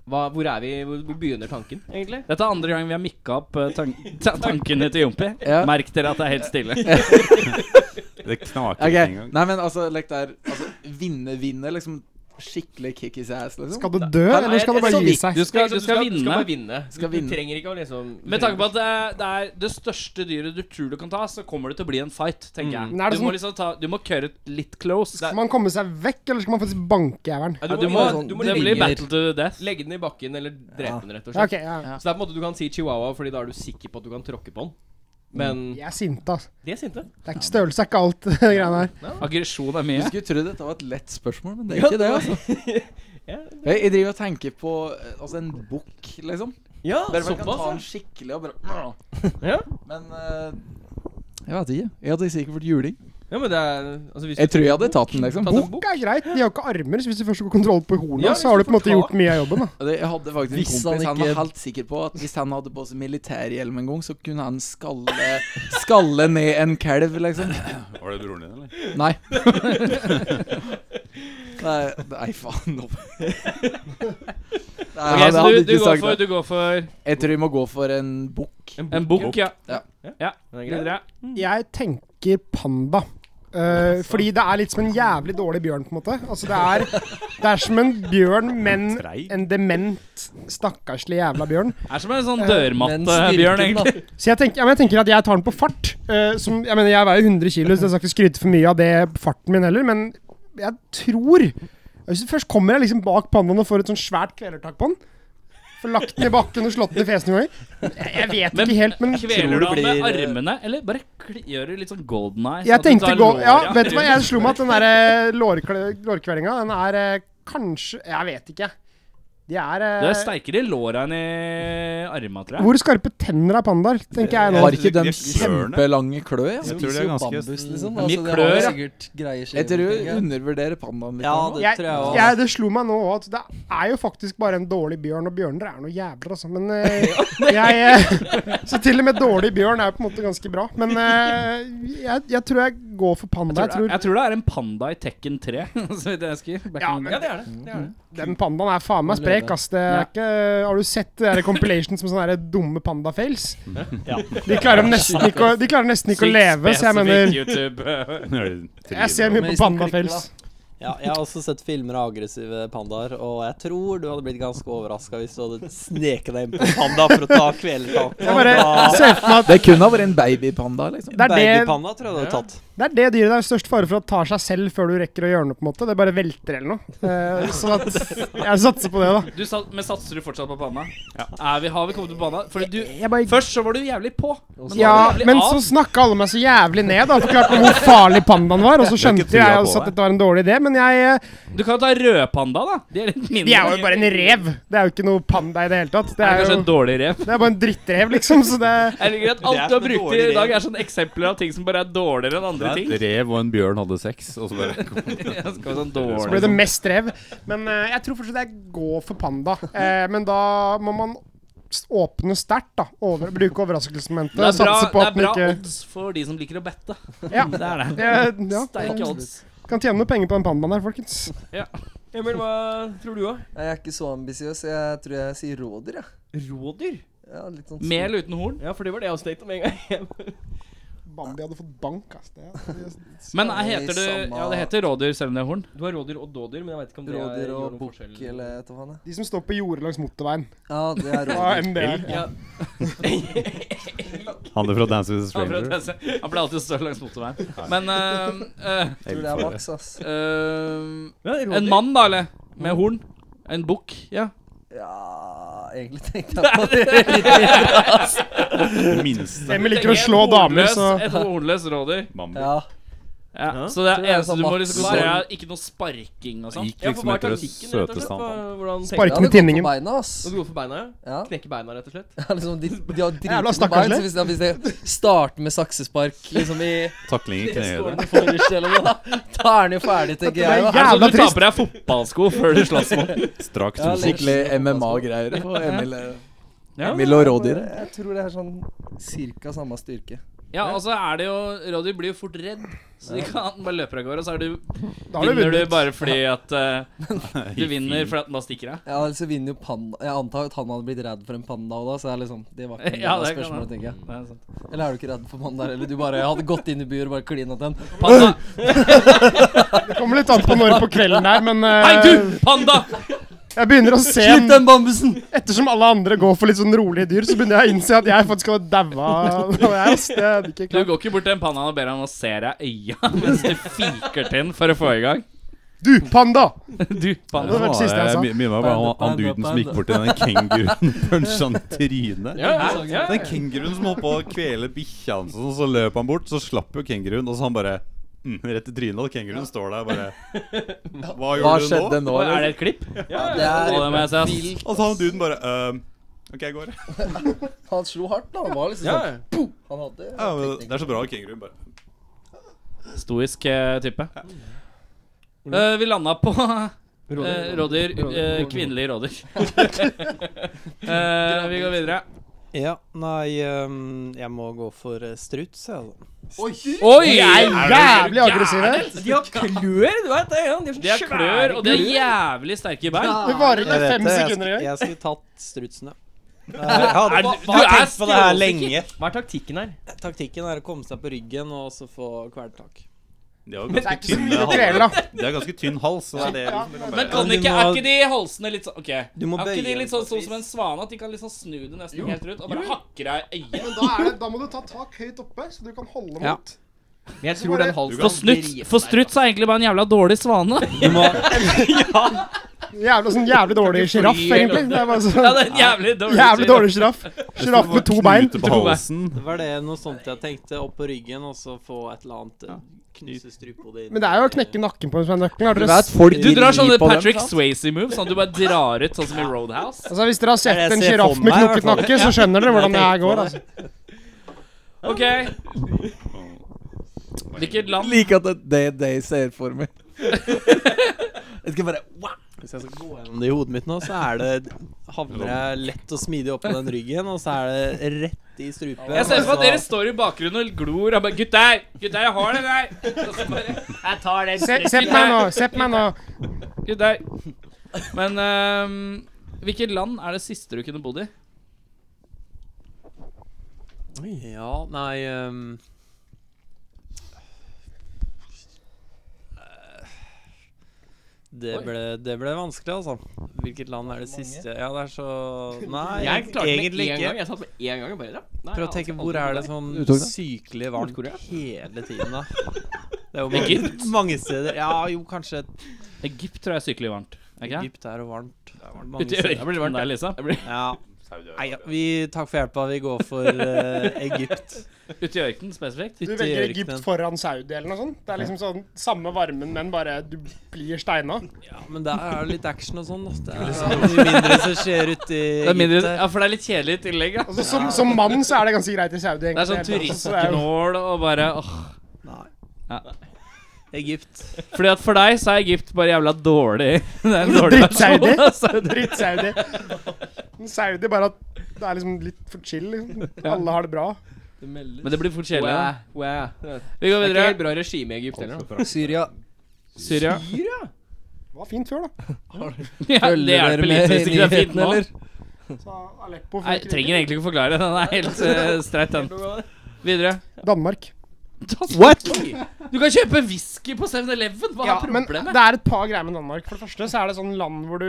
[SPEAKER 7] Hva, hvor er vi? Hvor begynner tanken, egentlig?
[SPEAKER 3] Dette er andre gang vi har mikka opp eh, tan ta tankene til Jompi.
[SPEAKER 8] Ja.
[SPEAKER 3] Merk dere at det er helt stille.
[SPEAKER 2] Det knaker
[SPEAKER 8] Ok,
[SPEAKER 2] ikke engang.
[SPEAKER 8] Nei, men altså, lek der altså, Vinne, vinne. Liksom skikkelig kick i ass, liksom.
[SPEAKER 6] Skal du dø, eller skal du bare gi seg?
[SPEAKER 3] Du skal, du skal
[SPEAKER 7] Du
[SPEAKER 3] vinne.
[SPEAKER 7] skal bare vinne.
[SPEAKER 8] Skal
[SPEAKER 7] du,
[SPEAKER 8] vinne.
[SPEAKER 7] du trenger ikke å liksom
[SPEAKER 3] Med tanke på at det, det er det største dyret du tror du kan ta, så kommer det til å bli en fight, tenker jeg.
[SPEAKER 6] Men er det
[SPEAKER 3] Du må
[SPEAKER 6] sånn-
[SPEAKER 3] liksom ta Du må køre litt close.
[SPEAKER 6] Skal man komme seg vekk, eller skal man faktisk banke jævelen?
[SPEAKER 7] ja,
[SPEAKER 3] ja, du
[SPEAKER 7] må,
[SPEAKER 3] må,
[SPEAKER 7] du må
[SPEAKER 3] det blir
[SPEAKER 7] legge,
[SPEAKER 3] battle to death.
[SPEAKER 7] legge den i bakken eller drepe den, rett og
[SPEAKER 6] Ok,
[SPEAKER 7] slett.
[SPEAKER 6] ja.
[SPEAKER 7] Så det er på en måte du kan si chihuahua, Fordi da er du sikker på at du kan tråkke på den. Men
[SPEAKER 3] Mm.
[SPEAKER 6] Jeg er sint, altså.
[SPEAKER 7] det er sinte.
[SPEAKER 6] Det er ikke størrelse er ikke alt, det greiene her.
[SPEAKER 3] Aggresjon er
[SPEAKER 8] Du
[SPEAKER 3] mye.
[SPEAKER 8] skulle tro dette var et lett spørsmål, men det er ikke det. altså Jeg, jeg driver og tenker på eh, altså, en bukk, liksom.
[SPEAKER 7] Ja,
[SPEAKER 8] Bare man kan ta
[SPEAKER 7] såpass.
[SPEAKER 8] den skikkelig og bare
[SPEAKER 7] Ja.
[SPEAKER 8] Men eh, Jeg vet ikke. Jeg hadde sikkert fått juling.
[SPEAKER 7] ja, men det er altså, hvis
[SPEAKER 8] Jeg
[SPEAKER 7] du-
[SPEAKER 8] tror jeg hadde tatt den, liksom.
[SPEAKER 7] Ta den
[SPEAKER 6] Bukk er greit, de har jo ikke armer, så hvis du først får kontroll på hornet,
[SPEAKER 7] Ja, hvis
[SPEAKER 6] så har
[SPEAKER 7] du
[SPEAKER 6] du på en måte
[SPEAKER 7] får
[SPEAKER 6] gjort mye av jobben. da.
[SPEAKER 8] Det- Jeg hadde faktisk
[SPEAKER 5] Hvis
[SPEAKER 8] en kompis
[SPEAKER 5] han
[SPEAKER 8] han,
[SPEAKER 5] ikke-
[SPEAKER 8] var helt sikker på at hvis han hadde på seg militærhjelm en gang, så kunne han skalle, skalle ned en kalv, liksom.
[SPEAKER 2] Var det broren din, eller?
[SPEAKER 8] Nei. Nei, nei faen. nå. Nei,
[SPEAKER 3] Ok,
[SPEAKER 8] han
[SPEAKER 3] så du,
[SPEAKER 8] hadde
[SPEAKER 3] du,
[SPEAKER 8] ikke
[SPEAKER 3] går
[SPEAKER 8] sagt
[SPEAKER 3] for,
[SPEAKER 8] det.
[SPEAKER 3] du går for
[SPEAKER 8] Jeg tror vi må gå for en bukk.
[SPEAKER 3] en bukk, ja.
[SPEAKER 8] Ja.
[SPEAKER 3] Ja,
[SPEAKER 7] Den er grei.
[SPEAKER 3] videre.
[SPEAKER 6] Jeg tenker panda. Eh, fordi det er litt som en jævlig dårlig bjørn, på en måte. Altså, det er, det er som en bjørn, men
[SPEAKER 2] Treig?
[SPEAKER 6] en dement, stakkarslig jævla bjørn.
[SPEAKER 3] Det er som en sånn
[SPEAKER 5] Men
[SPEAKER 3] dørmatte,
[SPEAKER 5] styrken,
[SPEAKER 3] Bjørn,
[SPEAKER 5] da.
[SPEAKER 3] egentlig.
[SPEAKER 6] Så jeg tenker, ja, men jeg tenker at jeg tar den på fart. eh, som, jeg mener, jeg veier 100 kilo, så jeg skal ikke skryte for mye av det farten min heller, men jeg tror Hvis du først kommer jeg liksom bak pandaen og får et sånn svært kvelertak på den Får lagt den i bakken og slått den i fjeset noen ganger. Jeg, jeg vet
[SPEAKER 3] Men-
[SPEAKER 6] ikke helt, men
[SPEAKER 3] Kveler du
[SPEAKER 8] det
[SPEAKER 3] han med
[SPEAKER 8] blir, eh,
[SPEAKER 3] armene, eller bare kli- gjør du litt sånn golden eye?
[SPEAKER 6] jeg tenkte gå Ja, vet du hva, jeg slo meg at den der lårkvelinga, den er eh, kanskje Jeg vet ikke. De er, eh,
[SPEAKER 3] Du er sterkere i låra enn i arma, tror jeg.
[SPEAKER 6] Hvor skarpe tenner er pandaer, tenker jeg
[SPEAKER 3] Eh,
[SPEAKER 6] nå.
[SPEAKER 8] Har ikke de
[SPEAKER 2] de klørne?
[SPEAKER 8] kjempelange klø? Ja?
[SPEAKER 2] Jeg tror det er ganske
[SPEAKER 5] Bambus, liksom.
[SPEAKER 3] Mye
[SPEAKER 5] Altså, det har
[SPEAKER 3] klør, ja.
[SPEAKER 5] sikkert greie skjever,
[SPEAKER 8] Jeg
[SPEAKER 5] tenker
[SPEAKER 8] tror du
[SPEAKER 5] jeg.
[SPEAKER 8] undervurderer pandaen litt.
[SPEAKER 5] Ja,
[SPEAKER 8] nå.
[SPEAKER 5] det
[SPEAKER 6] Jeg,
[SPEAKER 5] tror jeg
[SPEAKER 6] jeg, det slo meg nå òg at det er jo faktisk bare en dårlig bjørn, og bjørner er noe jævler, altså. Men eh, jeg eh, Så til og med dårlig bjørn er jo på en måte ganske bra. Men eh, jeg, jeg tror jeg går for panda.
[SPEAKER 3] Jeg tror,
[SPEAKER 6] Jeg tror
[SPEAKER 3] jeg tror det er en panda i Tekken 3. så vidt jeg husker. Back
[SPEAKER 6] Ja,
[SPEAKER 3] in the
[SPEAKER 7] Ja,
[SPEAKER 3] day.
[SPEAKER 7] det er det. det, er det.
[SPEAKER 6] Mm. den pandaen er faen meg sprek, ass. Det er ikke, har du sett det der compilations med sånne der dumme panda-fails? De klarer nesten ikke å, de klarer nesten ikke å
[SPEAKER 3] Sykt
[SPEAKER 6] leve, så jeg mener
[SPEAKER 3] spesifikk YouTube.
[SPEAKER 6] Jeg ser mye på
[SPEAKER 5] Men som
[SPEAKER 6] panda-fails.
[SPEAKER 13] Ja, jeg har også sett filmer av aggressive pandaer, og jeg tror du hadde blitt ganske overraska hvis du hadde sneket deg inn på en panda for å ta kvelertak.
[SPEAKER 6] Jeg bare ser for meg at
[SPEAKER 8] Det kunne ha vært en babypanda, liksom.
[SPEAKER 6] det er det
[SPEAKER 13] Babypanda tror jeg du hadde tatt.
[SPEAKER 6] Det er det dyret det er størst fare for at tar seg selv før du rekker å gjøre noe. på en måte Det bare velter eller noe. Eh, så at jeg satser på det, da.
[SPEAKER 3] Du sa, men satser du fortsatt på panna? Er vi, har vi kommet til panna? Fordi du,
[SPEAKER 6] Jeg bare,
[SPEAKER 3] først så var du jævlig på. Men nå
[SPEAKER 6] ja,
[SPEAKER 3] er du jævlig
[SPEAKER 6] men
[SPEAKER 3] av.
[SPEAKER 6] så snakka alle meg så jævlig ned da forklarte meg hvor farlig pandaen var. Og så skjønte
[SPEAKER 2] trua
[SPEAKER 6] jeg
[SPEAKER 2] på
[SPEAKER 6] også
[SPEAKER 2] deg.
[SPEAKER 6] at dette var en dårlig idé, men jeg eh,
[SPEAKER 3] Du kan jo ta rødpanda, da. De er litt mindre.
[SPEAKER 6] De er jo bare en rev. Det er jo ikke noe panda i det hele tatt. Det er
[SPEAKER 3] kanskje
[SPEAKER 6] jo
[SPEAKER 3] en dårlig rev.
[SPEAKER 6] det er bare en drittrev, liksom. Så det
[SPEAKER 3] Jeg liker at
[SPEAKER 13] Det
[SPEAKER 3] Alt
[SPEAKER 13] er
[SPEAKER 3] du har
[SPEAKER 13] en
[SPEAKER 3] brukt i
[SPEAKER 13] dårlig
[SPEAKER 3] dag,
[SPEAKER 13] rev.
[SPEAKER 3] er sånne eksempler av ting som bare er dårligere enn andre ting.
[SPEAKER 2] Et rev og en bjørn hadde sex, og så bare
[SPEAKER 3] Jeg skal være sånn
[SPEAKER 6] så ble
[SPEAKER 3] dårlig
[SPEAKER 6] det mest rev. Men eh, jeg tror fortsatt jeg går for panda. Eh, men da må man s- åpne sterkt, da. Over, bruke overraskelsesmomentet.
[SPEAKER 3] Det er bra,
[SPEAKER 6] Satse på
[SPEAKER 3] det
[SPEAKER 6] at
[SPEAKER 3] er
[SPEAKER 6] den
[SPEAKER 3] bra
[SPEAKER 6] ikke
[SPEAKER 3] odds for de som liker å bette.
[SPEAKER 6] Ja.
[SPEAKER 3] Det er det.
[SPEAKER 6] Eh, ja.
[SPEAKER 3] Sterke odds.
[SPEAKER 6] Kan tjene noe penger på den pandaen her, folkens.
[SPEAKER 7] Emil, hva tror du, da?
[SPEAKER 5] Nei, Jeg er ikke så ambisiøs. Jeg tror jeg sier rådyr, jeg.
[SPEAKER 7] Rådyr?
[SPEAKER 5] Ja. litt sånn
[SPEAKER 3] Med eller uten horn?
[SPEAKER 7] Ja, for det var det jeg også tenkte med en gang.
[SPEAKER 6] Bambi hadde fått bank, ass. Det, det,
[SPEAKER 3] Men eh, heter det Ja, det heter rådyr selv om det er horn.
[SPEAKER 7] Du har rådyr og dådyr, men jeg vet ikke om det er-
[SPEAKER 5] Rådyr
[SPEAKER 7] gjør
[SPEAKER 5] og
[SPEAKER 7] noen
[SPEAKER 5] bukk
[SPEAKER 7] forskjell.
[SPEAKER 5] eller et eller annet.
[SPEAKER 6] De som står på jordet langs motorveien.
[SPEAKER 5] Ja, det er
[SPEAKER 6] Ja,
[SPEAKER 5] rådyr.
[SPEAKER 6] enn det.
[SPEAKER 7] Ja.
[SPEAKER 2] Han er fra Dance with a
[SPEAKER 3] Han ble,
[SPEAKER 2] Stranger.
[SPEAKER 3] han ble alltid større langs motorveien. Men eh, eh,
[SPEAKER 5] Jeg tror det er maks, ass.
[SPEAKER 3] eh,
[SPEAKER 7] Ja, rådyr.
[SPEAKER 3] En mann, da, eller? Med horn? En bukk? Ja.
[SPEAKER 5] Ja, egentlig tenkte jeg på det.
[SPEAKER 2] Minste.
[SPEAKER 6] Emil liker å slå damer, så
[SPEAKER 3] Et hornløs rådyr.
[SPEAKER 2] Bambi.
[SPEAKER 5] Ja,
[SPEAKER 3] Ja, så det
[SPEAKER 5] Tror
[SPEAKER 3] er
[SPEAKER 5] det er
[SPEAKER 3] eneste
[SPEAKER 5] sånn
[SPEAKER 3] du må
[SPEAKER 5] maks-
[SPEAKER 3] liksom konsentrere deg Ikke noe sparking og sånn.
[SPEAKER 2] Gikk liksom
[SPEAKER 7] hva er
[SPEAKER 2] etter det
[SPEAKER 7] taktikken, rett og slett,
[SPEAKER 2] søteste han fant.
[SPEAKER 7] hva- hvordan tenker
[SPEAKER 5] det
[SPEAKER 6] Spark
[SPEAKER 5] hadde
[SPEAKER 6] med
[SPEAKER 5] gått på
[SPEAKER 6] tinningen.
[SPEAKER 5] beina, ass.
[SPEAKER 7] du? Nå går for beina, ja.
[SPEAKER 5] Ja,
[SPEAKER 7] Knekke beina, rett og slett.
[SPEAKER 5] ja liksom de, de har
[SPEAKER 6] Jævla
[SPEAKER 5] dritende
[SPEAKER 6] stakkars
[SPEAKER 5] bein, så
[SPEAKER 6] lett.
[SPEAKER 5] hvis de, hvis de starter med saksespark liksom i
[SPEAKER 2] Takling i knehøyde.
[SPEAKER 5] skårene forrest eller noe, da, da er den jo ferdig, tenker jeg.
[SPEAKER 3] Er det
[SPEAKER 5] da.
[SPEAKER 3] sånn
[SPEAKER 6] Jævla
[SPEAKER 3] du tar på deg fotballsko før du slåss mot den?
[SPEAKER 2] Strak
[SPEAKER 5] Ja,
[SPEAKER 2] trose.
[SPEAKER 5] litt.
[SPEAKER 8] Skikkelig MMA-greier på Emil, eh,
[SPEAKER 3] Ja.
[SPEAKER 8] Emil og rådyret.
[SPEAKER 5] Jeg tror det er sånn cirka samme styrke.
[SPEAKER 3] Ja, og så er det jo Rådyr blir jo fort redd, så de kan bare løpe av gårde, og så er du,
[SPEAKER 6] da har du
[SPEAKER 3] vinner du
[SPEAKER 6] vunnet.
[SPEAKER 3] bare fordi at eh, Du vinner fordi at den bare stikker av.
[SPEAKER 5] Ja, altså vinner jo panda Jeg antar at han hadde blitt redd for en panda òg, da, så det er liksom Det var ikke
[SPEAKER 3] Ja,
[SPEAKER 5] noe
[SPEAKER 3] det kan
[SPEAKER 5] spørsmål,
[SPEAKER 3] være.
[SPEAKER 5] tenker jeg.
[SPEAKER 3] Det er sant.
[SPEAKER 5] Eller er du ikke redd for pandaer, eller du bare hadde gått inn i buret og bare klina til en?
[SPEAKER 3] Panda!
[SPEAKER 6] Det kommer litt an på når på kvelden her, men eh,
[SPEAKER 3] Hei, du! Panda!
[SPEAKER 6] jeg begynner å se
[SPEAKER 5] Slipp den bambusen!
[SPEAKER 6] Ettersom alle andre går for litt sånn rolige dyr, så begynner jeg å innse at jeg faktisk hadde daua. av det her, ass. Det hadde
[SPEAKER 3] Du
[SPEAKER 6] ikke klart.
[SPEAKER 3] går ikke bort til en panda og ber ham å se deg i øya mens du fiker til den for å få i gang.
[SPEAKER 6] Du, panda!
[SPEAKER 3] Du,
[SPEAKER 2] Ja,
[SPEAKER 6] Det
[SPEAKER 3] panda.
[SPEAKER 6] var det siste jeg sa.
[SPEAKER 2] my- mye meg bare han, han
[SPEAKER 5] Panda,
[SPEAKER 2] duden som
[SPEAKER 5] panda.
[SPEAKER 2] gikk bort til den kenguruen punsja han i trynet.
[SPEAKER 3] Ja, ja, ja.
[SPEAKER 2] Den kenguruen som holdt på å kvele bikkja hans, og sånn, så løp han bort, så slapp jo kenguruen, og så han bare mm, rett i trynet, og kenguruen står der bare Hva
[SPEAKER 8] Hva
[SPEAKER 2] gjorde du nå?
[SPEAKER 8] skjedde nå?
[SPEAKER 3] Og
[SPEAKER 8] eller?
[SPEAKER 3] Er det et klipp?
[SPEAKER 5] Det
[SPEAKER 3] Å,
[SPEAKER 5] er
[SPEAKER 3] det må jeg se, ass.
[SPEAKER 5] vilt.
[SPEAKER 2] Og så han duden bare «Øhm, OK, jeg går.
[SPEAKER 5] Han slo hardt, da. Han var liksom
[SPEAKER 7] Ja,
[SPEAKER 5] sånn
[SPEAKER 7] ja.
[SPEAKER 5] Han hadde
[SPEAKER 2] Ja, men det er så bra at kenguruen bare
[SPEAKER 3] Stoisk eh, type. Eh, vi landa på eh, rådyr. eh, kvinnelig rådyr. Eh, vi går videre.
[SPEAKER 13] Ja, nei, ehm, jeg må gå for eh, struts, jeg, altså.
[SPEAKER 3] Oi!
[SPEAKER 6] Jeg er jævlig aggressiv her.
[SPEAKER 7] De har klør, du vet det? Ja. De har sånn
[SPEAKER 3] De har klør, og de har jævlig sterke bein.
[SPEAKER 6] Det varer
[SPEAKER 13] Jeg
[SPEAKER 6] i
[SPEAKER 13] vet
[SPEAKER 6] fem
[SPEAKER 13] det, jeg
[SPEAKER 6] sekunder i
[SPEAKER 13] sk-
[SPEAKER 6] gang.
[SPEAKER 13] Jeg skulle tatt strutsen, ja. Eh, Jeg hadde ba-
[SPEAKER 3] du- du
[SPEAKER 13] bare
[SPEAKER 3] er
[SPEAKER 13] tenkt på det her lenge.
[SPEAKER 7] skråsikker. Hva er taktikken her?
[SPEAKER 13] Taktikken er å komme seg på ryggen og så få kvelertak.
[SPEAKER 2] De har jo ganske
[SPEAKER 6] Så
[SPEAKER 2] tynn
[SPEAKER 6] mye det krever,
[SPEAKER 2] hals.
[SPEAKER 6] da.
[SPEAKER 2] De har ganske tynn hals, så det er det liksom bare-
[SPEAKER 3] Men kan
[SPEAKER 13] Men du
[SPEAKER 3] sånn ikke, er
[SPEAKER 13] må-
[SPEAKER 3] ikke de halsene litt sånn Ok,
[SPEAKER 13] Du må
[SPEAKER 3] er ikke de
[SPEAKER 13] bøye
[SPEAKER 3] litt
[SPEAKER 13] den
[SPEAKER 3] sånn
[SPEAKER 13] på
[SPEAKER 3] sånn
[SPEAKER 13] et
[SPEAKER 3] som en svane? At de kan liksom snu det nesten helt rundt og bare hakke deg i øyet?
[SPEAKER 6] Men da, er det, da må du ta tak høyt oppe, så du kan holde
[SPEAKER 13] Ja.
[SPEAKER 6] mot.
[SPEAKER 7] Men jeg tror den
[SPEAKER 2] Du
[SPEAKER 7] halsen
[SPEAKER 2] kan-
[SPEAKER 3] For struts, for struts er egentlig bare en jævla dårlig svane.
[SPEAKER 6] Jævlig, sånn jævlig dårlig sjiraff, egentlig. Det er bare
[SPEAKER 3] Ja,
[SPEAKER 6] sånn
[SPEAKER 3] det er en jævlig dårlig
[SPEAKER 6] Jævlig dårlig sjiraff. Sjiraff med to bein.
[SPEAKER 2] Knute på halsen.
[SPEAKER 13] Var det noe sånt jeg tenkte? Opp på ryggen og så få et eller annet eh, Knuse struphodet inn
[SPEAKER 6] Men det er jo å knekke nakken på en sånn nøkkel. Har
[SPEAKER 8] Du
[SPEAKER 6] dere
[SPEAKER 8] vet,
[SPEAKER 6] s-
[SPEAKER 8] folk
[SPEAKER 3] Du drar sånne
[SPEAKER 8] rir på dem,
[SPEAKER 3] Patrick
[SPEAKER 8] sant?
[SPEAKER 3] Swayze-moves, sånn at du bare drar ut sånn som i Roadhouse.
[SPEAKER 6] Altså, hvis dere har
[SPEAKER 13] Det er det jeg
[SPEAKER 6] sett en
[SPEAKER 13] ser
[SPEAKER 6] sjiraff
[SPEAKER 13] for meg,
[SPEAKER 6] med
[SPEAKER 13] i hvert
[SPEAKER 6] knokket nakke, så skjønner dere hvordan det her går. altså.
[SPEAKER 3] OK. Hvilket land
[SPEAKER 8] Like at det er det de ser for meg. Jeg skal bare
[SPEAKER 13] Hvis jeg skal gå gjennom det i hodet mitt nå, så er det havner jeg lett og smidig oppå den ryggen, og så er det rett i strupen.
[SPEAKER 3] Jeg ser for meg at
[SPEAKER 13] og
[SPEAKER 3] dere står i bakgrunnen og glor og bare 'Gutter! Gutter, jeg har den der!' Og så bare 'Jeg tar den
[SPEAKER 6] Se, se på meg nå. se på meg nå.
[SPEAKER 3] Gutter. Men ehm, hvilket land er det siste du kunne bodd i?
[SPEAKER 13] så- Ja, nei ehm, det ble, det ble vanskelig, altså. Hvilket land er det siste Ja, det er så Nei,
[SPEAKER 7] Jeg klarte det med
[SPEAKER 13] egentlig
[SPEAKER 7] én gang.
[SPEAKER 13] ikke.
[SPEAKER 7] Jeg satt med én gang og bare Nei,
[SPEAKER 3] altså,
[SPEAKER 13] Prøv å tenke hvor er det sånn
[SPEAKER 8] Du tok det?
[SPEAKER 13] sykelig varmt
[SPEAKER 7] Nord-Korea?
[SPEAKER 13] hele tiden, da? Det er jo mange, mange steder Ja, jo, kanskje
[SPEAKER 3] Egypt tror jeg er sykelig varmt. Er ikke det?
[SPEAKER 13] Egypt er jo varmt. Mange
[SPEAKER 3] Ute i
[SPEAKER 13] steder.
[SPEAKER 3] ørkenen der, liksom. Lisa.
[SPEAKER 13] Ja. Nei, ja, vi, takk for hjelpa. Vi går for eh, Egypt.
[SPEAKER 3] Ute i ørkenen spesifikt.
[SPEAKER 6] Du
[SPEAKER 13] Ute i
[SPEAKER 6] velger
[SPEAKER 13] ørkenen.
[SPEAKER 6] Egypt foran Saudi eller noe sånt. Det er liksom sånn samme varmen, men bare du blir steina.
[SPEAKER 13] Ja, men der er det litt action og sånn. da. Det er mye mindre som skjer uti
[SPEAKER 3] Det er mindre,
[SPEAKER 13] Egypt der.
[SPEAKER 3] ja, for det er litt kjedelig i tillegg, ja.
[SPEAKER 6] Altså, som, som mann så er det ganske greit i Saudi.
[SPEAKER 3] Det er sånn
[SPEAKER 6] egentlig. Altså, så det er jo-
[SPEAKER 3] turistknål og bare åh.
[SPEAKER 13] Nei.
[SPEAKER 3] Ja.
[SPEAKER 13] Egypt.
[SPEAKER 3] Fordi at for deg så er Egypt bare jævla dårlig. Det er en dårlig versjon.
[SPEAKER 6] Drittsaudi.
[SPEAKER 3] Altså.
[SPEAKER 6] Dritt-Saudi. Men Saudi bare at det er liksom litt for chill. Liksom. Alle har det bra.
[SPEAKER 3] Men det blir fort kjedelig.
[SPEAKER 7] Wow.
[SPEAKER 3] da.
[SPEAKER 7] wow. Det er
[SPEAKER 3] Vi går
[SPEAKER 7] ikke helt
[SPEAKER 3] videre.
[SPEAKER 7] bra regime i Egypt heller. da.
[SPEAKER 5] Syria.
[SPEAKER 3] Syria.
[SPEAKER 6] Det var fint før, da.
[SPEAKER 3] Ja, det
[SPEAKER 5] Følger dere
[SPEAKER 3] hjelper litt
[SPEAKER 5] med
[SPEAKER 3] hvis
[SPEAKER 5] i
[SPEAKER 3] ikke det er fint
[SPEAKER 5] nyhetene,
[SPEAKER 3] nå.
[SPEAKER 5] eller?
[SPEAKER 6] Så Aleppo
[SPEAKER 3] Nei,
[SPEAKER 6] fikk
[SPEAKER 3] trenger egentlig ikke forklare. Den er helt eh, streit, den. Videre.
[SPEAKER 6] Danmark.
[SPEAKER 3] Tass-
[SPEAKER 2] What?
[SPEAKER 3] Du kan kjøpe whisky på 7-Eleven! Hva
[SPEAKER 6] Ja,
[SPEAKER 3] er
[SPEAKER 6] men
[SPEAKER 3] problemet?
[SPEAKER 6] det er et par greier med Danmark. For det første så er det sånn land hvor du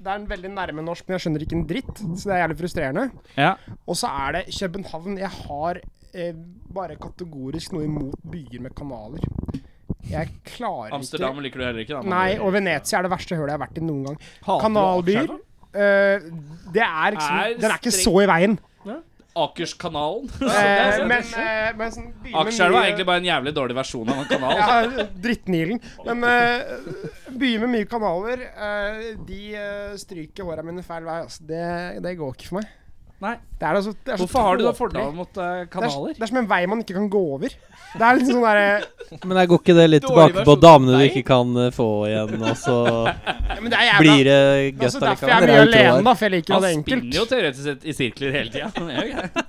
[SPEAKER 6] Det er en veldig nærme norsk, men jeg skjønner ikke en dritt. Så det er jævlig frustrerende.
[SPEAKER 14] Ja.
[SPEAKER 6] Og så er det København. Jeg har eh, bare kategorisk noe imot byer med kanaler. Jeg klarer
[SPEAKER 3] Amsterdam
[SPEAKER 6] ikke
[SPEAKER 3] liker du heller ikke, da. men-
[SPEAKER 6] Nei, og Venezia er det verste hølet jeg har vært i noen gang.
[SPEAKER 3] Hater du
[SPEAKER 6] Kanalbyer
[SPEAKER 3] Akerselva?
[SPEAKER 6] eh, Det er liksom
[SPEAKER 3] Er
[SPEAKER 6] Den er ikke
[SPEAKER 3] streng-
[SPEAKER 6] så i veien.
[SPEAKER 3] Akerskanalen.
[SPEAKER 6] Eh, men eh, men sånn byer med
[SPEAKER 3] Akerselva
[SPEAKER 6] mye-
[SPEAKER 3] er egentlig bare en jævlig dårlig versjon av en kanal.
[SPEAKER 6] Ja, drittnilen. Men eh, byer med mye kanaler, eh, de eh, stryker håra mine feil vei. Altså. Det, det går ikke for meg.
[SPEAKER 3] Nei.
[SPEAKER 6] Det er altså, det er så
[SPEAKER 3] Hvorfor har du da
[SPEAKER 6] tåpelig.
[SPEAKER 3] fordommer mot eh,
[SPEAKER 6] Det er,
[SPEAKER 3] kanaler?
[SPEAKER 6] det er som en vei man ikke kan gå over. Det er liksom sånn derre
[SPEAKER 1] Men jeg går ikke det litt
[SPEAKER 3] Dårlig
[SPEAKER 1] tilbake på
[SPEAKER 3] versjon
[SPEAKER 1] damene du
[SPEAKER 3] av deg?
[SPEAKER 1] ikke kan eh, få igjen, og så
[SPEAKER 6] Men det er jævla Altså,
[SPEAKER 1] blir det
[SPEAKER 3] altså,
[SPEAKER 1] gøtt
[SPEAKER 6] Det liksom. er også derfor jeg
[SPEAKER 1] allikevel?
[SPEAKER 6] er mye
[SPEAKER 1] Dere er jo
[SPEAKER 6] alene,
[SPEAKER 1] troer.
[SPEAKER 6] da, for jeg liker å ha det
[SPEAKER 3] Han
[SPEAKER 6] enkelt.
[SPEAKER 3] spinner jo teoretisk sett i sirkler hele tida.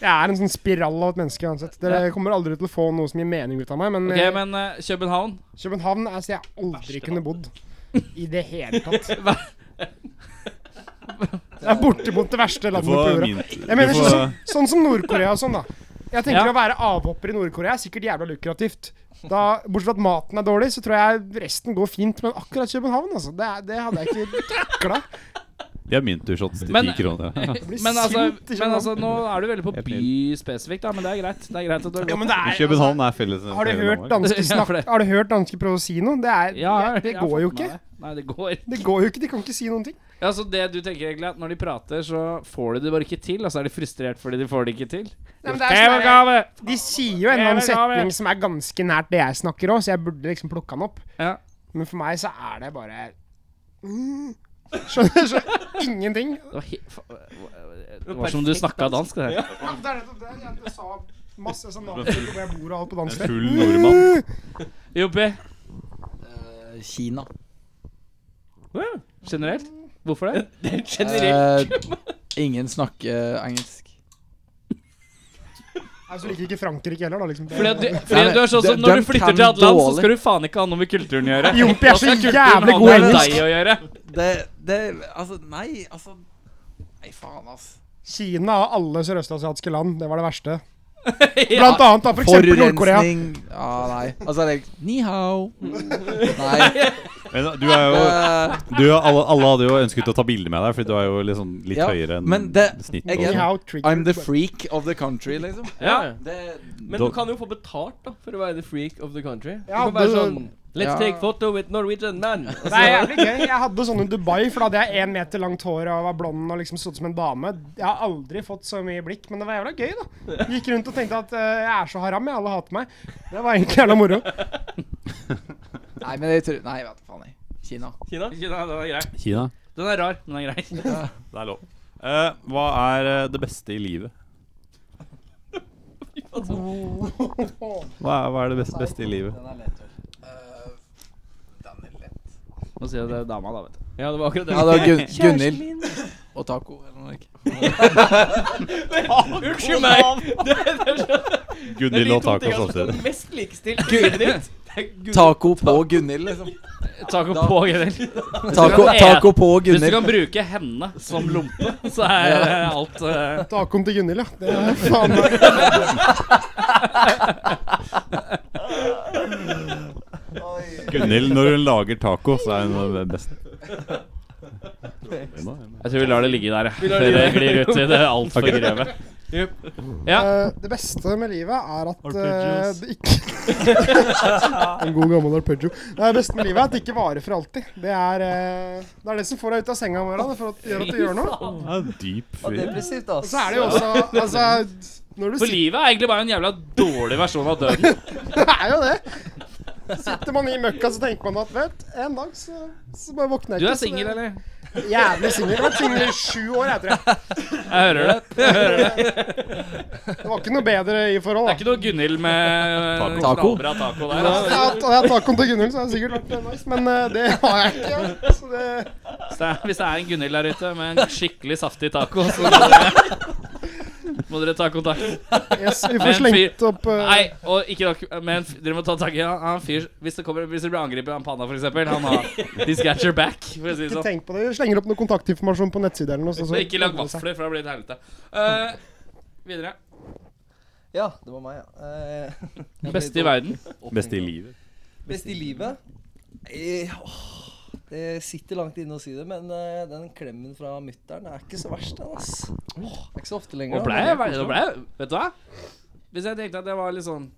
[SPEAKER 6] Jeg er en sånn spiral av et menneske uansett. Dere kommer aldri til å få noe som gir mening ut av meg, men,
[SPEAKER 3] Ok,
[SPEAKER 6] eh,
[SPEAKER 3] men eh, København
[SPEAKER 6] København er så jeg aldri kunne bodd. I det hele tatt. Det er bortimot det verste
[SPEAKER 2] Du
[SPEAKER 6] landet på
[SPEAKER 2] får
[SPEAKER 6] jorda.
[SPEAKER 2] mint.
[SPEAKER 6] Jeg
[SPEAKER 2] Du
[SPEAKER 6] mener sånn,
[SPEAKER 2] får,
[SPEAKER 6] som- sånn som Nord-Korea og sånn, da. Jeg tenker
[SPEAKER 3] Ja.
[SPEAKER 6] å være avhopper i Nord-Korea er sikkert jævla lukrativt. Da, bortsett fra at maten er dårlig, så tror jeg resten går fint. Men akkurat København, altså. Det, er- det hadde jeg ikke takla.
[SPEAKER 2] de har mintushots til
[SPEAKER 3] Men-
[SPEAKER 2] ti kroner.
[SPEAKER 3] men altså,
[SPEAKER 6] sint i
[SPEAKER 3] men altså,
[SPEAKER 6] København.
[SPEAKER 3] nå er du veldig på
[SPEAKER 2] Helt
[SPEAKER 3] by spesifikt, da, men det er greit. Det er greit at du har
[SPEAKER 6] Ja,
[SPEAKER 3] gått
[SPEAKER 6] men det er, altså,
[SPEAKER 2] København er felles.
[SPEAKER 6] har, du
[SPEAKER 2] felles
[SPEAKER 6] hørt
[SPEAKER 2] Danmark.
[SPEAKER 6] danske
[SPEAKER 3] Ja, for
[SPEAKER 6] snakke,
[SPEAKER 3] det-
[SPEAKER 6] har du hørt danske prøve å si noe? Det, er,
[SPEAKER 3] Ja, jeg-
[SPEAKER 6] det, det
[SPEAKER 3] jeg har
[SPEAKER 6] går jo
[SPEAKER 3] fått med
[SPEAKER 6] ikke.
[SPEAKER 3] meg det. Nei, det går
[SPEAKER 6] Det går jo ikke, De kan ikke si noen ting.
[SPEAKER 3] Ja, så det du tenker egentlig er at Når de prater, så får de det bare ikke til, og så er de frustrert fordi de får det ikke til?
[SPEAKER 6] Nei, men det er sånn der-
[SPEAKER 3] Kævegave!
[SPEAKER 6] De sier jo en eller annen
[SPEAKER 3] Det er det
[SPEAKER 6] setning
[SPEAKER 3] gave.
[SPEAKER 6] som er ganske nært det jeg snakker òg, så jeg burde liksom plukka den opp.
[SPEAKER 3] Ja.
[SPEAKER 6] Men for meg så er det bare Mm. Skjønner, skjønner ingenting.
[SPEAKER 3] Det var, he fa- det var som du snakka dansk, det her.
[SPEAKER 6] altså. Ja, det er nettopp det. Jeg, jeg sa masse sånn navn på hvor jeg bor og alt på
[SPEAKER 2] En
[SPEAKER 6] dansk.
[SPEAKER 2] full nordmann.
[SPEAKER 3] Joppi,
[SPEAKER 8] Eh, Kina.
[SPEAKER 3] generelt? Hvorfor det?
[SPEAKER 8] Eh, ingen snakker engelsk.
[SPEAKER 6] Jeg så liker ikke Frankrike heller, da. liksom. Det-
[SPEAKER 3] Fordi, at du, fordi
[SPEAKER 8] Nei,
[SPEAKER 3] at du er sånn
[SPEAKER 8] det-
[SPEAKER 3] som Når du
[SPEAKER 8] den
[SPEAKER 3] flytter
[SPEAKER 8] kan
[SPEAKER 3] til et land, så
[SPEAKER 8] dårlig.
[SPEAKER 3] skal du faen ikke ha noe med kulturen å gjøre.
[SPEAKER 6] Jompi er så
[SPEAKER 3] Da skal kulturen
[SPEAKER 6] jævlig
[SPEAKER 3] ha
[SPEAKER 6] god
[SPEAKER 3] noe med
[SPEAKER 6] engelsk.
[SPEAKER 3] deg å gjøre.
[SPEAKER 8] Det, det Altså, nei, altså Nei, faen, altså.
[SPEAKER 6] Kina og alle sørøstasiatiske land, det var det verste.
[SPEAKER 3] Ja.
[SPEAKER 6] Blant annet da, for eksempel Nord-Korea.
[SPEAKER 8] Ja, nei. Altså, det er Ni hao. Nei.
[SPEAKER 2] Men du er jo
[SPEAKER 8] eh,
[SPEAKER 2] du, alle, alle hadde jo ønsket å ta bilde med deg, Fordi du er jo liksom litt
[SPEAKER 8] Ja,
[SPEAKER 2] høyere enn
[SPEAKER 8] men det-
[SPEAKER 2] snittet.
[SPEAKER 8] jeg-
[SPEAKER 2] og sånn.
[SPEAKER 6] Anyhow, trigger-
[SPEAKER 8] I'm the freak of the country, liksom.
[SPEAKER 3] Ja.
[SPEAKER 8] Det,
[SPEAKER 3] Men
[SPEAKER 2] Da-
[SPEAKER 3] du kan jo få betalt da for å være the freak of the country. Du
[SPEAKER 6] Ja,
[SPEAKER 3] kan være
[SPEAKER 6] du-
[SPEAKER 3] sånn Let's
[SPEAKER 8] Ja.
[SPEAKER 3] take photo with Norwegian man.
[SPEAKER 6] Det er jævlig gøy. Jeg hadde sånn i Dubai, for da hadde jeg én meter langt hår og var blond og liksom så ut som en dame. Jeg har aldri fått så mye blikk, men det var jævla gøy, da. Gikk rundt og tenkte at eh, jeg er så haram, jeg. Alle hater meg. Det var egentlig jævla moro.
[SPEAKER 8] nei, men jeg tror Nei, vet du faen. jeg. Kina.
[SPEAKER 3] Kina, Kina, den er grei.
[SPEAKER 2] Kina.
[SPEAKER 3] Den er rar, men den er grei.
[SPEAKER 2] Det er lov. Eh, hva er eh, det beste i livet? Hva er, hva er det beste, beste i livet?
[SPEAKER 3] Nå sier jeg det er dama, da, vet du. Ja, det var akkurat det.
[SPEAKER 8] Ja, det var Gun Gunhild. Og taco. Eller noe. ikke?
[SPEAKER 3] Unnskyld meg!
[SPEAKER 2] Gunhild og taco samtidig.
[SPEAKER 3] mest likestilte livet ditt.
[SPEAKER 8] Taco på Gunhild, liksom.
[SPEAKER 3] Taco
[SPEAKER 8] Da-
[SPEAKER 3] på Gunhild.
[SPEAKER 8] Taco,
[SPEAKER 3] kan-
[SPEAKER 8] taco på
[SPEAKER 3] Hvis du kan
[SPEAKER 8] Gunhild.
[SPEAKER 3] bruke henne som lompe, så er eh, alt eh,
[SPEAKER 6] Tacoen til Gunhild, ja. Det er faen meg
[SPEAKER 2] Gunhild, når hun lager taco, så er hun den beste.
[SPEAKER 3] Jeg tror vi lar det ligge der, jeg. Før det glir ut i det altfor grøve.
[SPEAKER 6] Eh, det beste med livet er at eh, det ikke En god gammel arpeggio. Nei, Det beste med livet er at det ikke varer for alltid. Det er, eh, det, er det som får deg ut av senga om morgenen. For at det gjør at du gjør noe.
[SPEAKER 2] Ja, dyp
[SPEAKER 15] Og
[SPEAKER 2] fyr.
[SPEAKER 15] depressivt, ass.
[SPEAKER 6] Og så er det jo også Altså, når du
[SPEAKER 3] For
[SPEAKER 6] sitter
[SPEAKER 3] livet er egentlig bare en jævla dårlig versjon av døden.
[SPEAKER 6] Det er jo det. Sitter man i møkka, så tenker man at vet, en dag så, så bare våkner
[SPEAKER 3] Du
[SPEAKER 6] jeg ikke.
[SPEAKER 3] er
[SPEAKER 6] så det-
[SPEAKER 3] singel, eller?
[SPEAKER 6] Jævlig singel. Vært singel i sju år, jeg tror jeg.
[SPEAKER 3] Jeg hører det.
[SPEAKER 6] Det var ikke noe bedre i forhold,
[SPEAKER 3] Det
[SPEAKER 6] da.
[SPEAKER 3] er ikke noe Gunhild med eh,
[SPEAKER 8] Taco.
[SPEAKER 3] knallbra taco
[SPEAKER 6] Hadde
[SPEAKER 3] der. altså.
[SPEAKER 6] jeg hatt- hadde jeg hatt tacoen til Gunhild, så hadde det sikkert vært eh, nice, men eh, det har jeg ikke. Så det,
[SPEAKER 3] Hvis det, er, hvis det er en Gunhild der ute med en skikkelig saftig taco, så må dere, må dere ta kontakt.
[SPEAKER 6] yes, vi
[SPEAKER 3] Men
[SPEAKER 6] får
[SPEAKER 3] fyr-
[SPEAKER 6] slengt opp eh,
[SPEAKER 3] Nei, og ikke nok, men f- dere må ta tak i han, han fyr Hvis det, kommer, hvis det blir angrepet av en panda, for eksempel Han har He's got your back, for å si det
[SPEAKER 6] Ikke
[SPEAKER 3] sånn.
[SPEAKER 6] tenk på det. Vi slenger opp noe kontaktinformasjon på nettsiden eller noe. Så, så
[SPEAKER 3] Men ikke lag
[SPEAKER 6] ordner det seg.
[SPEAKER 3] vafler, for da blir det helvete. Eh, videre.
[SPEAKER 5] Ja, det var meg, ja. Eh, jeg
[SPEAKER 3] Beste i
[SPEAKER 5] ble
[SPEAKER 3] verden?
[SPEAKER 5] opp-
[SPEAKER 2] Beste i livet.
[SPEAKER 5] Best i livet? Eh, åh, det sitter langt inne å si det, men eh, den klemmen fra mutter'n er ikke så verst, den, ass. Åh, det er ikke så ofte lenger.
[SPEAKER 3] Nå
[SPEAKER 5] da,
[SPEAKER 3] ble
[SPEAKER 5] men
[SPEAKER 3] jeg
[SPEAKER 5] det er
[SPEAKER 3] veldig- nå
[SPEAKER 5] koselig.
[SPEAKER 3] ble jeg- Vet du hva? Hvis jeg tenkte at jeg var litt sånn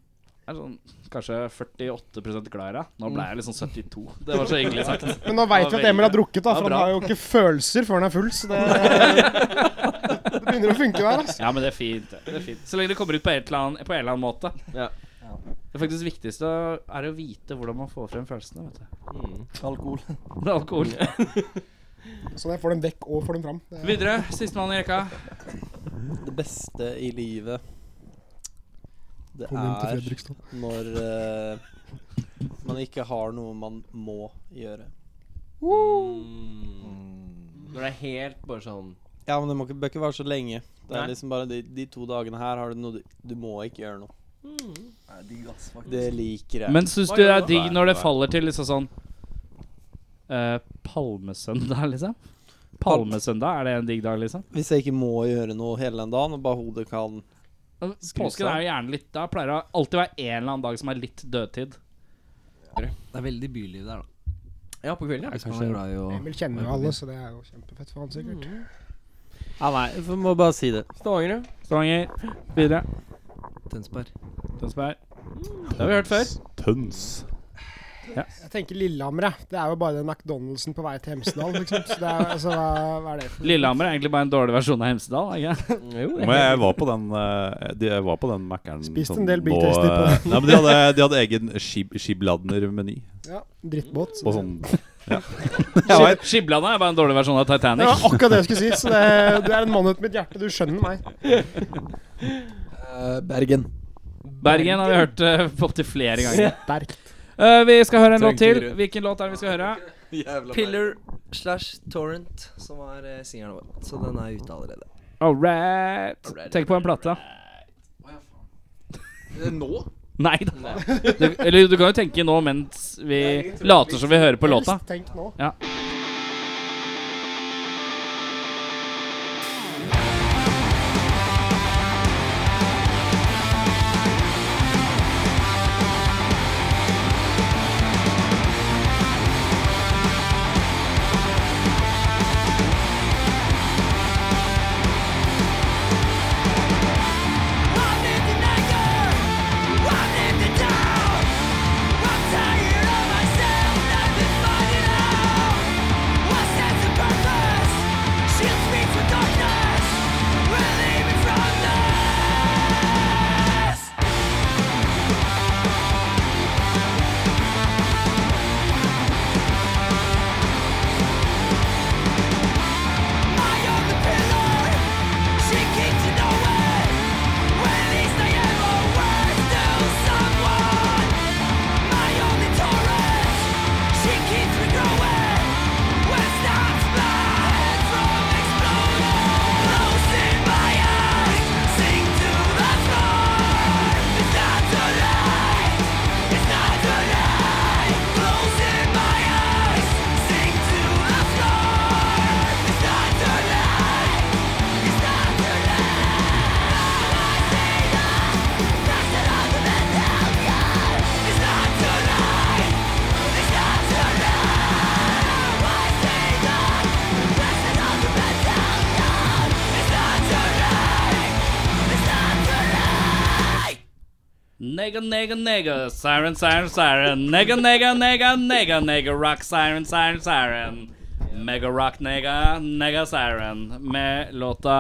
[SPEAKER 3] er sånn, Kanskje 48 glad i deg. Nå ble jeg liksom 72. Det var så hyggelig sagt.
[SPEAKER 6] Men nå veit vi at Emil har drukket, da, for han har jo ikke følelser før han er full. Så det, det begynner å funke der. altså
[SPEAKER 3] Ja, men det er fint. det. Det er fint Så lenge det kommer ut på, et eller annet, på en eller annen måte.
[SPEAKER 1] Ja.
[SPEAKER 3] Det faktisk viktigste er å vite hvordan man får frem følelsene. Vet du.
[SPEAKER 5] Alkohol.
[SPEAKER 3] Det er alkohol.
[SPEAKER 6] Så jeg får dem vekk og får dem fram. Det-
[SPEAKER 3] Videre. Sistemann i rekka.
[SPEAKER 8] Det beste i livet Det
[SPEAKER 6] Kom hjem til
[SPEAKER 8] er
[SPEAKER 6] Fredrikstad.
[SPEAKER 8] når eh, man ikke har noe man må gjøre.
[SPEAKER 1] Når det er helt bare sånn
[SPEAKER 8] Ja, men det må ikke, bør ikke være så lenge. Det er
[SPEAKER 1] Nei.
[SPEAKER 8] liksom bare de, de to dagene her har du noe du, du må ikke gjøre noe.
[SPEAKER 5] Nei, digg, ass, faktisk.
[SPEAKER 8] Det liker jeg.
[SPEAKER 3] Men syns du det er digg når det faller til liksom sånn eh, Palmesøndag, liksom? Palmesøndag, er det en digg dag, liksom?
[SPEAKER 8] Hvis jeg ikke må gjøre noe hele den dagen, og bare hodet kan Skru
[SPEAKER 3] Altså, Påsken
[SPEAKER 8] seg.
[SPEAKER 3] er jo gjerne litt Da pleier det å alltid være en eller annen dag som er litt dødtid.
[SPEAKER 5] Det er veldig byliv der, da.
[SPEAKER 1] Ja, på kvelden,
[SPEAKER 5] Hvis man er glad i å
[SPEAKER 6] Emil kjenner jo alle, så det er jo kjempefett for han sikkert.
[SPEAKER 8] Ja, nei, vi må bare si det.
[SPEAKER 1] Stavanger, ja.
[SPEAKER 3] Stavanger. Videre.
[SPEAKER 5] Tønsberg.
[SPEAKER 3] Tønsberg. Det har vi hørt før.
[SPEAKER 2] Tøns.
[SPEAKER 6] Jeg tenker Lillehammer, jeg. Det er jo bare den McDonald'sen på vei til Hemsedal, liksom. Så det er, altså, hva, hva er det for
[SPEAKER 3] Lillehammer er egentlig bare en dårlig versjon av Hemsedal. Ikke?
[SPEAKER 2] Men jeg var på den eh, de- Jeg var på den Mac-eren
[SPEAKER 6] Spiste en
[SPEAKER 2] sånn
[SPEAKER 6] del Big
[SPEAKER 2] nå,
[SPEAKER 6] Tasty på
[SPEAKER 2] eh, Nei, men de hadde, de hadde egen skib, skibladner-meny
[SPEAKER 6] Ja, drittbåt. så
[SPEAKER 2] på
[SPEAKER 6] det-
[SPEAKER 2] sånn
[SPEAKER 3] Skib- Skiblanda er bare en dårlig versjon av
[SPEAKER 6] Det
[SPEAKER 3] Titanic.
[SPEAKER 6] var akkurat det jeg skulle si. Så det, det er en mann uten mitt hjerte. Du skjønner meg.
[SPEAKER 16] Eh, Bergen.
[SPEAKER 3] Bergen har vi hørt eh, på opptil flere ganger.
[SPEAKER 6] Sterkt.
[SPEAKER 3] Eh, vi skal høre en låt
[SPEAKER 16] Trengte
[SPEAKER 3] til.
[SPEAKER 16] dere.
[SPEAKER 3] Hvilken låt er det vi skal høre?
[SPEAKER 5] Pillar slash Torrent, som var eh, singelen vår. Så den er ute allerede.
[SPEAKER 3] All right. Tenk på en plate.
[SPEAKER 16] Eh, Nå?
[SPEAKER 3] Nei da. Du, eller du kan jo tenke nå mens vi later som vi hører på låta.
[SPEAKER 6] Helst Tenk nå.
[SPEAKER 3] Nega, nega, nega, siren, siren, siren. Nega, nega, nega, nega, nega, rock, siren, siren, siren. Mega rock, nega, nega, siren. Med låta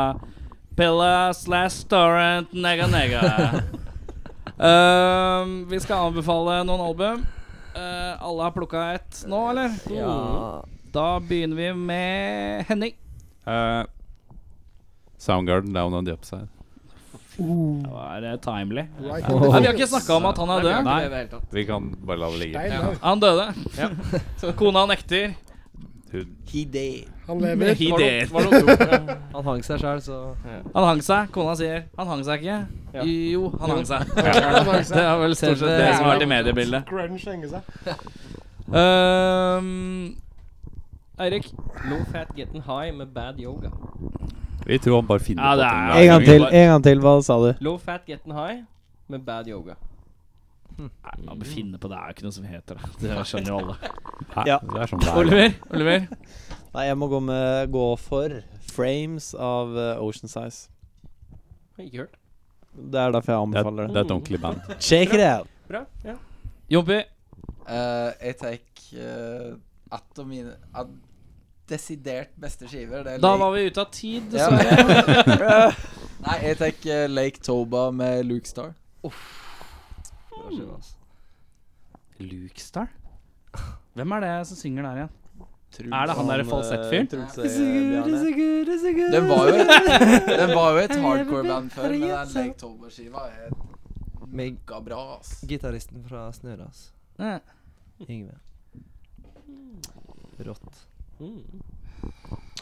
[SPEAKER 3] Pilla slash torrent, nega, nega. Ehm, vi skal anbefale noen album. Eh, alle har plukka ett nå, eller?
[SPEAKER 5] Ja.
[SPEAKER 3] Da begynner vi med Henning.
[SPEAKER 2] eh, Soundgarden down on the upside.
[SPEAKER 3] Det var eh, timely.
[SPEAKER 6] Right.
[SPEAKER 3] Nei, vi har ikke snakka om at han er død.
[SPEAKER 2] Vi kan bare la det ligge.
[SPEAKER 6] Nei, nei,
[SPEAKER 3] Han døde. Kona nekter.
[SPEAKER 2] Hun-
[SPEAKER 6] Han lever.
[SPEAKER 3] He
[SPEAKER 1] Var det-
[SPEAKER 3] did.
[SPEAKER 1] var det opp-
[SPEAKER 5] Han hang seg sjæl, så
[SPEAKER 3] Han hang seg. Kona sier han hang seg ikke. Jo, han hang seg. Det er vel stort sett det
[SPEAKER 5] Det er
[SPEAKER 3] som har vært i
[SPEAKER 6] jo-
[SPEAKER 3] mediebildet.
[SPEAKER 6] Grunge henger seg.
[SPEAKER 3] Um, Eirik.
[SPEAKER 1] Low fat getting high med bad yoga.
[SPEAKER 2] Vi tror han bare finner
[SPEAKER 3] Ja,
[SPEAKER 2] på
[SPEAKER 3] det
[SPEAKER 2] ting.
[SPEAKER 3] er-
[SPEAKER 2] hver
[SPEAKER 3] En gang
[SPEAKER 2] gang.
[SPEAKER 3] til,
[SPEAKER 17] en gang til. Hva sa du?
[SPEAKER 1] Low fat getting high med bad yoga.
[SPEAKER 3] Nei, man må finne på det. Det er jo ikke noe som heter det. Det skjønner jo alle.
[SPEAKER 2] Nei,
[SPEAKER 18] Ja.
[SPEAKER 2] Det er sånn det er.
[SPEAKER 3] Oliver? Oliver?
[SPEAKER 18] Nei, jeg må gå, med, gå for frames av eh, Ocean Size.
[SPEAKER 1] Har Ikke hørt.
[SPEAKER 18] Det er derfor jeg
[SPEAKER 2] Det er,
[SPEAKER 18] anbefaler det.
[SPEAKER 2] det er et ordentlig band.
[SPEAKER 18] Check it out!
[SPEAKER 1] Bra. Ja.
[SPEAKER 3] Jompi?
[SPEAKER 8] Eh, jeg tar uh, et av mine at desidert beste skiver. Det er
[SPEAKER 3] Da
[SPEAKER 8] Lake-
[SPEAKER 3] var vi ute av tid.
[SPEAKER 8] Ja.
[SPEAKER 3] dessverre.
[SPEAKER 18] sånn.
[SPEAKER 8] Nei, jeg tar eh, Lake Toba med Luke Star.
[SPEAKER 3] Luke Star? Hvem er det som synger der igjen? Er det han eh, derre falsettfyren?
[SPEAKER 8] eh, Den var jo et, den var jo et hardcore band før, men den Lake Toba-skiva er
[SPEAKER 5] Med
[SPEAKER 8] ga bra, ass.
[SPEAKER 5] gitaristen fra Snøras.
[SPEAKER 3] Ja.
[SPEAKER 5] Yngve. Rått.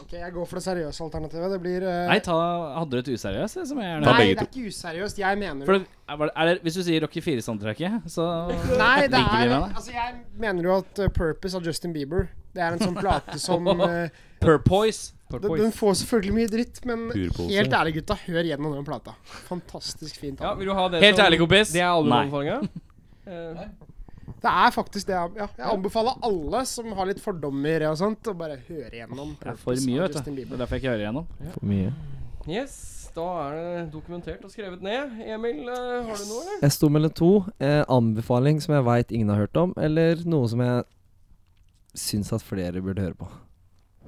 [SPEAKER 6] Ok, Jeg går for det seriøse alternativet. Det blir eh,
[SPEAKER 3] Nei, ta, hadde du et useriøst? det Som jeg gjerne
[SPEAKER 2] Ta
[SPEAKER 6] nei,
[SPEAKER 2] begge
[SPEAKER 6] det er ikke useriøst. Jeg mener
[SPEAKER 3] For
[SPEAKER 6] det.
[SPEAKER 3] det, er, var det- er det, hvis du sier Rocky 4-soundtracket, så
[SPEAKER 6] Nei, det
[SPEAKER 3] liker vi
[SPEAKER 6] er
[SPEAKER 3] med det.
[SPEAKER 6] Altså, jeg mener jo at eh, Purpose av Justin Bieber Det er en sånn plate som eh,
[SPEAKER 3] Purpoise.
[SPEAKER 6] den, den får selvfølgelig mye dritt, men
[SPEAKER 2] Purpose,
[SPEAKER 6] helt ærlig, gutta, hør gjennom den plata. Fantastisk fint. album.
[SPEAKER 1] vil du ha det
[SPEAKER 3] Helt
[SPEAKER 1] som-
[SPEAKER 3] ærlig, kompis.
[SPEAKER 1] Det er albumanbefalinga? Eh,
[SPEAKER 6] Det er faktisk det. jeg- Ja, jeg anbefaler alle som har litt fordommer og sånt, å bare høre gjennom.
[SPEAKER 3] Det er for
[SPEAKER 6] Purpose
[SPEAKER 3] mye,
[SPEAKER 6] av
[SPEAKER 3] vet du.
[SPEAKER 6] Justin
[SPEAKER 3] Det
[SPEAKER 6] Bieber.
[SPEAKER 3] er derfor jeg ikke hører igjennom.
[SPEAKER 5] For mye.
[SPEAKER 1] yes, da er det dokumentert og skrevet ned. Emil, eh, har du noe, eller?
[SPEAKER 5] Jeg sto mellom to. Eh, anbefaling som jeg veit ingen har hørt om, eller noe som jeg syns at flere burde høre på.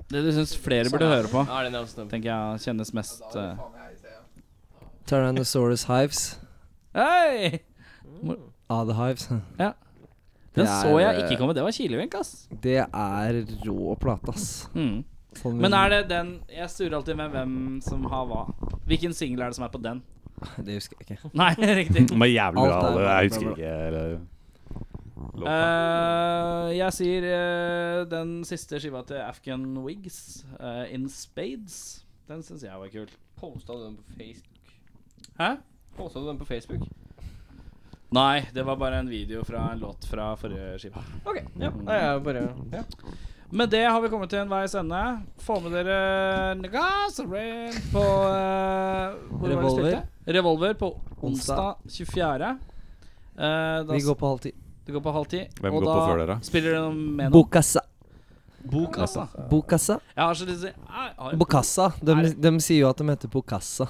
[SPEAKER 3] Det du syns flere burde høre på,
[SPEAKER 1] Ja, den er også dum.
[SPEAKER 3] tenker jeg kjennes mest eh,
[SPEAKER 5] Tyrannosaurus Hives.
[SPEAKER 3] Hei!
[SPEAKER 5] Ah, the Hives.
[SPEAKER 3] Den
[SPEAKER 5] Det er,
[SPEAKER 3] så jeg
[SPEAKER 5] eh,
[SPEAKER 3] ikke komme. Det var kilevink, ass.
[SPEAKER 5] Det er rå plate, ass.
[SPEAKER 3] Mm.
[SPEAKER 5] Sånn-
[SPEAKER 3] Men er det den Jeg surrer alltid med hvem som har hva. Hvilken singel er det som er på den?
[SPEAKER 5] Det husker jeg ikke.
[SPEAKER 3] Nei, riktig.
[SPEAKER 2] De er jævlig bra,
[SPEAKER 5] Alt er
[SPEAKER 2] alle. Jeg
[SPEAKER 5] bra, bra,
[SPEAKER 2] husker
[SPEAKER 5] bra.
[SPEAKER 2] ikke eller- låta.
[SPEAKER 3] Eh, jeg sier eh, den siste skiva til Afghan Wigs, eh, In Spades. Den syns jeg var kul.
[SPEAKER 1] Posta du den på Facebook?
[SPEAKER 3] Hæ?
[SPEAKER 1] Posta du den på Facebook?
[SPEAKER 3] Nei, det var bare en video fra en låt fra forrige skiva.
[SPEAKER 1] Ok, ja.
[SPEAKER 3] Mhm.
[SPEAKER 1] Nei, jeg bare ja.
[SPEAKER 3] Med det har vi kommet til en veis ende. Få med dere Nagasarin på eh, hvor var det vi
[SPEAKER 5] Revolver.
[SPEAKER 3] spilte? Revolver på
[SPEAKER 5] Onsdag.
[SPEAKER 3] onsdag 24. Eh, da
[SPEAKER 5] Vi går på halv ti.
[SPEAKER 3] det går på halv ti.
[SPEAKER 2] Hvem
[SPEAKER 3] og
[SPEAKER 2] går
[SPEAKER 3] da
[SPEAKER 2] på før dere?
[SPEAKER 3] Spiller dere noe med noe?
[SPEAKER 5] Bokassa. altså.
[SPEAKER 3] Bokassa.
[SPEAKER 5] Bokassa.
[SPEAKER 3] Jeg har så lyst til å si "Ai, ai."
[SPEAKER 5] Bokassa. De, de sier jo at de heter Bokassa.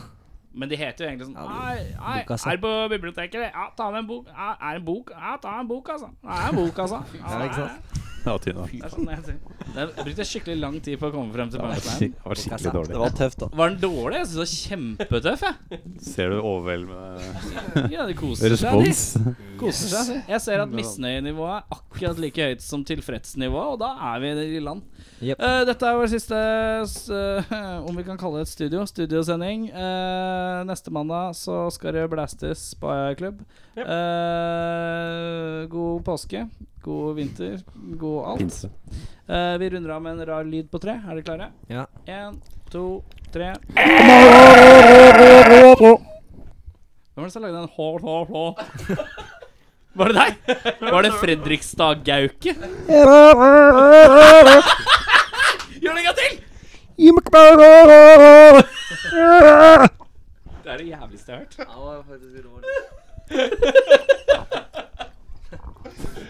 [SPEAKER 3] Men de heter jo egentlig sånn
[SPEAKER 5] Ja,
[SPEAKER 3] Ai, ai,
[SPEAKER 5] bokassa.
[SPEAKER 3] Er du på biblioteket? eller? Ja, ta med en bok. Ja, er det en bok? Ja, ta en bok, altså. Ja, en bok, altså. Ja,
[SPEAKER 5] Ja, ikke sant?
[SPEAKER 2] Ja, Tina.
[SPEAKER 3] Det er sånn jeg sier. Det- Jeg brukte skikkelig lang tid på å komme frem til
[SPEAKER 2] Shit,
[SPEAKER 3] punchline.
[SPEAKER 2] Det var skikkelig dårlig.
[SPEAKER 18] Det var tøft, da.
[SPEAKER 3] Var den dårlig? Jeg synes den var kjempetøff, jeg.
[SPEAKER 2] Ser du overveldende
[SPEAKER 3] Ja, de koser seg, de.
[SPEAKER 2] respons?
[SPEAKER 3] Koser seg. de. Jeg ser at misnøyenivået er akkurat like høyt som tilfredsnivået, og da er vi i land.
[SPEAKER 5] Jep.
[SPEAKER 3] Eh, dette er vår siste, s- eh, om vi kan kalle det et studio, studiosending. Eh, neste mandag så skal det blastes på Aja klubb. Eh, god påske, god vinter, god alt.
[SPEAKER 2] Pinse.
[SPEAKER 3] Eh, vi runder av med en rar lyd på tre. Er dere klare?
[SPEAKER 5] Ja.
[SPEAKER 3] En, to, tre. Hvem var det som lagde den hå, hå, hå? Var det deg? Var det Fredrikstad-gauke? Gjør det en gang til! Det er det jævligste jeg har hørt.